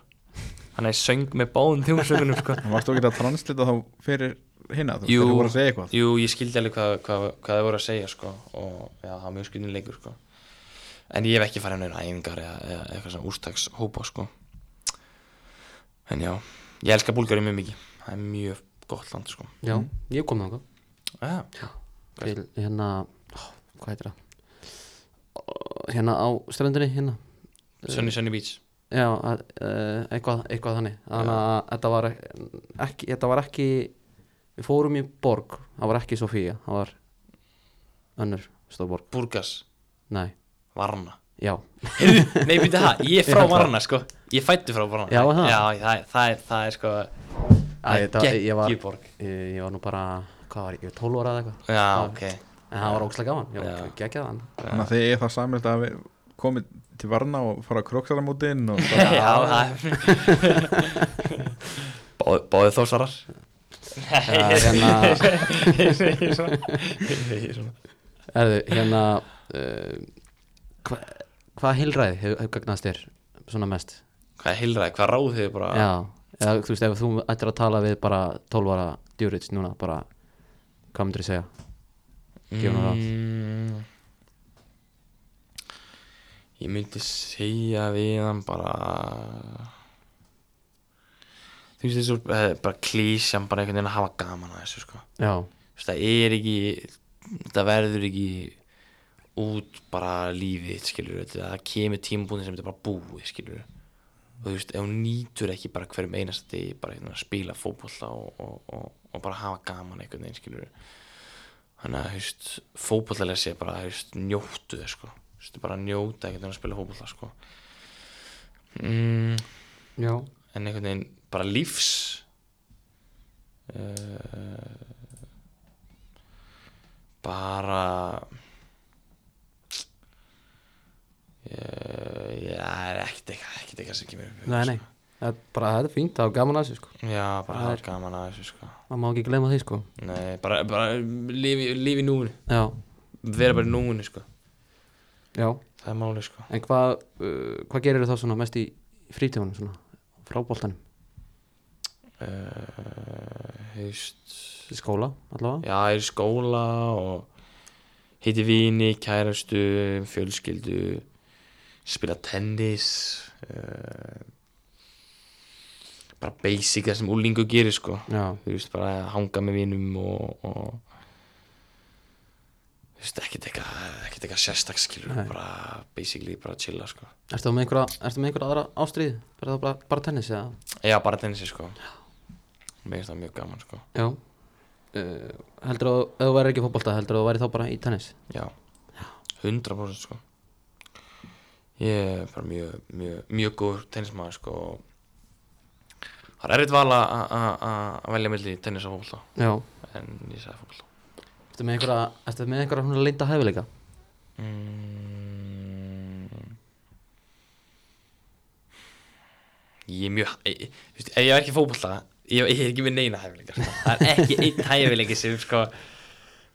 hann er söng með báðum þjóðsöngunum sko. en varstu ekki að translita þá fyrir hinna þú veist Jú. þeir voru að segja eitthvað jú, ég skildi alveg hvað, hvað, hvað það voru að segja sko. og já, það var mjög skrýtin leikur sko. en ég hef ekki farið neina æfingar eða, eða eitthvað svona úrstakshópa sko. en já, ég elska Búlgari mjög mikið það er mjög gott land sko. já, ég kom þangað já, til hérna ó, hvað heitir það Ó, hérna á strendinni hérna Sunny Sunny Beach já, að, uh, eitthvað, eitthvað þannig þannig að þetta var ekki, þetta var ekki við fórum í borg, það var ekki Sofía það var önnur stóð borg, Burgas, nei, Varna já Heyrðu, Nei, býttu það, ég er frá Varna sko Ég fættu frá Varna Já, er það? Já, það, er- það, er, það er sko Æ, þetta, ég, ég, var, Gekkjuborg ég, ég var nú bara hvað var ég, ég var 12 ára eða eitthvað Já, ok en það var ókslega gaman, ég Já. var geggjað [laughs] hann þannig að þeir er það samilegt að við komið til varna og fara að kroksara mótin [laughs] og Já, það er Báðu, báðu þósarar Nei, Það er hérna- [laughs] ég segi svona Ég segi svona Erðu, hérna uh, hva, hvað heilræði hefur hef gagnast þér svona mest? Hvað er heilræði, hvað ráð þið bara Já, eða þú veist, ef þú ættir að tala við bara 12 ára djúrits núna, bara hvað myndir þú segja? gefa nú ráð. Mm. Ég myndi segja við hann bara Þú veist þessu eh, bara klísjan bara einhvern veginn að hafa gaman að þessu sko Já, Þú veist, það er ekki það verður ekki út bara lífið þitt, skilur það kemur tímabúndin sem þetta er bara búið skilur og þú veist, ef hún nýtur ekki bara hverjum einasta degi bara einhvern veginn að spila fótbolla og, og, og, og bara hafa gaman einhvern veginn skilur þannig að þú veist, fótbollalega sé bara þú veist, njóttu þau sko þú veist, bara njóta einhvern veginn að spila fótbolla sko mm, já, en einhvern veginn bara lífs eh, uh, bara ég, ég eh, er ekkert eitthvað ekkert eitthvað sem kemur upp í Nei, hug, nei, það er bara þetta er fínt, það er gaman að þessu sko sko. já, bara Það það er- er gaman að þessu sko Það má ekki gleyma því sko nei, bara, bara lífi, lífi núinu Já, vera bara í núinu sko já, það er máli sko en hvað uh, hvað gerir þá svona mest í frítímanum svona, fráboltanum, uh, heist í skóla allavega? já, ég er í skóla og hitti vini, kærastu fjölskyldu spila tennis uh, bara basic það sem úlingu gerir sko Já, þú veist, bara að hanga með vinum og, og þú veist, ekkert eitthvað ekkert eitthvað sérstakskilur, Nei. bara basically bara chilla, sko. ertu með einhverja, ertu með einhverja aðra ástríð, bara, þá bara, bara tennis eða? Já, bara tennisi, sko. Mér finnst það mjög gaman, sko. Já uh, Heldur þú, ef þú væri ekki í fótbolta, heldur þú væri þá bara í tennis? Já. 100% sko. Ég er bara mjög, mjög, mjög góður tennismæður, sko. og Það er erfitt val að- að að- að velja milli tennis og fólkta, Já en ég sagði fólkta. Ertu með einhverja, ertu með einhverja svona linda hæfileika? Mm. Ég er mjög, ég, ég- þú veist, ef ég er ekki fótbolta, ég, ég er ekki með neina hæfileika, sko. það er ekki einn hæfileiki sem, sko,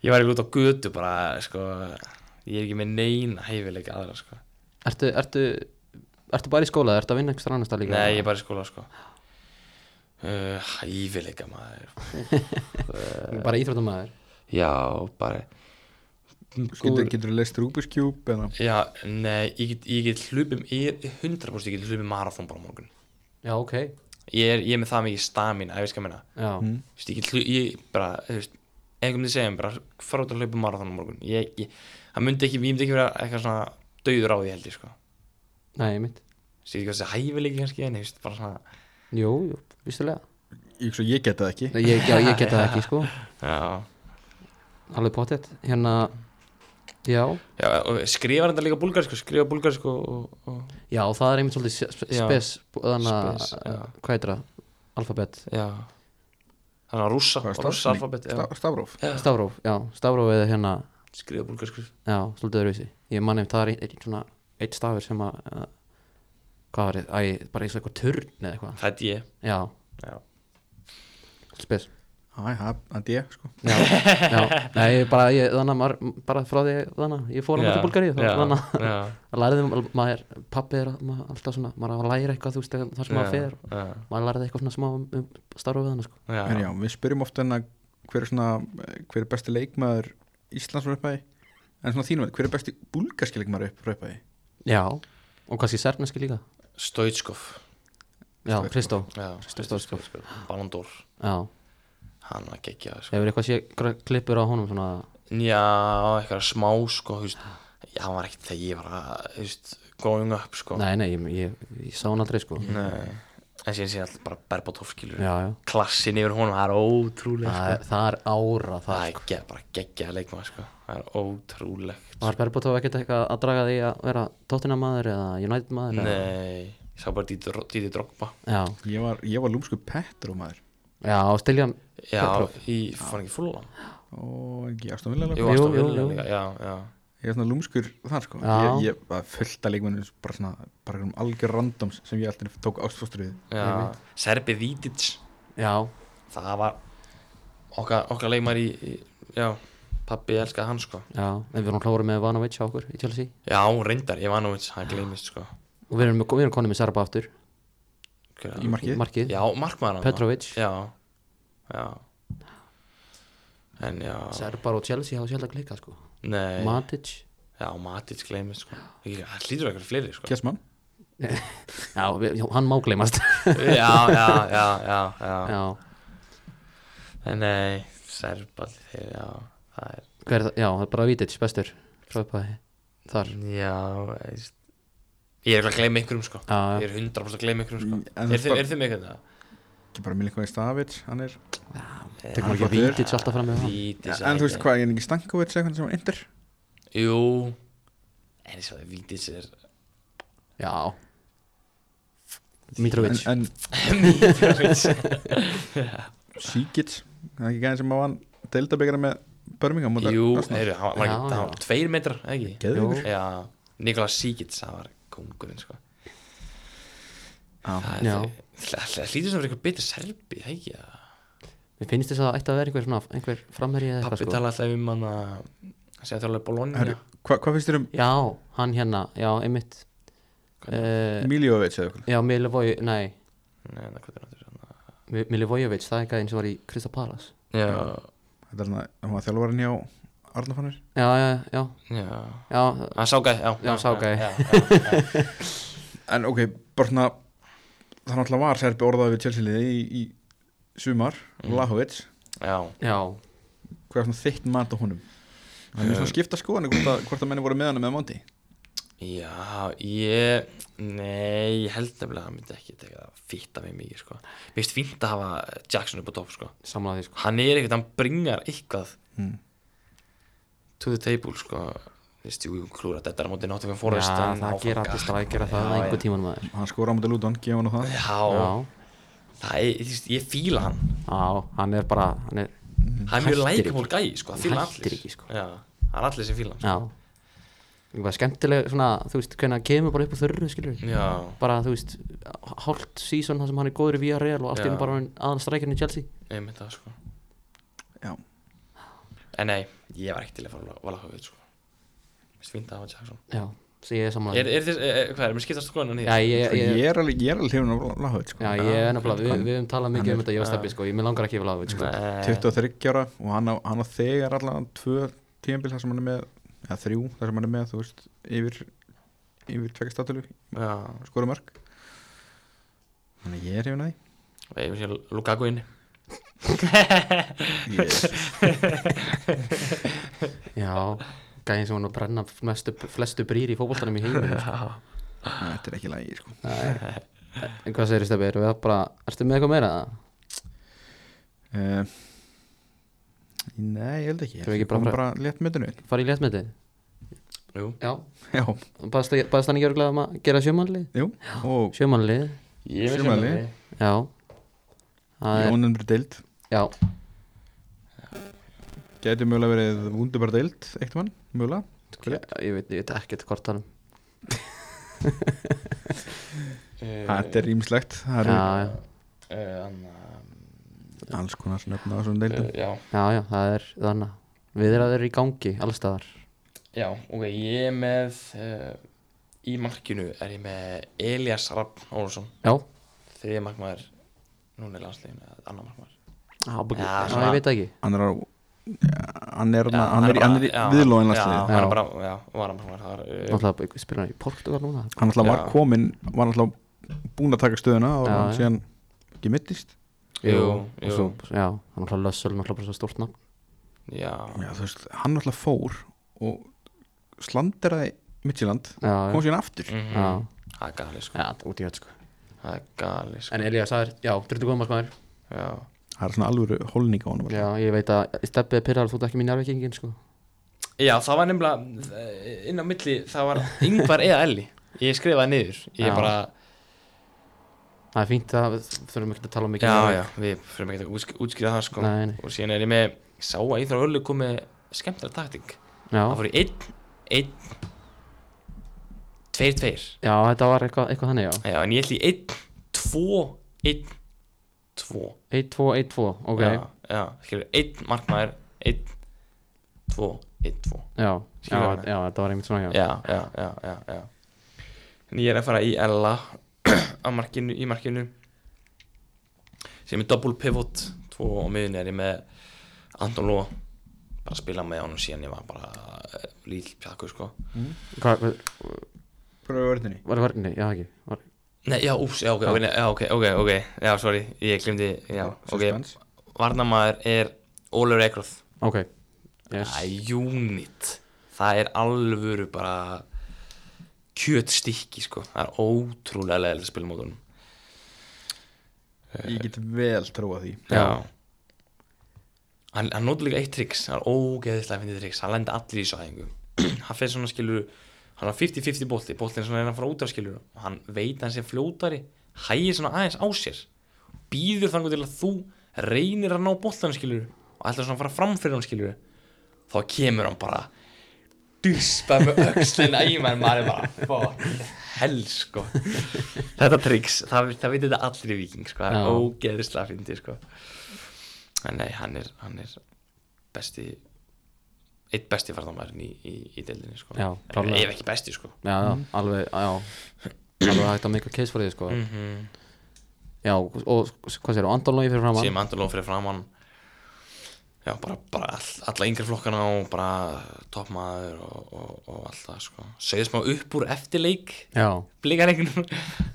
ég var ekki út á götu bara, sko, ég er ekki með neina hæfileika aðra, sko. Ertu, ertu, ertu bara í skóla, eða ertu að vinna einhverja annars það líka? Nei, ég er bara í skóla, sko. Uh, hæfileika maður, bara Bara íþróttamæður já, bara, Getur, getur þú leist Rubik's Cube eða já, nei, ég get, ég get hlupum, ég er 100% ég get hlupum marathón bara á morgun. Já, ok ég er, ég er með það mikið stamina, ef ég skal menna Já, Mm. Þú veist, ég, get hlu- ég bara, þú veist einhvern veginn segjum, bara fara út að hlaupa marathon á morgun ég, ég, það myndi ekki, ég myndi ekki vera eitthvað svona dauður á því held ég sko Þú nei, mitt veist, ég veit ekki hvað þessi hæfileiki kannski en, þú veist, bara svona Jú, jú, vissulega Ég, svo ég geta það ekki Nei, Ég, já, ég geta það ekki, sko já, Alveg pottet Hérna, já já og skrifa þetta líka búlgarsku, skrifa búlgarsku og, og, Já, það er einmitt svolítið sp- Já. spes Þannig að, Spes, já. hvað heitir það? Alfabet já þannig að rússa, Hvað er rússa stafni? alfabet já, Sta- Stavróf Stavróf, já, Stavróf eða hérna skrifa búlgarsku Já, svolítið öðruvísi Ég man ef það er einn ein, svona Eitt stafur sem að að- Hvað var þetta? Æ, bara eins og eitthvað turn eða eitthvað það er ég, Já, já, spes Æ, það það er ég sko Já, [laughs] já Nei, ég bara ég, þannig að maður Bara frá því þannig að Ég fór að já, mæta Búlgaríu þá- já, Þannig að [laughs] já, að læriði um- maður Pappi er að- maður, alltaf svona Maður á að læra eitthvað þú veist þegar- þar sem maður fer já, Maður læriði eitthvað svona smá um, um starfið hana sko já, En já, við spyrjum ofta hennar hver er svona eh, hver er besti leikmaður Íslands frá uppæði en svona þínum veit, hver er besti búlgarski leikmaður upp frá uppæði Já Og kannski serneski líka Stoitskov Já, Stoichkov. Kristó Já, Stoichkov. Ballon d'Or, Já, hann var geggjað sko. hefur eitthvað sé gra- klippur á honum svona Já, eitthvað smá sko, þú veist Já, hann var ekkert þegar ég var að, þú veist, growing up sko Nei, nei, ég, ég, ég sá hann aldrei sko Nei. En síðan síðan alltaf bara Berbatov skilur Já, já Klassin yfir honum, það er ótrúlega Það er, það er ára það Það sko. er ge bara geggjað leikmaður sko Það er ótrúlegt Var Berbatov ekkert eitthvað að draga því að vera Tottenham maður eða United maður eða- Nei, ég sá bara Díti Dro- Díti Drogba Já, Ég var, ég var lúmsku Petru maður já, og Stilja Já, í, fann ekki fúlan og ekki Aston Villa Jú, leikmaður. Jú, Aston jú, Villa jú. líka, já, já Ég er svona lúmskur þar sko Já. Ég, ég var fullt að leikmaður bara svona bara um algjör randoms sem ég alltaf tók ástfóstur við Já, Serbi Vític Já, það var okkar, okkar leikmar í, í já, pappi elskaði hann sko já, en við erum hlóður með Vanovic á okkur í Chelsea já, reyndar, Ivanovic, hann gleymist sko og við erum, með- við erum konið með Sarpa aftur Hver, í markið markið, já, markmaður hann Petrovic já, já en já, Sarpar og Chelsea hafa sjálf að klika sko nei Matic [laughs] já, Matic gleymist sko Ég- hann hlýtur eitthvað fleiri sko já, Kessmann Já, við, já, hann má gleymast já, já, já, já. [laughs] Já, en nei, Serb allir þeir, já, það er hver, er það- já, það er bara Vític bestur frá upphæði þar já, veist ég er eitthvað að gleyma einhverjum sko Já, já. ég er 100% að gleyma einhverjum Mm, sko en þú er þið, bara- er þið með eitthvað það? ekki bara Milinkovic Stavic hann er tekum ekki hann er Vític alltaf fram með hann Vítis en þú veist hvað ég er ekki Stankovic eða eitthvað sem hann endur Jú En ég svo að Vítis er [laughs] Já en, Mitrovic en Mitrovic Sikic það er ekki gæðin sem á hann deildabikara með Birmingham móti Jú, Arsenal? heyrðu, hann var, Já, ekki, hann var tveir metrar, ekki? Geðveikur. Jú. Já, Nikola Sigits, það var kongurinn, sko Já. Það Já. er- það- það hlýtur sem að vera eitthvað betur serbi, það ekki? eða? Mér finnst þess að það ætti að vera einhver, svona, einhver framherji eða Pappi eitthvað sko. tala alltaf um hann að hann segja þjóðlega Bologna Herru, hva, hvað finnst þér um Já, hann hérna, já, einmitt uh, Miljovic eða eitthvað? Já, Milivoj, nei Nei, það hvað er náttúrulega hann að- Mi- Milivojevic, það er gæðin sem var í Krista Palas Já, Þetta er hann að hann var þjálfarinn hjá Arnafannir Já, já, já, já já, Hann sá gæði, já Já, sá gæi. já, já, já. En ok, bara svona Það náttúrulega var Serbi orðaði við Chelsea liði í, í sumar Mm. Vlahovic Já, já. Hvað er svona þitt mat á honum? Það er mjög svona Eh. skipta skoðan hvort, að- hvort að menni voru með hann með Monti já, ég Nei, ég held nefnilega að hann myndi ekki teka það fýtta mig mikið, sko Mér finnst fínt að hafa Jackson upp á topp, sko samlaði því sko Hann er eitthvað, hann bringar eitthvað Hmm. mm. to the table, sko Þú veist, jú, jú, klúra þetta er á móti náttökum forest Já, en það áfram gera allir gakk. strækjara Já, það já. einhver tíman maður Hann skora á mútið Luton, gefa hann á það Já, Já, það er, þú veist, ég fíla hann já, hann er bara, hann er Það er mjög Hættir lækaból gæi, sko, það Hann fíla allir hættir ekki, sko. Já, það er allir sem fíla hann, sko. Já Eitthvað skemmtileg svona, þú veist, hvernig kemur bara upp á þörru, skilur sko. Já, Bara, þú veist, hálft sísón þar sem hann er góður í VRL og allt Já. einu bara aðan strækjarinn í Chelsea ég myndi það, sko Já, En nei, ég var ekki til að fara að vala höfuð, sko Mér finnst fínt að hafa Jackson Já, sem ég er samlaði Er, er þess, er, hvað er, er mér skiptast skoðan hann Já, ég, ég, ég, ég, er alveg, ég er alveg hrifin á Vlahovic sko. já, ég er nefnilega, við, hann- við höfum talað hann mikið er- um þetta, ég og Steppi, sko, ég með langar ekki yfir Vlahovic, sko Nei, 23 ára og hann á, hann á þegar allan tvö tímabil þar sem hann er með eða þrjú þar sem hann er með þú veist yfir, yfir tveggjastatilu já, skora mörg þannig að ég er hefina því ég finnst ég Lukaku inni yes. Já, gæðin sem hann að brenna mestu, flestu brýr í fótboltanum í heiminu sko. Já, þetta er ekki lægi sko. [laughs] En hvað segir Steppi, erum við að bara, ertu með eitthvað meira? uh, nei, ég held ekki Þurfum við ekki bara Komum að bara létt myndinu Far í léttmeti? jú Já, [laughs] já, baðst baðst hann ekki örglega um að gera sjömanlið? jú, og Sjömanlið, Ég Sjö finnst manni. ég já Það er, ónendur deild já, gæti mögulega verið vundubar deild eitt mann, mögulega Já, ég veit, ég veit ekkert hvort hann Eh. þetta er ímislegt, það Já, eru já, Eh, alls konar nöfn á þessum deildum eh, Já, já, já, það er þannig Við erum að þeirra í gangi, allstaðar já, ok, ég er með uh, Í markinu er ég með Elias Rapp Ólfsson Já, Þriði markmaður Núna er landsleginu, annar markmaður já, já, Já, já ég veit það ekki hann er á ja, hann er, Já, ja, hann er, hann er, bara- er viðlóðin Já, landsliðið hann Já. er bara, já, varamarkmaður Það er uh, Náttúrulega, ég spila hann í Portugal núna hann alltaf var Já. komin var alltaf búin að taka stöðuna og Já, hann já. síðan ekki mittist Jú, Og jú svo, já, hann náttúrulega lössöl, náttúrulega bara svo stórt nafn Já, já, þú veist, hann alltaf fór og slanderaði Midtjylland Já, kom já, síðan aftur mhm. já, það er gali sko já, út í öll sko Það er gali sko En Elías, það er, já, dröndu góðum að skoðar Já, það er svona alvöru holning á hann Já, ég veit að Stebbi er pyrrar, þú ert ekki mín jarfekingin sko já það var nefnilega eh, inn á milli, það var yngvar eða elli Ég skrifaði niður, ég Já. bara Það er fínt að við þurfum ekki að tala mikið Já, um já, við fyrir mig ekki að útskýra það sko Nei, nei. Og síðan er ég með, ég sá að Íþrór Öllu kom með skemmtilega takting já. Það fór í einn, einn Tveir, tveir já, þetta var eitthvað, eitthvað þannig, já Já, en ég ætli í einn, tvo, einn, tvo 1-2, 1-2, ok Já, já, já, skilur, einn markmaður einn, tvo, einn, tvo já, já, Skilur mig. þetta var einmitt svona, já já, já, já, já, já en ég er að fara í Ella [clears throat] á markinu, í markinu sem er double pivot tvo og miðin er ég með Anton Lóa bara að spila með honum síðan ég var bara eh, lítill pjakku sko Hvað, pröfu verðinni Var það verðinni? Já, ekki var... Nei, já, úps, já, ok, ok, nei, já, ok, ok, ok, já, sorry, ég glemdi, já, ok, Suspense. varnamaður er Ólafur Ekroth, Ok yes. Það er unit Það er alvöru bara kjötstykki sko Það er ótrúlega leðilegt að spila mótunum ég get vel trúa því Já Hann, hann notur líka eitt triks, það er ógeðislega að finna triks, hann lenda allir í sæðingu [clears throat] Hann fer svona skilur, hann á 50-50 bolti, boltin er svona að reyna að fara út af skilur og hann veit að hann sé fljótari, hægir svona aðeins á sér býður þangur til að þú reynir að ná boltan skilur og ætlar svona að fara fram fyrir hann skilur þá kemur hann bara duspa með öxlina í mann maður er bara fuck hell sko þetta triks, það, það veit þetta allir í viking sko, Já. það er ógeðislega fyndi sko en nei, hann er, hann er besti eitt besti varðamærin í, í, í deildinni sko Já, klárlega. ef ekki besti sko já, já, alveg, já alveg hægt að meika case for því sko. mm já, og og hvað sér, Andon Lógi fyrir framann sem Andaló fyrir framann já, bara, bara all, alla yngri flokkana og bara toppmaður og, og, og allt það sko. segði smá upp úr eftirleik já, blíkarleiknum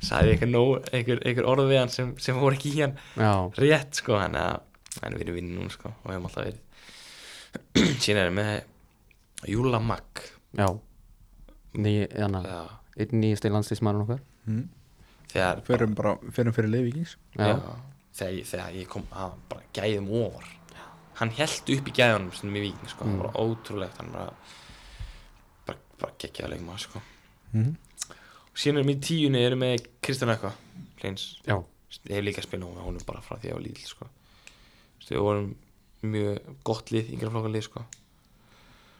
sagði einhver, nóg, einhver, einhver orð við hann sem, sem voru ekki í hann já, rétt sko, en, en við erum vinnir núna sko, og við hefum alltaf verið [clears throat] síðan erum við með Júla Magg já ný, þannig, já, einn nýjast í landslýsmannum okkar mm. þegar Förum bara, förum fyrir leiðvíkings já, já. Þegar, ég, þegar ég kom að bara gæðum ofar hann held upp í gæðunum sem í viking sko, það var ótrúlegt hann bara bara, bara geggjaði leikum að sko mm. og síðan erum við í tíunni erum við Kristján Ekka Kleins, já, ég hef líka spilað hún hún er bara frá því að ég var lítil sko Þú veist, við vorum mjög gott lið yngra flokka lið sko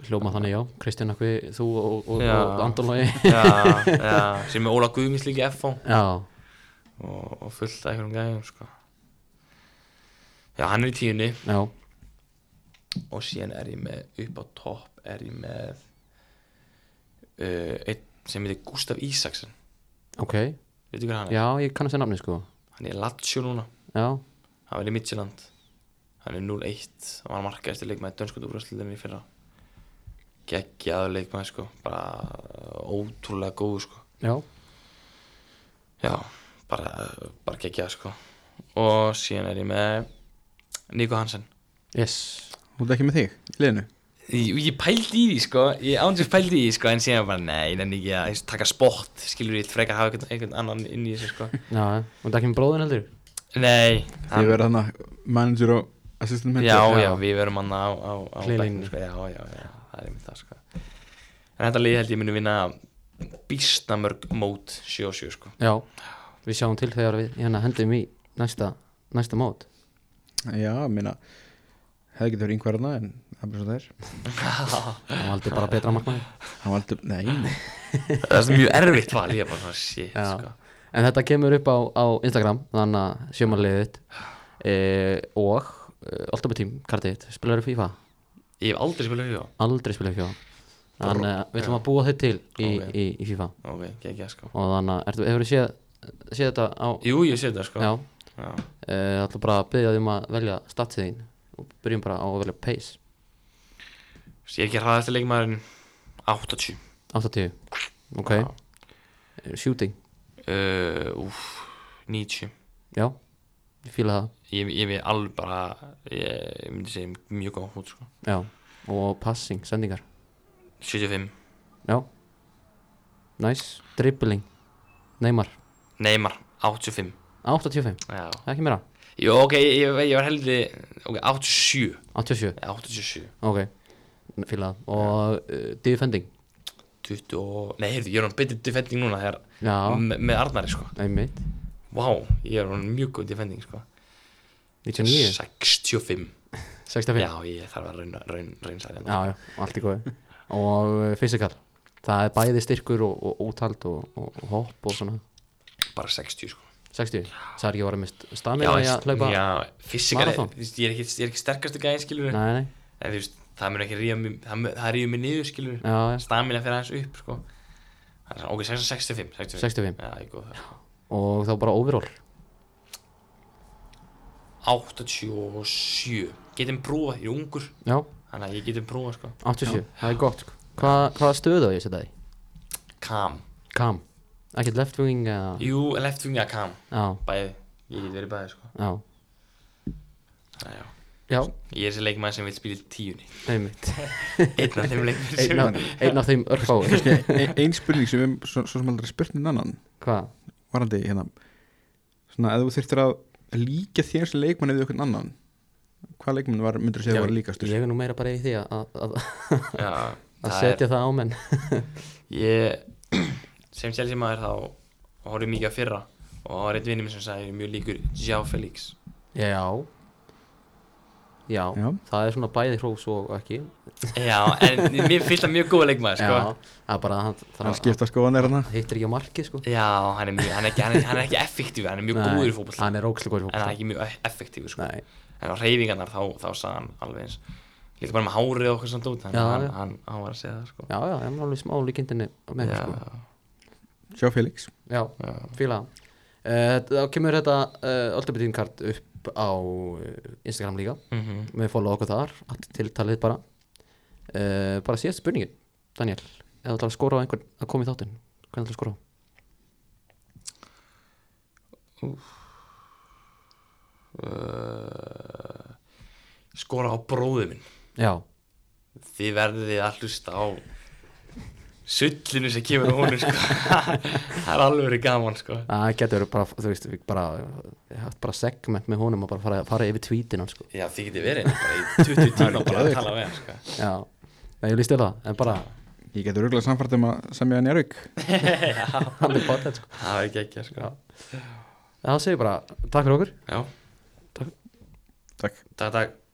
hljóma þannig já Kristján Akvi, þú og, og, Já. og Andon Lógi já, já, sem er Óla Guðmís líka í FH já, og, og fullt af einhverjum gæðum sko já, hann er í tíunni já, og síðan er ég með upp á topp er ég með uh, einn sem heitir Gustaf Ísaksen ok veitu hver hann er? já, ég kannast þessi nafni sko hann er Latsjó núna, já, hann er í Midtjylland hann er 0-1 og hann marka eftir leikmaði dönskund úrvarsliðinni í fyrra geggjaður leikmaði sko bara uh, ótrúlega góð sko já, já, bara, uh, bara geggjaður sko og síðan er ég með Nico Hansen yes Þú ert ekki með þig, í liðinu Ég, ég pældi í því sko, ég ándur pældi í því sko en síðan bara nei, ég nenni ekki að eins og taka sport skilur ég vil frekar hafa einhvern, einhvern annan inn í þessu sko já, og þetta ekki með bróðin heldur Nei, hann- Þið verða hann að manager og assistant já, manager já, já. við verum hann á, á, á Hlýlínunni. bekknum, sko, já, já, já, það er mynd það sko En þetta lið held ég muni vinna býstna mörg mót 7-7 [laughs] sko já, við sjáum til þegar við hérna hendum í næsta, næsta mót Já, minna Hefði getur verið yngverðna en það er bara svo það er það var aldrei bara betra markmaður Hann var aldrei, nei, nei Það er mjög erfitt val, ég er bara svona shit Já. sko En þetta kemur upp á, á Instagram þannig að sjömanliðið þitt e, og e, alltaf með tím kartið þitt, spilaðu FIFA Ég hef aldrei spilað fyrir aldrei spilaðu FIFA þannig að við ætlum að búa þitt til í, Ok. í, í FIFA Ok, geggja sko og þannig að ertu, hefur þið séð, séð þetta á Jú, ég sé þetta sko já, Já. e, ætlum bara að byggja þig um að velja statsið þín og byrjum bara á að velja pace Ég er ekki hraðast leikmaðurinn 80 80, ok Já. Eh, shooting, Uh, úf, 90 já ég fíla Ég, ég við alveg bara ég, ég myndi segja mjög góð hút sko. það, já og passing, sendingar, 75, já nice, dribbling Neymar Neymar 85 85, Já. það er ekki meira Jó, ok, ég, ég, ég var heldur okay, 87 87, 87, ok fílað, og uh, defending 20 og... Nei, heyrðu, ég er hann betri defending núna þegar, já, me, með Arnari sko. einmitt Vá, ég er hann mjög góð defending sko. 99, 65 65 já, Já, ég þarf að raun, raun, hérna. raunsæri já, allt í góði og uh, physical, það er bæði styrkur og, og úthald og, og, og hopp og svona Bara 60 sko. 60, það er ekki varðið mist Já, stamina í að hlaupa, já fysikar Marathon. Ég er ekki, ég er ekki sterkasti gæðin skilur nei, nei en þú veist, það mun ekki ríða mig það, mun- það ríður mig niður, skilur já, já. stamina fyrir aðeins upp, sko Það er svona, ok, 65 65, 65. Já, ég er góð það sko. og þá bara overall 87 getum prófað, ég er ungur já, þannig að ég getum prófað, sko 87, það er gott sko. Hva, hvaða stöðu á ég setja því? Cam, Cam, ekkert left wing eða jú, left vinga Cam já, bæði, ég get verið bæði, sko já, Þannig að já já, Ég er þessi leikmann sem vil spila í tíunni [laughs] einmitt Einn af þeim leikmann sem einn af, einn af þeim örfáir E- Ein spurning sem við, svo, svo sem aldrei spurt en annan hvað? Varandi hérna Svona, ef þú þyrftir að líka þér sem leikmann eða einhvern annan Hvað leikmann var, myndur þú segja Já, að var líkastur? ég er nú meira bara í því að, að, Já, að það er setja það á menn Ég, [clears throat] sem sjálf sem maður þá horfði mikið á fyrra og það var einn vinnum sem sagði "Ég er mjög líkur Jao Felix já já, Já. það er svona bæði hrós og ekki Já, en mér finnst það mjög góða leikmaður sko. Já, það er bara að hann Það það skipta hérna. skoðan er hana hittir ekki á marki sko Já, hann er, mjög, hann, er ekki, hann, er, hann er ekki effektíf, hann er mjög Nei, góður í fótboll Hann er ókslega góður í En hann er fótbolta ekki mjög effektíf sko. Nei, En á reyfingarnar þá, þá sagði hann alveg eins Líka bara með hárið og okkur samt út Þannig Já, að hann, já. hann, hann var að segja það sko. já, já, hann er alveg smá líkindinni með já, sko Sjá Felix Já, já. fíla það. Eh, Þá kemur þetta uh, Oldabitínkart upp á eh, Instagram líka Mm Við fóla okkur þar, allt tiltalið bara uh, Bara síðast spurningin Daniel, ef þú ætlar að skora á einhvern að koma í þáttinn, hvernig ætlar að skora á? Uh, Skora á bróðu minn Já, Þið verðið að hlusta á Sullinu sem kemur á honum sko. [laughs] Það er alveg verið gaman sko. það getur verið bara, þú veist, við bara, ég haft bara segment með honum og bara fara, fara yfir tweetina, sko Já, þið getið verið hérna bara í 20 tíma bara að tala við hann [laughs] sko. Já, Nei, ég líst til það, en bara, Ég getur rugglað samfært um að semja hann í Arvík hann er bátt, sko Það er ekki ekki sko. Það segir bara, takk fyrir okkur Já, Takk takk, takk